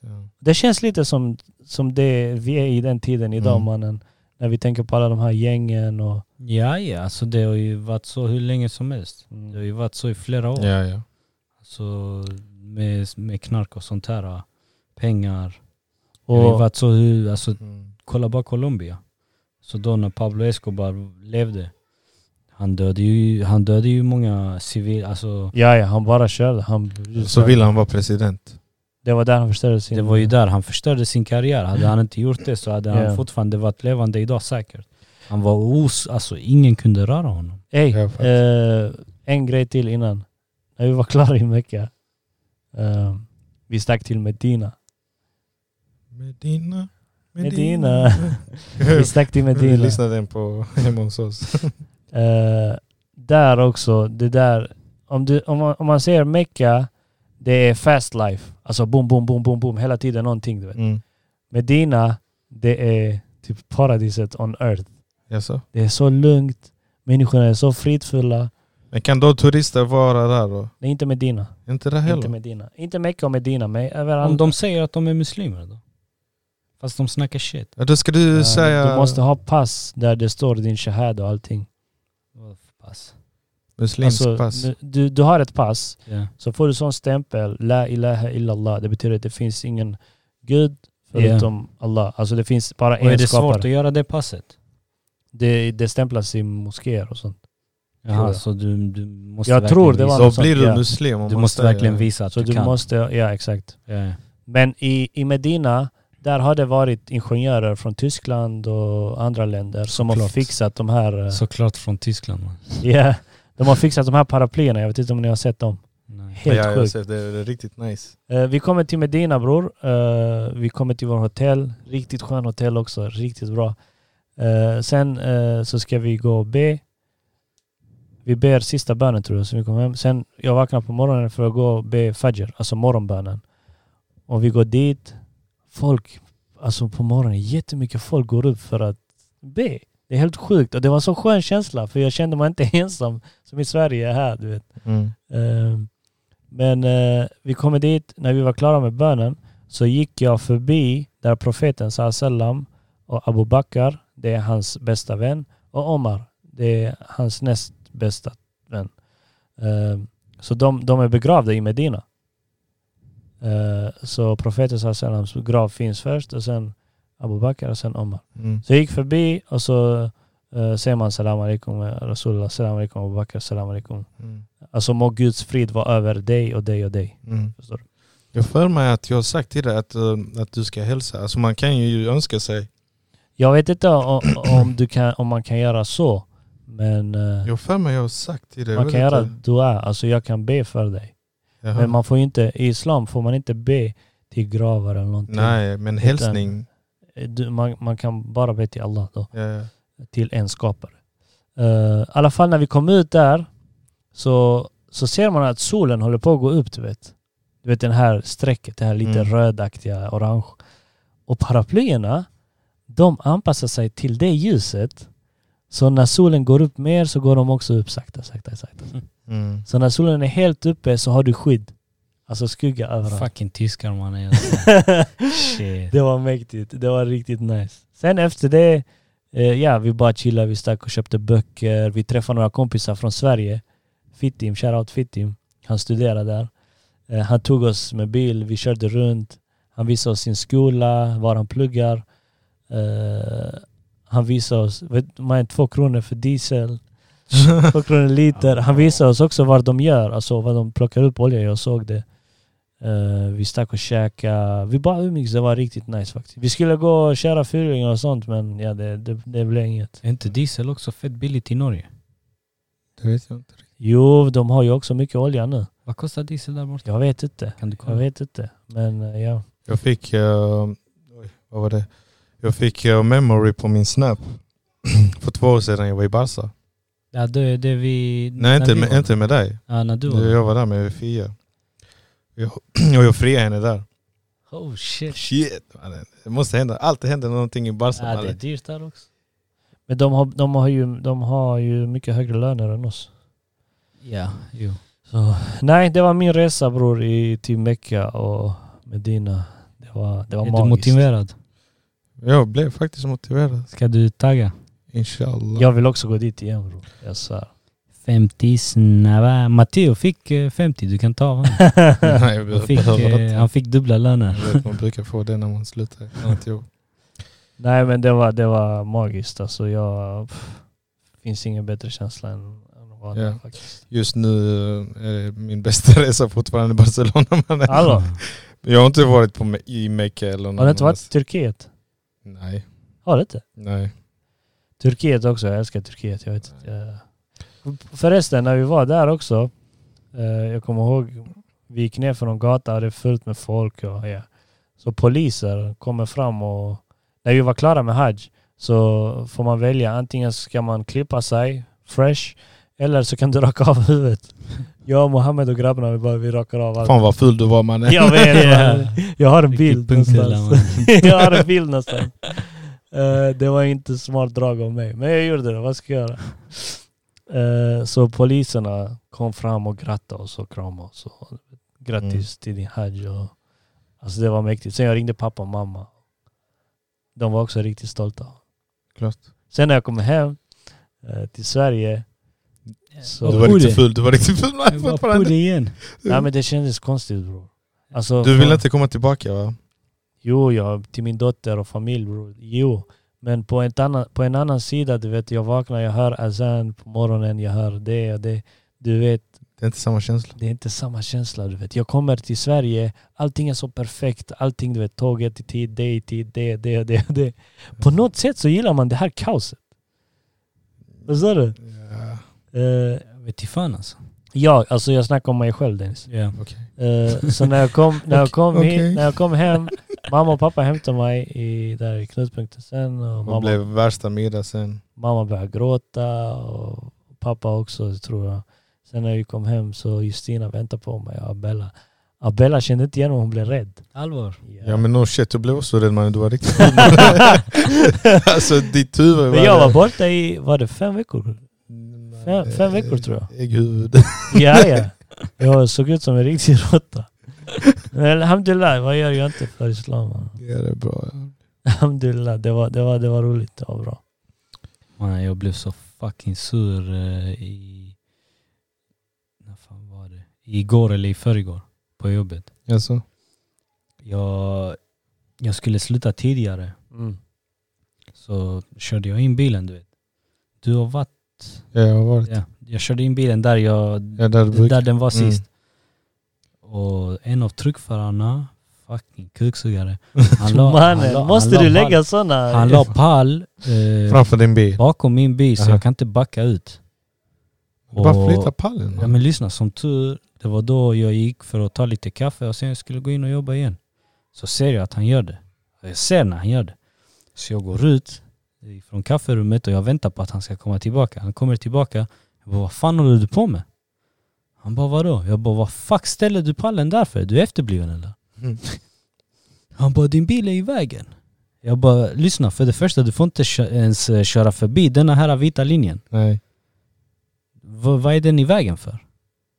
S2: Ja.
S1: Det känns lite som, som det vi är i den tiden idag
S2: Mm.
S1: mannen. När vi tänker på alla de här gängen och...
S3: Ja, ja, alltså det har ju varit så hur länge som helst.
S1: Mm.
S3: Det har ju varit så i flera år.
S2: Ja, ja.
S3: Alltså, med, med knark och sånt här. Pengar. Det har ju
S1: och
S3: varit så hur, alltså
S2: Mm.
S3: kolla bara Colombia. Så då när Pablo Escobar levde, han dödade ju, han dödade ju många civil, alltså
S1: ja, ja, han bara körde. Han,
S2: Så vill han vara president.
S1: det var där han förstörde sin...
S3: det var ju där han förstörde sin karriär. Hade han inte gjort det så hade han
S1: Ja.
S3: fortfarande varit levande idag säkert. Han var os, alltså ingen kunde röra honom.
S1: Ey,
S2: Ja, faktiskt.
S1: eh, en grej till innan. När vi var klara i Mecka. Eh, vi stack till Medina.
S2: Medina,
S1: Medina.
S2: (laughs)
S1: Vi stack till
S2: Vi
S1: Medina.
S2: lyssnade den på (laughs) hemma hos oss.
S1: Eh, där också, det där. Om, du, om, man, om man ser Mecka, det är fast life. Alltså boom, boom, boom, boom, boom. Hela tiden någonting du vet.
S2: Mm.
S1: Medina, det är typ paradiset on earth.
S2: Jaså?
S1: Det är så lugnt, människorna är så fridfulla.
S2: Men kan då turister vara där då?
S1: Nej, inte Medina.
S2: Inte där
S1: Inte
S2: heller?
S1: Medina. Inte Mecka och Medina, men
S3: Om
S1: överallt.
S3: de säger att de är muslimer då? Fast de snackar shit.
S2: Ja, då ska du
S1: Ja,
S2: säga
S1: Du måste ha pass där det står din shahad och allting.
S3: Vad alltså. för pass?
S2: muslimsk
S1: Alltså,
S2: pass.
S1: nu- Du, du har ett pass,
S3: Ja.
S1: så får du sån stämpel, La ilaha illallah. Det betyder att det finns ingen gud förutom Allah. Alltså det finns bara
S3: Och är
S1: en
S3: det svårt att
S1: skapare.
S3: göra det passet?
S1: Det, det stämplas i moskéer och sånt. Tror
S3: Jaha,
S1: jag.
S3: så du, du måste
S1: Jag
S3: verkligen
S1: tror det var
S3: visa,
S2: Då
S1: något sånt,
S2: blir du
S1: ja.
S2: muslim om
S3: Du
S2: man
S3: måste
S2: säger-
S3: verkligen visa att
S1: Så
S3: du,
S1: du
S3: kan.
S1: måste, ja exakt.
S3: Ja.
S1: Men i, i Medina, där har det varit ingenjörer från Tyskland och andra länder som har
S3: Såklart.
S1: fixat de här... eh,
S3: Såklart från Tyskland. man.
S1: (laughs) Ja, De har fixat de här paraplyerna, jag vet inte om ni har sett dem. Helt
S2: ja, jag har
S1: sjukt.
S2: sett det, det är riktigt nice.
S1: Eh, vi kommer till Medina bror. Eh, vi kommer till vårt hotell. Riktigt skön hotell också. Riktigt bra. Eh, sen eh, så ska vi gå och be. Vi ber sista bönen tror jag, så vi kommer hem. Sen jag vaknar på morgonen för att gå och be Fajr, alltså morgonbönen. Och vi går dit. Folk, alltså på morgonen, jättemycket folk går upp för att be. Det är helt sjukt. Och det var en så skön känsla, för jag kände mig inte (laughs) ensam som i Sverige här, du vet. Ehm, Men eh, vi kommer dit, när vi var klara med bönen så gick jag förbi där profeten sallam och Abu Bakr, det är hans bästa vän, och Omar, det är hans näst bästa vän. Ehm, Så de, de är begravda i Medina. Ehm, Så profeten sallams grav finns först och sen Abu Bakr och sen Omar.
S2: Mm.
S1: Så jag gick förbi och så eh, säger man salam alaikum, eh, Rasulullah, salam alaikum, Abu Bakr, salam alaikum.
S2: Mm.
S1: Alltså må Guds frid vara över dig och dig och dig.
S2: Mm.
S1: Förstår du?
S2: Jag för mig att jag har sagt till dig att, eh, att du ska hälsa. Alltså man kan ju önska sig.
S1: Jag vet inte om, om, du kan, om man kan göra så, men eh,
S2: Jag för mig jag har sagt till dig.
S1: man
S2: jag
S1: kan
S2: vet
S1: göra
S2: inte.
S1: dua. Alltså jag kan be för dig.
S2: Jaha.
S1: Men man får ju inte, i islam får man inte be till gravar eller någonting.
S2: Nej, men hälsning.
S1: Du, man, man kan bara be till Allah då.
S2: Ja, ja.
S1: till en skapare. Eh, I alla fall när vi kom ut där så, så ser man att solen håller på att gå upp, du vet. Du vet den här strecket, det här lite
S2: Mm.
S1: rödaktiga, orange. Och paraplyerna, de anpassar sig till det ljuset. Så när solen går upp mer så går de också upp sakta, sakta, sakta.
S2: Mm.
S1: Så när solen är helt uppe så har du skydd. Alltså skugga överallt.
S3: Fucking tyskar
S1: (laughs)
S3: man är alltså. Shit.
S1: Det var mäktigt. Det var riktigt nice. Sen efter det, eh, ja vi bara chillade, vi stack och köpte böcker. Vi träffade några kompisar från Sverige. Fittim, shoutout Fittim. Han studerade där. Eh, han tog oss med bil, vi körde runt. Han visade oss sin skola, var han pluggar. Eh, han visade oss, vet, man, två kronor för diesel. Två kronor liter. Han visade oss också vad de gör, alltså vad de plockar upp olja. Jag såg det. Eh, vi stack och käkade. Vi bara umgicks, det var riktigt nice faktiskt. Vi skulle gå och köra fyrhjulingar och sånt men ja, det, det, det blev inget.
S3: Är inte diesel också fett billigt i Norge?
S2: Det vet jag inte.
S1: Jo, de har ju också mycket olja nu.
S3: Vad kostar diesel där borta?
S1: Jag vet inte.
S3: Kan du
S1: Jag
S3: kolla?
S1: vet inte. Men eh, ja.
S2: Jag fick, eh, oj, vad var det? Jag fick eh, memory på min snap (clears throat) för två år sedan jag var i Barca.
S3: Ja, det, det vi...
S2: Nej
S3: när
S2: inte
S3: vi var
S2: med,
S3: där.
S2: inte med dig.
S3: Ja, när du var där.
S2: Jag var där med Fia. Jag, (clears throat) och jag friade henne där.
S3: Oh shit.
S2: Shit mannen. Det måste hända. Alltid händer någonting i Barca
S3: Ja, det är
S2: mannen.
S3: dyrt där också.
S1: Men de har, de, har ju, de har ju mycket högre löner än oss.
S3: Ja, jo.
S1: Så, nej, det var min resa bror i, till Mecka och Medina. Det var, det var
S3: Är du
S1: magiskt.
S3: motiverad?
S2: Jag blev faktiskt motiverad.
S3: Ska du tagga?
S2: Inshallah.
S1: Jag vill också gå dit igen bror. Jag svär.
S3: 50 snabba. Matteo fick eh, 50, du kan ta av honom.
S2: (laughs) Nej, jag
S3: Han fick,
S2: behöver
S3: eh,
S2: inte.
S3: han fick dubbla löner.
S2: Jag vet, Man brukar få det när man slutar ett annat jobb.
S1: Nej men det var, det var magiskt alltså. Jag, pff, finns ingen bättre känsla än, än att vara där
S2: Ja.
S1: faktiskt.
S2: Just nu eh, är det min bästa resa fortfarande i Barcelona mannen.
S1: Hallå,
S2: Jag har inte varit på, Me- i Mecca eller någon
S1: har du inte varit i
S2: annanstans.
S1: Turkiet?
S2: Nej.
S1: Har du inte?
S2: Nej.
S1: Turkiet också, jag älskar Turkiet. Jag vet inte. jag- Förresten, när vi var där också, eh, jag kommer ihåg, vi gick ner för någon gata och det är fullt med folk. Och, ja. Så poliser kommer fram och när vi var klara med Hajj så får man välja, antingen ska man klippa sig fresh eller så kan du raka av huvudet. Jag, Mohammed och grabbarna, vi, bara, vi rakar av allt.
S2: Fan vad ful du var mannen.
S1: Jag
S2: (laughs)
S1: vet,
S3: Ja.
S1: man. jag har en bild
S3: Riktigt punktlig,
S1: någonstans. (laughs) jag har en bild någonstans. Eh, det var inte smart drag av mig, men jag gjorde det. Vad ska jag göra? Eh, så poliserna kom fram och grattade oss och kramade oss. Och, Grattis
S2: Mm.
S1: till din hajj. Och, alltså det var mäktigt. Sen jag ringde pappa och mamma. De var också riktigt stolta.
S2: Klart.
S1: Sen när jag kom hem eh, till Sverige så...
S2: Du
S3: Vad
S2: var
S3: på det?
S2: riktigt ful. Du var riktigt ful
S3: Jag
S2: mannen.
S3: var på det
S2: fortfarande.
S3: igen.
S1: Nej men det kändes konstigt bror. Alltså,
S2: Du vill
S1: från-
S2: inte komma tillbaka va?
S1: Jo, ja, till min dotter och familj bror. Jo. Men på, ett annan, på en annan sida, du vet, jag vaknar, jag hör azan på morgonen, jag hör det och det. Du vet,
S2: Det är inte samma känsla.
S1: det är inte samma känsla du vet. Jag kommer till Sverige, allting är så perfekt. Allting, du vet, tåget i tid, det i tid, det, det, det, det. På något sätt så gillar man det här kaoset. Vad sa du?
S2: Ja.
S1: Eh,
S3: Vet i fan alltså.
S1: Jag, alltså jag snackar om mig själv Dennis.
S3: Ja.
S1: Eh, så när jag kom, när jag kom,
S2: Okej.
S1: hit, när jag kom hem, mamma och pappa hämtade mig i, där i knutpunkten sen och
S2: Det
S1: mamma,
S2: blev värsta middag sen.
S1: mamma började gråta och pappa också tror jag. Sen när vi kom hem så Justina väntade på mig och Abella. Abella kände inte igen mig, hon blev rädd.
S3: Allvar.
S2: Ja men no shit, jag blev också rädd mannen. Du
S1: (laughs)
S2: var riktigt Alltså ditt huvud
S1: Men jag var borta i, var det fem veckor?
S2: Mm,
S1: Fem, fem veckor tror jag.
S2: Ägghuvud.
S1: Ja, ja. Jag såg ut som en riktig råtta. Men alhamdulillah, vad gör jag inte för islam? man?
S2: Ja det är bra. ja.
S1: Alhamdulillah, det var, det var, det var roligt. Det var bra.
S3: Man, jag blev så fucking sur eh, i... När fan var det? Igår eller i förrgår på jobbet.
S2: Jaså?
S3: Jag, jag skulle sluta tidigare
S1: Mm.
S3: så körde jag in bilen du vet. Du har varit...
S2: Ja jag har varit.
S3: Ja, jag körde in bilen där, jag,
S2: Ja, där du brukar.
S3: där den var
S2: Mm.
S3: sist. Och en av truckförarna, fucking kuksugare. Han la- han
S1: Mannen,
S3: la- han
S1: måste
S3: la
S1: du
S3: pall-
S1: lägga sådana?
S3: Han la pall eh,
S2: Framför din bil.
S3: bakom min bil så
S2: Aha.
S3: jag kan inte backa ut.
S2: Bara
S3: Och-
S2: flytta pallen.
S3: Ja men lyssna, som tur det var då jag gick för att ta lite kaffe och sen skulle jag gå in och jobba igen. Så ser jag att han gör det. Och Jag ser när han gör det. Så jag går ut från kafferummet och jag väntar på att han ska komma tillbaka. Han kommer tillbaka. Jag bara, vad fan håller du på med? Han bara, vadå? Jag bara, vad fuck ställer du pallen där för? Du är efterbliven eller?
S2: Mm.
S3: (laughs) Han bara, din bil är i vägen. Jag bara, lyssna, för det första du får inte kö- ens eh, köra förbi denna här vita linjen.
S2: Nej.
S3: V- vad är den i vägen för?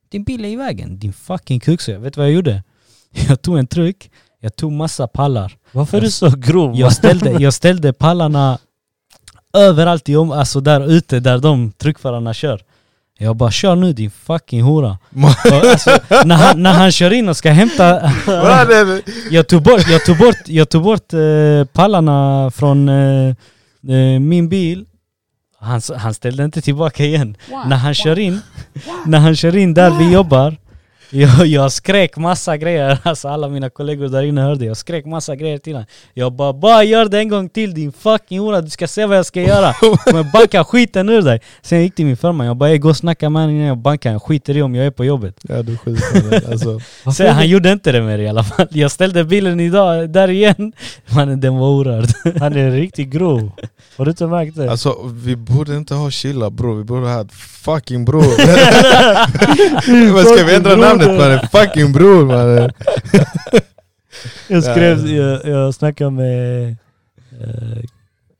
S3: Din bil är i vägen, din fucking kuk. Så jag vet vad jag gjorde? (laughs) Jag tog en truck, jag tog massa pallar.
S1: Varför är du så grov?
S3: Jag ställde, jag ställde pallarna överallt, i om, alltså där ute där de truckförarna kör. Jag bara kör nu din fucking hora. Och alltså, när, han, när han kör in och ska hämta, (laughs)
S2: Vad är det?
S3: jag tog bort, jag tog bort, jag tog bort eh, pallarna från eh, eh, min bil. Han, s- han ställde inte tillbaka igen. När han kör in, när han kör in där vi jobbar. Jag, jag skrek massa grejer, (laughs) alltså alla mina kollegor där inne hörde, jag skrek massa grejer till honom. Jag bara bara gör det en gång till din fucking hora, du ska se vad jag ska göra. Men banka skiten ur dig. Sen jag gick till min förman, jag bara "Ey, gå och snacka med honom innan jag bankar, jag skiter i om jag är på jobbet.
S2: Ja du skiter med det. alltså.
S3: Så han gjorde inte det mer i alla fall. Jag ställde bilen idag, där igen. Mannen den var orörd.
S1: Han är riktigt grov. Har du inte märkt det?
S2: alltså vi borde inte ha chilla bror, vi borde ha ett
S1: (laughs)
S2: fucking bror. Men ska vi ändra
S1: Fucking
S2: namnet
S1: broder.
S2: mannen? Fucking bror mannen.
S1: Jag skrev,
S2: eh,
S1: jag, jag snackade med eh,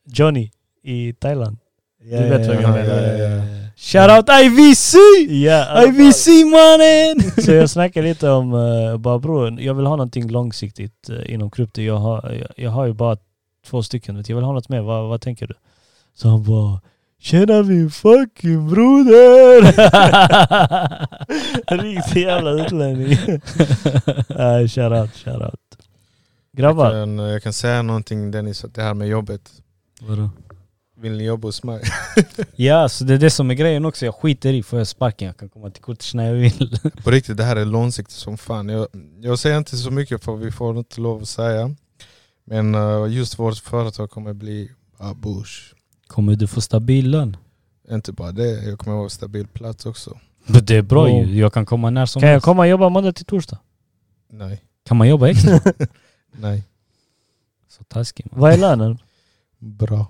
S1: Johnny i Thailand. du vet vem jag
S2: ja,
S1: menar.
S2: ja, ja,
S3: Shoutout IVC!
S1: Ja, i alla fall.
S3: IVC mannen!
S1: Så jag snackade lite om, uh, bara bror, jag vill ha någonting långsiktigt eh, inom krypto. Jag har, jag, jag har ju bara två stycken, vet du. jag vill ha något mer, vad, vad tänker du? Så han bara Tjena min fucking broder! (laughs) Riktig jävla
S3: (laughs)
S1: utlänning. Nej, shoutout, shoutout. Grabbar,
S2: Men, eh, Jag kan säga någonting Dennis, att det här med jobbet. Vill ni jobba hos mig?
S3: Ja, så det är det som är grejen också. Jag skiter i, får jag sparken jag kan komma till kortet när jag vill.
S2: På riktigt, det här är långsiktigt som fan. Jag, jag säger inte så mycket för vi får inte lov att säga. Men eh, just vårt företag kommer bli abush.
S3: Kommer du få stabil lön?
S2: Inte bara det, jag kommer ha en stabil plats också.
S3: Men Det är bra
S1: Jo.
S3: ju, jag kan komma när som
S1: kan jag
S3: helst.
S1: komma och jobba måndag till torsdag?
S2: Nej,
S3: Kan man jobba (laughs) extra?
S2: nej,
S3: så taskig man.
S1: Vad är lönen?
S2: bra.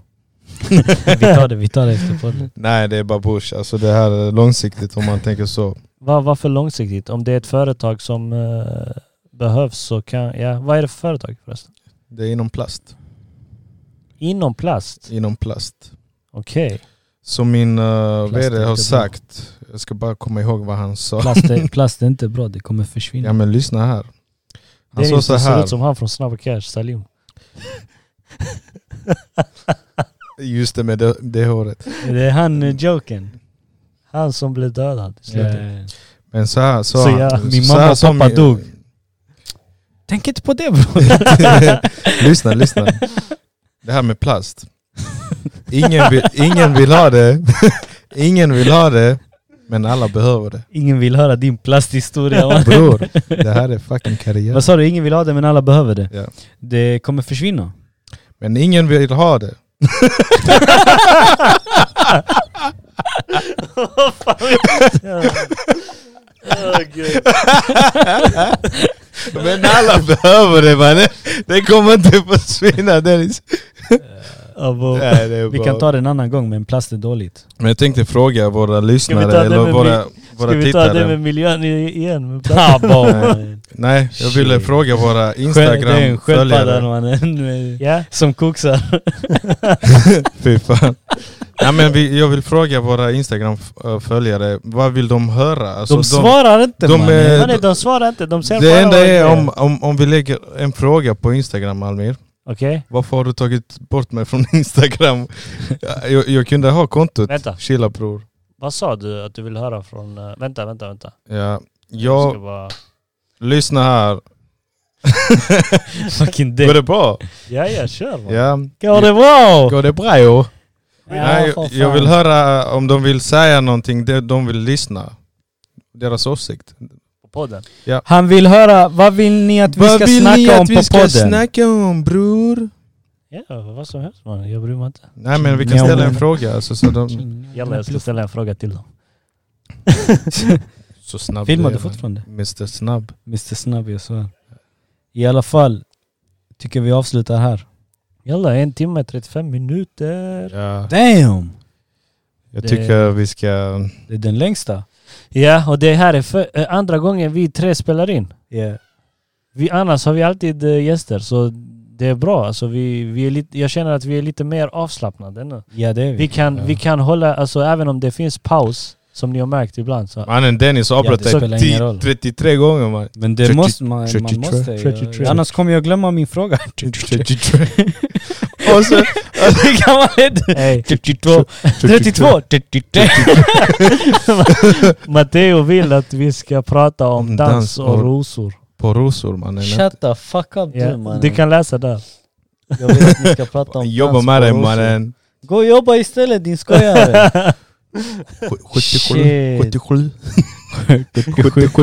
S3: Vi tar det, vi tar det efter (laughs) podden.
S2: Nej det är bara bush, alltså det här är långsiktigt om man tänker så.
S1: Va- Varför långsiktigt? Om det är ett företag som eh, behövs så kan, ja, vad är det för företag förresten?
S2: Det är inom plast.
S1: Inom plast?
S2: Inom plast.
S1: Okej.
S2: Som min uh,
S3: Plast är
S2: vd har
S3: inte bra. Mm.
S2: sagt, jag ska bara komma ihåg vad han sa.
S3: Plast är, plast är inte bra, det kommer försvinna.
S2: Ja men lyssna här. Han sa
S1: Dennis,
S2: så
S1: du ser
S2: här.
S1: ut som han från Snabba Cash, Salim.
S2: Just det med det, det håret.
S3: Det är han eh, joken.
S1: Han som blev dödad i slutet.
S3: Eh,
S2: Men så här sa
S1: Så
S2: han.
S1: ja,
S3: min
S2: så
S3: mamma
S2: här
S3: och
S2: sa
S3: pappa
S2: min-
S3: dog. Tänk inte på det bror.
S2: (laughs) lyssna, lyssna. Det här med plast. Ingen vill, ingen vill ha det. (laughs) ingen vill ha det. Men alla behöver det.
S3: Ingen vill höra din plasthistoria. (laughs) va?
S2: Bror, det här är fucking karriär.
S3: Vad sa du? Ingen vill ha det men alla behöver det.
S2: Ja.
S3: Det kommer försvinna.
S2: Men ingen vill ha det. (laughs) Men alla behöver det mannen. Det kommer inte försvinna Dennis.
S1: (laughs)
S3: Ja, bro.
S2: Nej, det är
S3: Vi
S2: bra.
S3: kan ta det en annan gång men plast är dåligt.
S2: Men jag tänkte fråga våra lyssnare
S1: ta det
S2: eller
S1: med
S2: våra,
S1: Ska
S2: våra
S1: vi ta det
S2: tittare.
S1: med miljön i- igen? (laughs) Med
S3: Ja,
S1: plattan?
S3: bro. (laughs)
S2: Nej, jag ville
S3: Shit.
S2: fråga våra
S3: Det är en sköldpadda
S2: Instagram-följare.
S3: mannen.
S1: Ja,
S3: Som koksar.
S2: Fy (laughs) fan. Nej, men vi, jag vill fråga våra Instagram-följare, vad vill de höra? Alltså,
S3: De eh, svarar inte
S2: de
S3: mannen.
S2: är-
S1: Mannen, de svarar inte. De ser bara
S2: det enda
S1: vad
S2: är
S1: det
S2: om, om, om vi lägger en fråga på Instagram Almir.
S1: Okej,
S2: Varför har du tagit bort mig från (laughs) Instagram? Jag, jag kunde ha kontot.
S1: Vänta.
S2: Chilla bror.
S1: vad sa du att du vill höra från... eh, vänta, vänta, vänta.
S2: Ja.
S1: Jag ska
S2: Jag,
S1: bara...
S2: lyssna här.
S3: Fucking
S2: Går
S3: dick.
S2: det bra?
S1: Ja, ja, kör man.
S2: Ja.
S3: Går det bra?
S2: Går det bra jo?
S3: Ja,
S2: Nej,
S3: för
S2: jag
S3: fan.
S2: vill höra om de vill säga någonting, det de vill lyssna. Deras åsikt.
S1: På podden.
S3: Han vill höra, vad vill ni att vi ska snacka om på podden?
S2: snacka om bror?
S1: Ja, vad som helst mannen. Jag bryr mig inte.
S2: Nej men vi kan
S3: Ja,
S2: ställa
S3: men-
S2: en fråga alltså, så,
S3: (laughs)
S2: de,
S3: Mm.
S1: Jalla, jag ska ställa en fråga till dem.
S2: så snabb
S3: Filmar
S2: du
S3: du
S2: är, man.
S3: fortfarande?
S2: Mr Snabb.
S3: Mr Snabb, jag svär. I alla fall, tycker vi avslutar här.
S1: Jalla, en timme 35 minuter.
S2: Ja.
S3: Damn!
S2: Jag
S1: Det-
S2: tycker vi ska...
S3: Det är den längsta.
S1: Ja, och det här är för, eh, andra gången vi tre spelar in.
S3: Yeah.
S1: Vi, annars har vi alltid eh, gäster, så det är bra. Alltså, vi, vi är lite, jag känner att vi är lite mer avslappnade
S2: Mm,
S1: nu.
S3: Ja det är
S1: Vi
S3: vi.
S1: kan, vi kan hålla, alltså även om det finns paus, som ni har märkt ibland. Så,
S2: Mannen Dennis har
S3: Ja, det
S2: avbröt
S3: spelar
S2: dig
S3: ingen
S2: 10
S3: roll.
S2: 33 gånger man. (laughs)
S3: Men det
S2: 30,
S3: måste man, man
S2: 33,
S3: måste ju.
S1: 33.
S3: Annars kommer jag glömma min (laughs) fråga.
S2: 33. Och
S3: (laughs)
S2: så...
S3: Hur gammal är du?
S1: Hey,
S3: 32, 32, 33.
S1: Matteo vill att vi ska prata om
S2: Om
S1: dans
S2: Mm, dans
S1: och
S2: och-
S1: rosor.
S2: På rosor mannen.
S3: Shut the fuck up
S1: Ja,
S3: du mannen.
S1: du kan läsa där.
S3: Jag vill att ni ska prata
S2: (laughs)
S3: om
S2: Jobba
S3: dans
S2: med
S3: på
S2: dig
S3: rosor.
S2: mannen.
S3: Gå och jobba istället din skojare.
S1: (laughs)
S2: 77.
S3: Shit.
S2: 77.
S3: 77.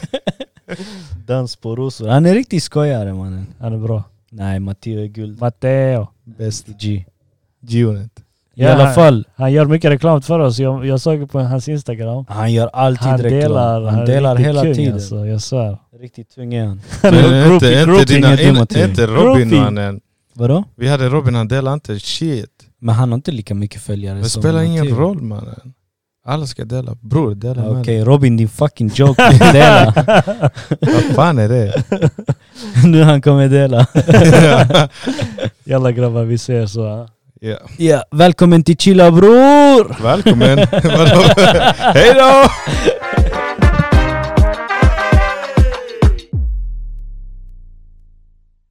S2: (laughs)
S3: Dans på rosor. Han är riktigt skojare mannen.
S1: Han är bra.
S3: Nej Matteo är guld.
S1: Matteo.
S2: Bäst.
S3: G.
S2: Gionet.
S3: I alla fall,
S1: Han gör mycket reklam för oss. Jag, jag såg på hans Instagram.
S3: han gör alltid
S1: Han
S3: reklam.
S1: delar,
S3: han delar
S1: är riktigt
S3: hela
S1: kung,
S3: tiden.
S1: Alltså, jag svär.
S3: Riktigt tung är han.
S1: (laughs)
S2: Men
S3: Groupie,
S2: inte, inte,
S3: groupie,
S2: dina,
S3: inget
S2: inte,
S3: dumt.
S2: inte Robin
S1: Groupie.
S2: mannen.
S3: Vadå?
S2: Vi hade Robin, han delade inte shit.
S3: Men han har inte lika mycket följare
S2: Det
S3: som
S2: spelar ingen
S3: Matteo.
S2: roll mannen. Alla ska dela. Bror, dela
S3: Okej
S2: med dig.
S3: Robin din fucking joke, dela.
S1: (laughs)
S3: (laughs)
S2: Vad fan är det?
S3: nu han
S2: (laughs)
S3: kommer dela.
S1: Jalla grabbar, vi ser så. ja.
S2: Ja.
S3: Ja,
S2: (laughs)
S3: välkommen till Chilla bror! (laughs)
S2: Välkommen! Vadå? Hej då!